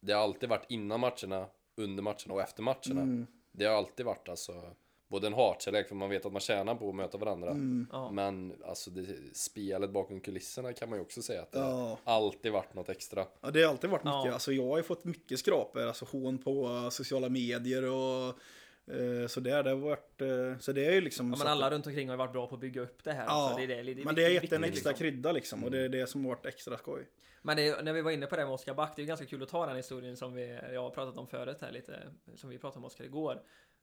A: det har alltid varit innan matcherna, under matcherna och efter matcherna.
B: Mm.
A: Det har alltid varit alltså både en hatkärlek, för man vet att man tjänar på att möta varandra.
B: Mm.
C: Ja.
A: Men alltså det, spelet bakom kulisserna kan man ju också säga att det
B: Ja.
A: har alltid varit något extra.
B: Ja, det har alltid varit mycket.
C: Ja.
B: Alltså, jag har ju fått mycket skrapor, alltså hån på eh, sociala medier och eh, sådär. Det har varit, eh, så det är ju liksom...
C: ja, men
B: så att-
C: alla runt omkring har ju varit bra på att bygga upp det här.
B: Ja,
C: också. det är det, det är
B: men det har gett
C: viktigt,
B: en extra
C: liksom.
B: krydda liksom och det är det som har varit extra skoj.
C: Men det, är- när vi var inne på det med Oskar Back, det är ju ganska kul att ta den historien som vi, jag har pratat om förut här lite, som vi pratade om Oskar igår.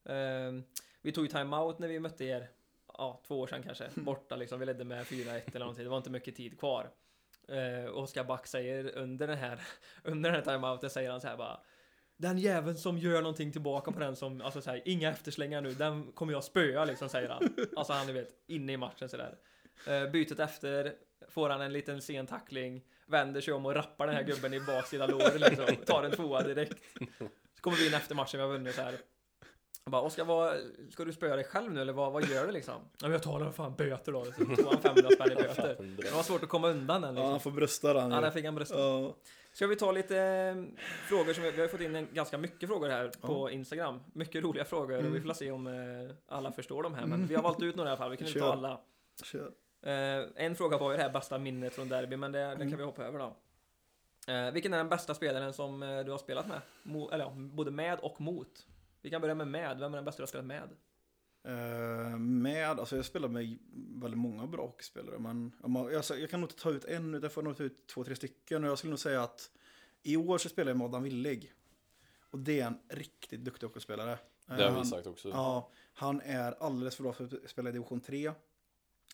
C: Ehm, vi tog ju timeout när vi mötte er, ja, två år sedan kanske, borta liksom. Vi ledde med 4-1 eller någonting, det var inte mycket tid kvar. Uh, Oskar Back säger under den här, [laughs] under den här timeouten säger han så här bara den jäveln som gör någonting tillbaka på den som, alltså så här, inga efterslängar nu, den kommer jag spöa liksom säger han. Alltså han är vet, inne i matchen sådär. Uh, bytet efter, får han en liten sen tackling, vänder sig om och rappar den här gubben i baksida låret liksom. Tar en tvåa direkt. Så kommer vi in efter matchen, vi har vunnit så här. Jag bara, Oskar, vad, ska du spöa dig själv nu eller vad, vad gör du liksom? Ja, men jag talar om fan böter då. Så tog han 500 spänn i böter. Det var svårt att komma undan den
B: Ja,
C: liksom.
B: han får brösta den.
C: Ja,
B: ju.
C: där fick han bröstet.
B: Ja.
C: Ska vi ta lite eh, frågor som vi, vi har ju fått in en, ganska mycket frågor här på Instagram. Mycket roliga frågor
B: Mm.
C: och vi får se om eh, alla förstår de här. Men vi har valt ut några i alla fall, vi kan inte ta
B: Kör.
C: alla.
B: Kör.
C: Eh, en fråga var ju det här bästa minnet från derby, men det, den
B: Mm.
C: kan vi hoppa över då. Eh, vilken är den bästa spelaren som eh, du har spelat med? Mo, eller ja, både med och mot. Vi kan börja med med, vem är den bästa du har spelat med?
B: Eh, med, alltså jag spelar med väldigt många bra hockeyspelare. Men om man, alltså jag kan nog inte ta ut en, utan jag får nog ta ut två, tre stycken. Och jag skulle nog säga att i år så spelar jag med Adam Willig. Och det är en riktigt duktig hockeyspelare. Eh,
A: Det har vi
B: Han-
A: sagt också.
B: Ja, han är alldeles för bra för att spela i division 3.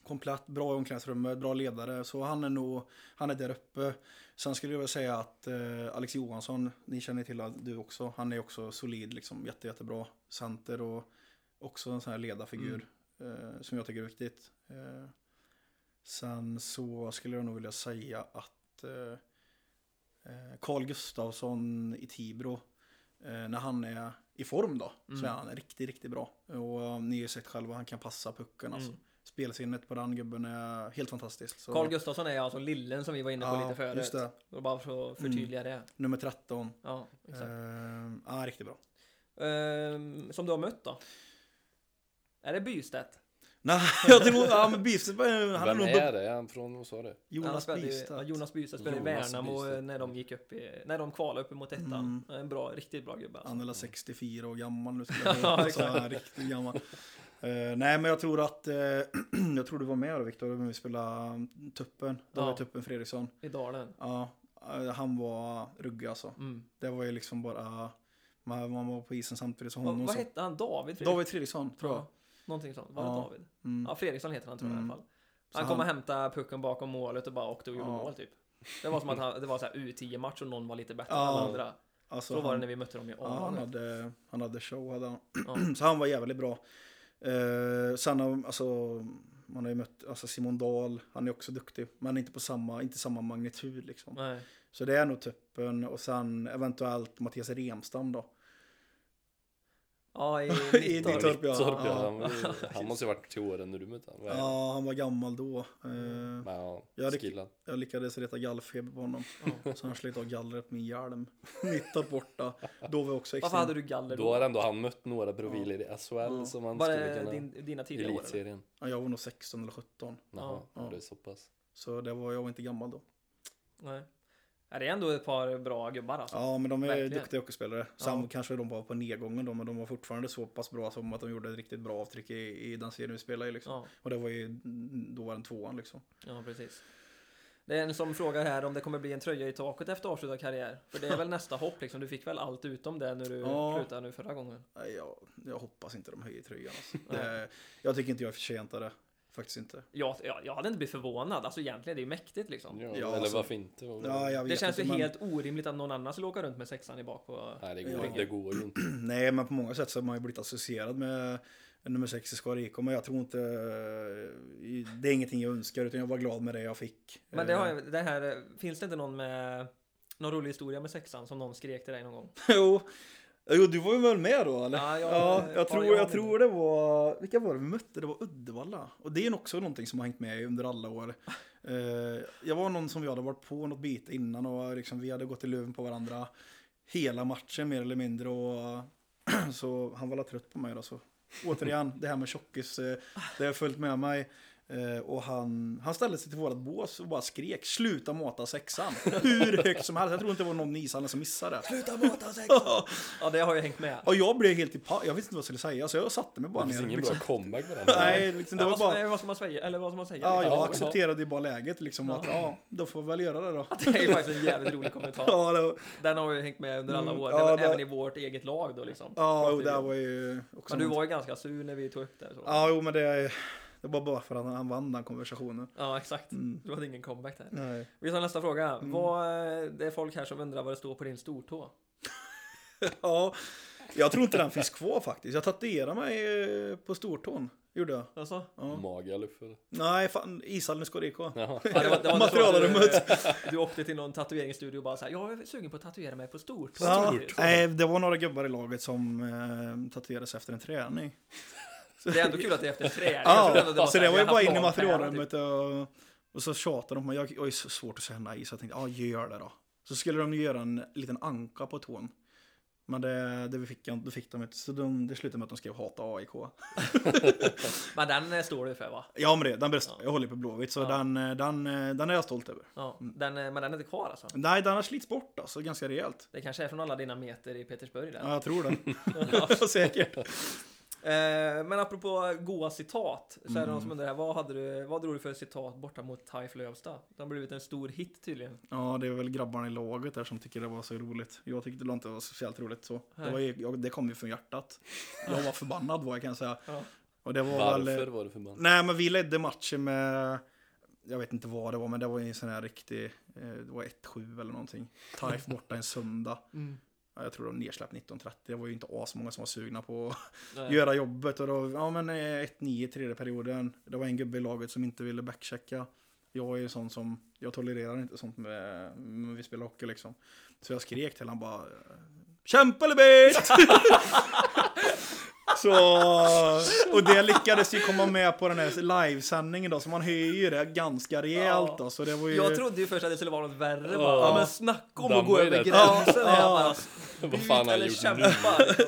B: komplett, bra i omklädningsrummet, bra ledare. Så han är nog, han är där uppe. Sen skulle jag vilja säga att eh, Alex Johansson, ni känner till att du också, han är också solid, liksom jätte, jättebra center och också en sån här ledarfigur eh, som jag tycker är viktigt. Eh, sen så skulle jag nog vilja säga att eh, eh, Carl Gustafsson i Tibro, eh, när han är i form då, så
C: Mm.
B: är han riktigt, riktigt bra. Och eh, ni har ju sett själva, han kan passa pucken alltså.
C: Mm.
B: Spelsinnet på den gubben är helt fantastiskt. Så-
C: Carl Gustafsson är alltså lillen som vi var inne på
B: Ja,
C: lite förut.
B: Just det, Mm.
C: Och bara för att förtydliga det.
B: nummer 13.
C: Ja, exakt.
B: Ehm, ja, riktigt bra. [laughs]
C: Ehm, som du har mött då? Är det Bystedt?
B: Nej, jag tror, ja men Bystedt, var- han är
A: Vem
B: nog
A: är det? Är han från, vad sa du?
C: Han
B: Jonas
C: spelade ju- Ja,
B: Bystedt.
C: Jonas Bystedt spelade i
A: Jonas
C: Värnamo
A: Bystedt.
C: eh, när de gick upp i, när de kvalade upp mot
B: Mm.
C: ettan. En bra, riktigt bra gubbe alltså.
B: Han är väl 64 år gammal nu.
C: [laughs] Ja,
B: ja, så han är riktigt gammal. Eh, nej, men jag tror att, eh, [clears throat] jag tror du var med då Viktor, när vi spelade mm, Tuppen. Då
C: Ja.
B: var var Tuppen Fredriksson.
C: I Dalen.
B: Ja, eh, han var ruggig alltså.
C: Mm.
B: Det var ju liksom bara, man, man var på isen samtidigt som
C: Vad,
B: honom.
C: vad
B: så-
C: hette han? David? Fredrik?
B: David Fredriksson, tror jag.
C: Ja, någonting sånt. Var det
B: Ja.
C: David?
B: Mm.
C: Ja, Fredriksson heter han tror jag i
B: Mm.
C: alla fall.
B: Så
C: Han, kom och
B: han-
C: hämtade pucken bakom målet och bara åkte och gjorde
B: Ja.
C: mål typ. Det var som att han, det var så här U10-match och någon var lite bättre
B: Ja.
C: än den andra.
B: Alltså,
C: Så var det
B: han-
C: när vi mötte dem i
B: Ja, han
C: A-laget.
B: hade, han hade show hade han. [clears throat]
C: Ja.
B: Så han var jävligt bra. Eh, sen har, alltså, man har ju mött alltså Simon Dahl, han är också duktig. Men inte på samma, inte samma magnitud liksom.
C: Nej.
B: Så det är nog tuppen och sen eventuellt Mattias Remstam då.
C: Ja, i
B: [laughs] I
C: Nittorp.
B: Nittorp, ja.
A: Torp, ja.
B: ja.
A: Han, var- han måste ju varit till åren när du mötte honom. Vad är han?
B: Ja, han var gammal då.
C: Mm.
B: Eh,
A: Men ja,
B: Jag hade-
A: skillad.
B: jag lyckades reta gallfeber på honom. Så han slet av gallret på min hjälm. Mitt där borta. Då var jag också
C: Varför
B: extra.
C: hade du galler
A: Då
C: då?
A: har ändå han mött några profiler i SHL
B: Ja.
A: som han
C: Var
A: skulle
C: det
A: kunna...
C: din, dina tidigare år? eller?
A: Elitserien?
B: Ja, jag var nog 16 eller 17.
A: Jaha,
B: Ja.
A: ja. det är så pass.
B: Så det var, jag var inte gammal då.
C: Nej. Ja, det är ändå ett par bra gubbar alltså.
B: Ja, men de är
C: Verkligen.
B: duktiga hockeyspelare. Sen kanske de var på nedgången då, men de var fortfarande så pass bra som att de gjorde ett riktigt bra avtryck i, i den serien vi spelade i. Liksom.
C: Ja,
B: Och det var ju, mm, då var den tvåan liksom.
C: ja precis. Det är en som frågar här om det kommer bli en tröja i taket efter avslutad karriär. För det
B: [laughs]
C: är väl nästa hopp liksom. Du fick väl allt utom det när du
B: Ja.
C: slutade nu förra gången?
B: Nej, Jag, jag hoppas inte de höjer tröjan. Alltså.
C: Nej.
B: Det, jag tycker inte jag förtjänar det. Faktiskt inte.
C: Jag, jag, jag hade inte blivit förvånad. Alltså egentligen, det är ju mäktigt liksom.
A: Ja,
B: Ja,
A: eller
B: alltså-
A: varför inte? Vad-
B: Ja, jag
C: Det
B: vet
C: känns ju
B: inte, men-
C: helt orimligt att någon annan skulle åka runt med sexan i bak på...
A: Nej, det går,
B: Ja.
A: det går ju inte.
B: [clears throat] Nej, men på många sätt så har man ju blivit associerad med nummer 6 i Skara IK, men jag tror inte... eh, Det är ingenting jag önskar, utan jag var glad med det jag fick.
C: Men det, har,
B: Eh,
C: jag- det här, finns det inte någon med... Någon rolig historia med sexan som någon skrek till
B: [laughs]
C: dig någon gång?
B: jo. jo, du var ju väl med då eller?
C: Ja, jag-
B: ja,
C: var
B: jag, tror,
C: jag
B: jag,
C: med?
B: tror det var, vilka var det vi mötte? Det var Uddevalla. Och det är nog också någonting som har hängt med under alla
C: [laughs]
B: år. Eh, jag var någon som jag hade varit på något byte innan och liksom, vi hade gått i luven på varandra hela matchen mer eller mindre. Och, [clears throat] så han var la trött på mig då. Så. Återigen, det här med tjockis, eh, det har följt med mig. Eh, och han, han ställde sig till vårat bås och bara skrek Sluta mata sexan! [laughs] Hur högt som helst, jag tror inte det var någon i ishallen som missade det. [laughs] Sluta mata [laughs] sexan!
C: Ja, det har jag hängt med.
B: Och jag blev helt i pa- jag visste inte vad jag skulle säga så jag satte mig [clears throat] bara
A: Det finns
B: ner.
A: ingen
B: liksom.
A: bra comeback på den.
B: [laughs] Nej, liksom, det
C: Ja,
B: var
C: vad, ska,
B: bara...
C: nej, vad ska man säga? Eller vad ska man säga?
B: Ja,
C: Liksom.
B: jag accepterade ju bara läget liksom att ja, då får vi väl göra det då.
C: Det är ju faktiskt en jävligt rolig kommentar.
B: [laughs] Ja, det var,
C: Den har ju hängt med under alla år,
B: Mm, ja,
C: även,
B: det-
C: även i vårt eget lag då liksom.
B: ja och
C: Pratar
B: det
C: vi om.
B: var ju också...
C: Men du
B: något-
C: var ju ganska sur när vi tog upp det. Så.
B: Ja, jo, men det, det var bara för att han vann den konversationen.
C: Ja, exakt.
B: Mm.
C: Du hade ingen comeback där.
B: Nej.
C: Vi tar nästa fråga. Vad, eh, det är folk här som undrar vad det står på din stortå.
B: [laughs] Ja, jag tror inte den finns kvar faktiskt. Jag tatuerade mig eh, på stortån, gjorde jag. [laughs]
C: Alltså?
B: Ja.
A: Magaluf eller?
B: Nej, fan, ishallen i Skara IK.
A: Jaha.
C: Ja, det var, det var inte så att
B: Materialrummet.
C: [laughs] Du, du åkte till någon tatueringsstudio och bara såhär, jag är sugen på att tatuera mig på stortå.
B: Ja, nej, det var några gubbar i laget som eh, tatuerades efter en träning.
C: Det är ändå kul att det är efter en träning. Jag trodde
B: Ja,
C: att
B: så
C: här, typ.
B: det var ju
C: vi har
B: bara
C: haft
B: in i
C: lagträning,
B: materialrummet och, och så tjatade de på mig. Jag jag har ju så svårt att säga nej, så jag tänkte ja, gör det då. Så skulle de göra en liten anka på tån. Men det, det fick, jag, då fick de inte, så de, det slutade med att de skrev hata AIK.
C: Typ. Men den eh, står du för va?
B: Ja men det, den bästa.
C: Ja.
B: Jag håller på Blåvitt så
C: Ja.
B: den, eh, den, eh, den är jag stolt över.
C: Ja, den, eh, men den är inte kvar alltså?
B: Nej, den har slits bort alltså, ganska rejält.
C: Det kanske är från alla dina meter i Petersburg där. [laughs]
B: Ja, jag tror det. [laughs] Säkert.
C: Eh, men apropå goa citat, så är det
B: Mm.
C: någon som undrar här, vad, hade du, vad drog du för citat borta mot TIF Lövsta? Det har blivit en stor hit tydligen.
B: Ja, det är väl grabbarna i laget där som tycker det var så roligt. Jag tyckte det inte var speciellt roligt så. Det, var, ju- jag, det kom ju från hjärtat. Jag var förbannad var jag kan jag säga.
C: Ja.
B: Och det var väl...
A: Varför var du förbannad?
B: Nej, men vi ledde matchen med... Jag vet inte vad det var, men det var ju en sån här riktig... eh, Det var 1-7 eller någonting. Taif borta en söndag. Ja, Jag tror de nedsläpp 19.30. Det var ju inte asmånga som var sugna på att göra jobbet. Och då, ja men eh, 1-9 i tredje perioden. Det var en gubbe i laget som inte ville backchecka. Jag är ju sån som, jag tolererar inte sånt med, när vi spelar hockey liksom. Så jag skrek till honom bara, kämpa eller bit! [laughs] Så, och det lyckades ju komma med på den här livesändningen då, så man höjer ju det ganska rejält då. Så det var ju...
C: Jag trodde ju först att det skulle vara något värre
A: Ja.
C: bara. Ja, men snacka om
A: Dammar
C: att gå
A: ju
C: över
A: det.
C: gränsen
B: Ja.
C: här bara.
A: Vad fan har
C: Eller
A: jag gjort nu?
C: kämpa. liksom.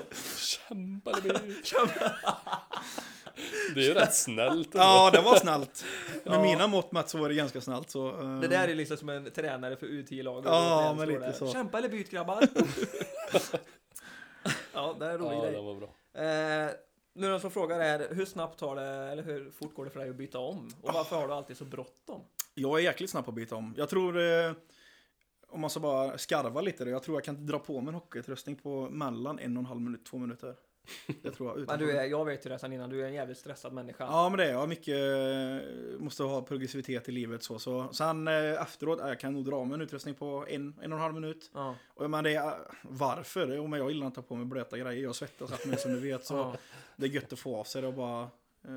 A: Kämpa eller
B: [laughs]
A: bli- Det är ju rätt snällt ändå.
B: Ja, det var snällt. Med
C: Ja.
B: mina mått mätt så var det ganska snällt. Så, eh,
C: Det där är liksom som en tränare för U10-laget.
B: Ja,
C: Och
B: men
C: sen står
B: lite
C: där,
B: så.
C: Kämpa eller byt
B: [laughs]
C: grabbar. ja, det är en rolig
A: Ja,
C: grej.
A: det var bra.
C: Eh, nu är det någon som frågar är hur snabbt tar det, eller hur fort går det för dig att byta om? Och varför har du alltid så bråttom?
B: Jag är jäkligt snabb på att byta om. Jag tror, eh, om man ska bara skarva lite, då, jag tror jag kan dra på mig en hockeyutrustning på mellan en och en halv minut, två minuter. Det tror
C: [laughs]
B: jag. utan
C: Men du är, jag vet ju det sedan innan, du är en jävligt stressad människa.
B: Ja, men det är jag. Mycket eh, måste ha progressivitet i livet så. så. Sen eh, efteråt, eh, jag kan nog dra mig en utrustning på en, en och en halv minut.
C: Ja.
B: Och, men det är, eh, varför? Jo, men jag gillar inte att ha på mig blöta grejer. Jag svettas att mig som du vet. Så
C: [laughs] Ja,
B: det är gött att få av sig det och bara... Eh,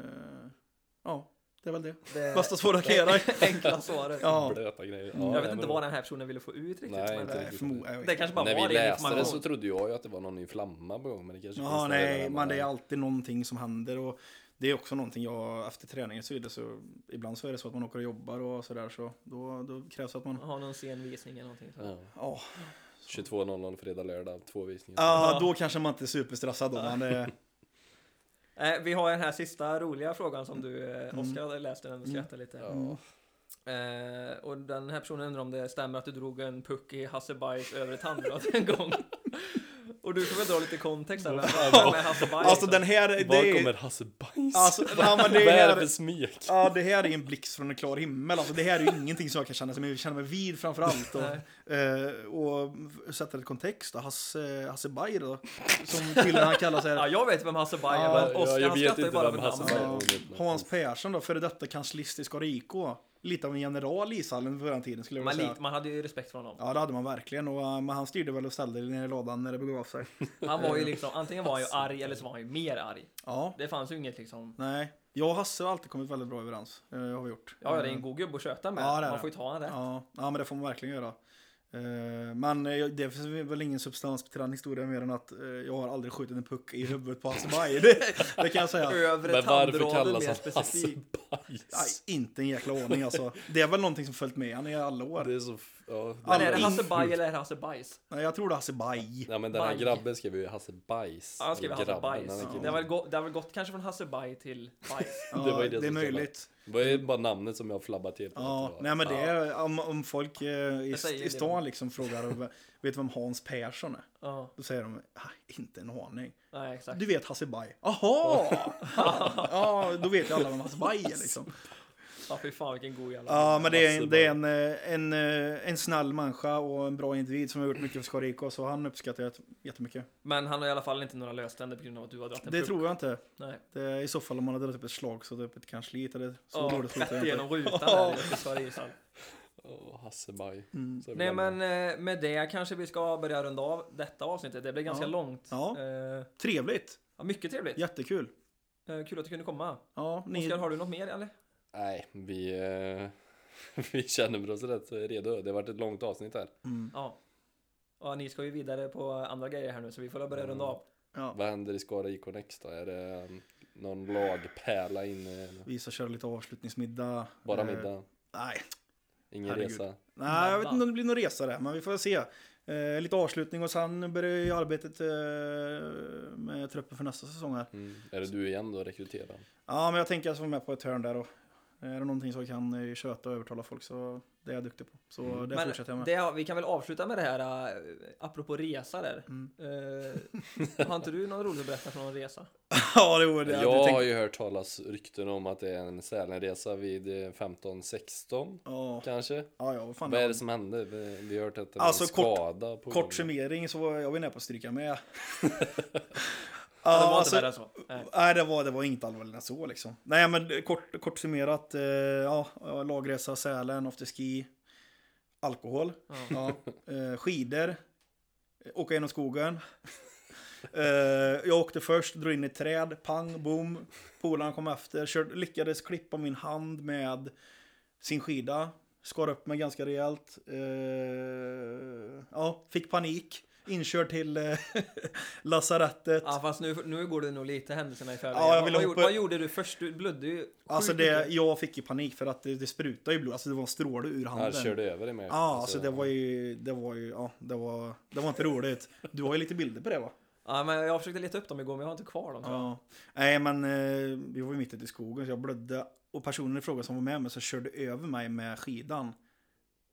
B: ja, det är väl det. [laughs]
C: det är
B: Bästa svaret jag kan ge
C: eh,
B: dig.
C: enkla svaret. [laughs]
B: Ja.
A: Blöta grejer. Ja,
C: jag
A: nej,
C: vet inte
A: men-
C: vad den här personen ville få ut riktigt.
A: Nej,
C: men
A: inte
C: det,
A: riktigt.
B: Nej, förmodligen.
C: det kanske bara
A: När vi
C: var ren
A: läste det så
C: information.
A: trodde jag ju att det var någon ny flamma på gång men det kanske
B: Jaha,
A: finns någon
B: nej,
A: annan.
B: men det är alltid någonting som händer och det är också någonting jag efter träningen så är det så ibland så är det så att man åker och jobbar och sådär så då, då krävs det att man
C: Har någon sen visning eller någonting.
A: Ja.
B: ja,
A: 22.00 fredag, lördag, två visningar.
B: ja, då kanske man inte är superstressad då men det,
C: Eh, vi har den här sista roliga frågan som du,
B: Mm.
C: eh, Oskar, läste den och skrattade lite.
A: Ja.
C: Eh, och den här personen undrar om det stämmer att du drog en puck i Hassebajs övre tandrad en gång. [laughs] Och du får väl dra lite kontext här. Vem vem är Hassebajs?
B: alltså den här det
A: Var kommer
B: är,
A: Hasse Bajs?
B: alltså, ja, men det
A: [laughs] Vad är det
B: här,
A: för smek?
B: ja, det här är en blixt från en klar himmel alltså det här är ju ingenting som jag kan känna som jag känner mig vid framför allt
C: Nej.
B: och, eh, och sätta lite kontext då, Hasse, Hasse Bajer då som tydligen han kallar sig
C: Ja, jag vet vem Hassebaj är,
B: Ja,
C: men Oskar
A: jag
C: han
A: vet
C: skrattar ju
A: inte
C: bara
A: vem
C: med
A: Hasse
C: namnet.
A: Bajs
B: namnet.
A: är.
C: liksom.
B: Hans Persson då, före detta kanslist i Skara IK. Lite av en general i ishallen på den tiden skulle jag
C: Man,
B: vilja
C: lit,
B: säga.
C: man hade ju respekt för honom.
B: Ja, det hade man verkligen. Och, eh, men han styrde väl och ställde ner i lådan när det begav sig.
C: Han var
B: [laughs]
C: ju liksom, antingen var han
B: Alltså,
C: ju arg eller så var han ju mer arg.
B: Ja,
C: Det fanns ju inget liksom.
B: nej. Jag och Hasse har alltid kommit väldigt bra överens. Eh, har vi gjort.
C: Ja, det är en god gubbe att köta med.
B: Ja, det är
C: man
B: det.
C: får ju ta han rätt.
B: Ja, ja, men det får man verkligen göra. Eh, Men eh, det finns väl ingen substans till den historien mer än att eh, jag har aldrig skjutit en puck i huvudet på Hasse Bajer. [laughs] Det, det kan jag säga.
C: Övre
A: Men varför
C: tandraden
A: kallas
C: mer
A: han Hasse
C: specifikt.
B: Nej,
A: Bajs?
B: inte en jäkla aning alltså. Det är väl någonting som följt med han i alla år.
A: Det är så... f- Ja,
C: Men är det
B: Aldrig.
C: Hassebaj eller är det Hassebajs?
B: Nej, jag tror det är Hasse Baj.
A: Nej men den här
C: Baj.
A: grabben skrev ju Hasse Bajs.
C: Ja, han skrev
A: Eller
C: Hasse
A: grabben,
C: Bajs.
A: han är
C: Det
A: kille.
C: har väl gått- det har väl gått kanske från Hassebaj till Bajs. [laughs]
B: Ja,
A: Det
B: det,
A: var ju det
B: är
A: som
B: möjligt.
A: Det är bara namnet som jag har flabbat helt
B: Ja,
A: rätt.
B: nej men det är om, om folk eh, i,
C: Jag säger
B: i
C: det.
B: stan liksom frågar om, [laughs] vet du vem Hans Persson är?
C: Ja,
B: Då säger de "Ah, inte en aning.
C: nej exakt.
B: Du vet Hasse Baj? Jaha! ja, då vet ju alla vem Hasse Baj är liksom.
C: Ja, fy fan vilken god jävla...
B: Ja, men det är,
A: Hasse
B: en- det är en, eh, en, eh, en snäll människa och en bra individ som har gjort mycket för Skara IK, så han uppskattar jag jättemycket.
C: Men han har i alla fall inte några löständer på grund av att du har dragit en
B: Det
C: puck.
B: tror jag inte.
C: Nej.
B: Det är I så fall om man hade dragit upp ett slag så typ ett kansli eller så
C: Ja,
B: dåligt slutar jag
C: rätt genom
B: inte.
C: rutan där i
B: [laughs]
C: Uppsala ishall.
A: Åh, Hasse Baj.
B: Mm.
A: Så
C: Nej
A: gammal.
C: men eh, med det kanske vi ska börja runda av detta avsnittet. Det blev ganska
B: Ja.
C: långt.
B: Ja.
C: Eh,
B: Trevligt!
C: ja, mycket trevligt.
B: Jättekul!
C: Eh, kul att du kunde komma.
B: Ja, ni...
C: Oskar, har du något mer eller?
A: Nej, vi... eh, [laughs] Vi känner oss rätt redo. Det har varit ett långt avsnitt här.
B: Mm.
C: Ja. Ja, ni ska ju vidare på andra grejer här nu så vi får väl börja runda av.
B: Ja.
A: Vad händer i Skara IK Next då? Är det eh, någon lagpärla inne? eller?
B: Vi ska köra lite avslutningsmiddag.
A: Bara
B: Eh,
A: middag?
B: Nej,
A: Ingen
B: herregud.
A: resa?
B: nej jag vet inte om det blir någon resa där, men vi får se. Eh, lite avslutning och sen börjar ju arbetet eh, med truppen för nästa säsong här.
A: Mm. Är det du igen då, rekryterad?
B: Ja, men jag tänker att jag ska vara med på ett hörn där och är det någonting som jag kan eh, köta och övertala folk så det är jag duktig på. Så det
C: Mm. Men
B: fortsätter jag med.
C: det har- vi kan väl avsluta med det här eh, apropå resa där.
B: Mm.
C: Eh, har inte du något roligt att berätta från någon resa?
B: [laughs] ja, det vore det.
A: Jag
B: Du
A: har
B: tänk-
A: ju hört talas rykten om att det är en Sälenresa vid 15-16
B: Ja,
A: kanske.
B: ja, ja, vad fan.
A: Vad är det som hände? Vi vi har hört att det var
B: Alltså,
A: en
B: kort-
A: skada på
B: Kort
A: gång.
B: summering så var jag var nära på att stryka med.
C: Ja, det var
B: alltså-
C: inte värre än så. Eh, Nej.
B: Nej, det var, det var inget allvarligare än så liksom. Nej, men kort, kort summerat. Eh, ja, lagresa, Sälen, afterski, alkohol,
C: Ja.
B: ja, eh, skidor, eh, åka genom skogen. [laughs] Eh, jag åkte först, drog in i ett träd, pang, boom. Polaren kom efter, körde, lyckades klippa min hand med sin skida. Skar upp mig ganska rejält. Eh, ja, fick panik. Inkörd till eh, [laughs] lasarettet.
C: Ja, fast nu, nu går det nog lite händelserna i förväg.
B: Ja, jag
C: vad,
B: vill
C: vad,
B: hoppa-
C: gjorde- vad gjorde du först? Du blödde ju sjukt
B: Alltså
C: mycket.
B: det, jag fick ju panik för att det, det sprutade ju blod, alltså det var en stråle ur
A: Här
B: handen.
A: körde över dig med.
B: Ja, alltså det var ju, det var ju, ja, det var, det var inte roligt. Du har ju lite bilder på det va?
C: Ja, men jag försökte leta upp dem igår, men jag har inte kvar dem. tror jag.
B: Ja. Nej men eh, vi var ju mitt ute i skogen så jag blödde och personen i fråga som var med mig som körde över mig med skidan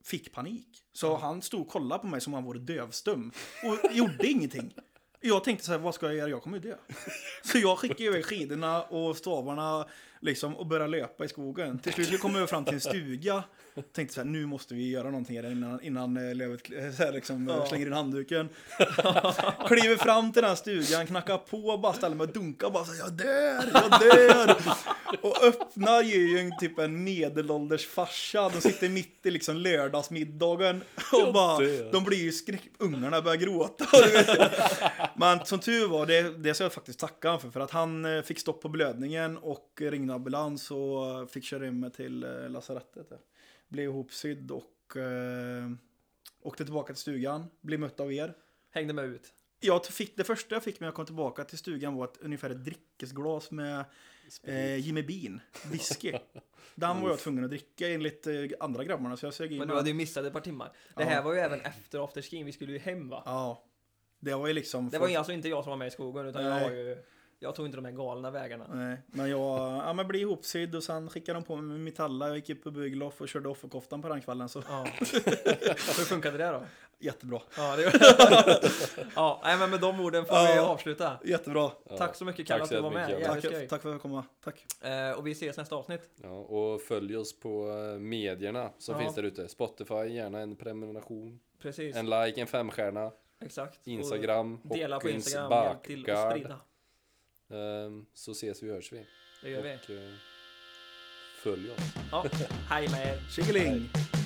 B: fick panik. Så
C: Mm.
B: han stod och kollade på mig som om han vore dövstum och gjorde ingenting. Jag tänkte så här, vad ska jag göra? Jag kommer ju dö. [laughs] Så jag skickade iväg skidorna och stavarna liksom, och började löpa i skogen. Till slut kom jag över fram till en stuga. Tänkte så här, nu måste vi göra någonting här innan, innan eh, lövet eh, [laughs] så här, liksom, eh,
C: Ja.
B: slänger in handduken. Kliver fram till den här stugan, knackar på, bara ställer mig och dunkar. Bara så här, jag dör, jag dör. Och öppnar ju en, typ en medelålders farsa. De sitter mitt i liksom lördagsmiddagen. Och bara,
A: dör.
B: de blir ju skräck... Ungarna börjar gråta. du vet. Men som tur var, det, det ska jag faktiskt tacka honom för. För att han eh, fick stopp på blödningen och ringde ambulans och eh, fick köra in mig till eh, lasarettet. Där. Blev ihopsydd och eh, åkte tillbaka till stugan. Blev mött av er.
C: Hängde med ut.
B: Jag fick, det första jag fick när jag kom tillbaka till stugan var ett, ungefär ett drickesglas med eh, Jimmy Bean, whisky. Den var jag tvungen att dricka enligt eh, andra grabbarna så jag sög i
C: Men du
B: mig-
C: hade ju missat ett par timmar. Det
B: Ja.
C: här var ju även efter afterskin, vi skulle ju hem va?
B: Ja. Det var ju liksom...
C: Det var ju alltså inte jag som var med i skogen, utan jag
B: Nej.
C: var ju... Jag tog inte de här
B: [laughs]
C: galna vägarna.
B: Nej, men jag ja, men blev ihopsydd och sen skickade de på mig med Mitalla. Jag gick upp på Bygloff och körde offerkoftan på den kvällen så
C: Ja. Hur funkade det då?
B: jättebra. [laughs]
C: Ja, det... ja nej, men med de orden får vi
B: Ja.
C: avsluta.
B: Jättebra.
A: Ja.
C: Tack så
A: Tack
C: mycket Kalle
A: så
C: att du var med.
A: jättemycket, Janne.
C: Jävligt
B: Tack,
C: skoj.
B: tack för att jag kom. med. Tack.
C: Eh, och vi ses nästa avsnitt.
A: Ja, och följ oss på eh, medierna som
C: Ja.
A: finns där ute. Spotify, gärna en prenumeration,
C: Precis,
A: en like, en femstjärna,
C: exakt. Och
A: Instagram,
C: Dela på
A: Hockeyns
C: Instagram, hjälp till att
A: bakgård.
C: sprida.
A: Ehm, Så ses vi och hörs vi.
C: Det gör vi.
A: Och eh, följ oss. [laughs]
C: Ja, hej med er.
B: Tjingeling!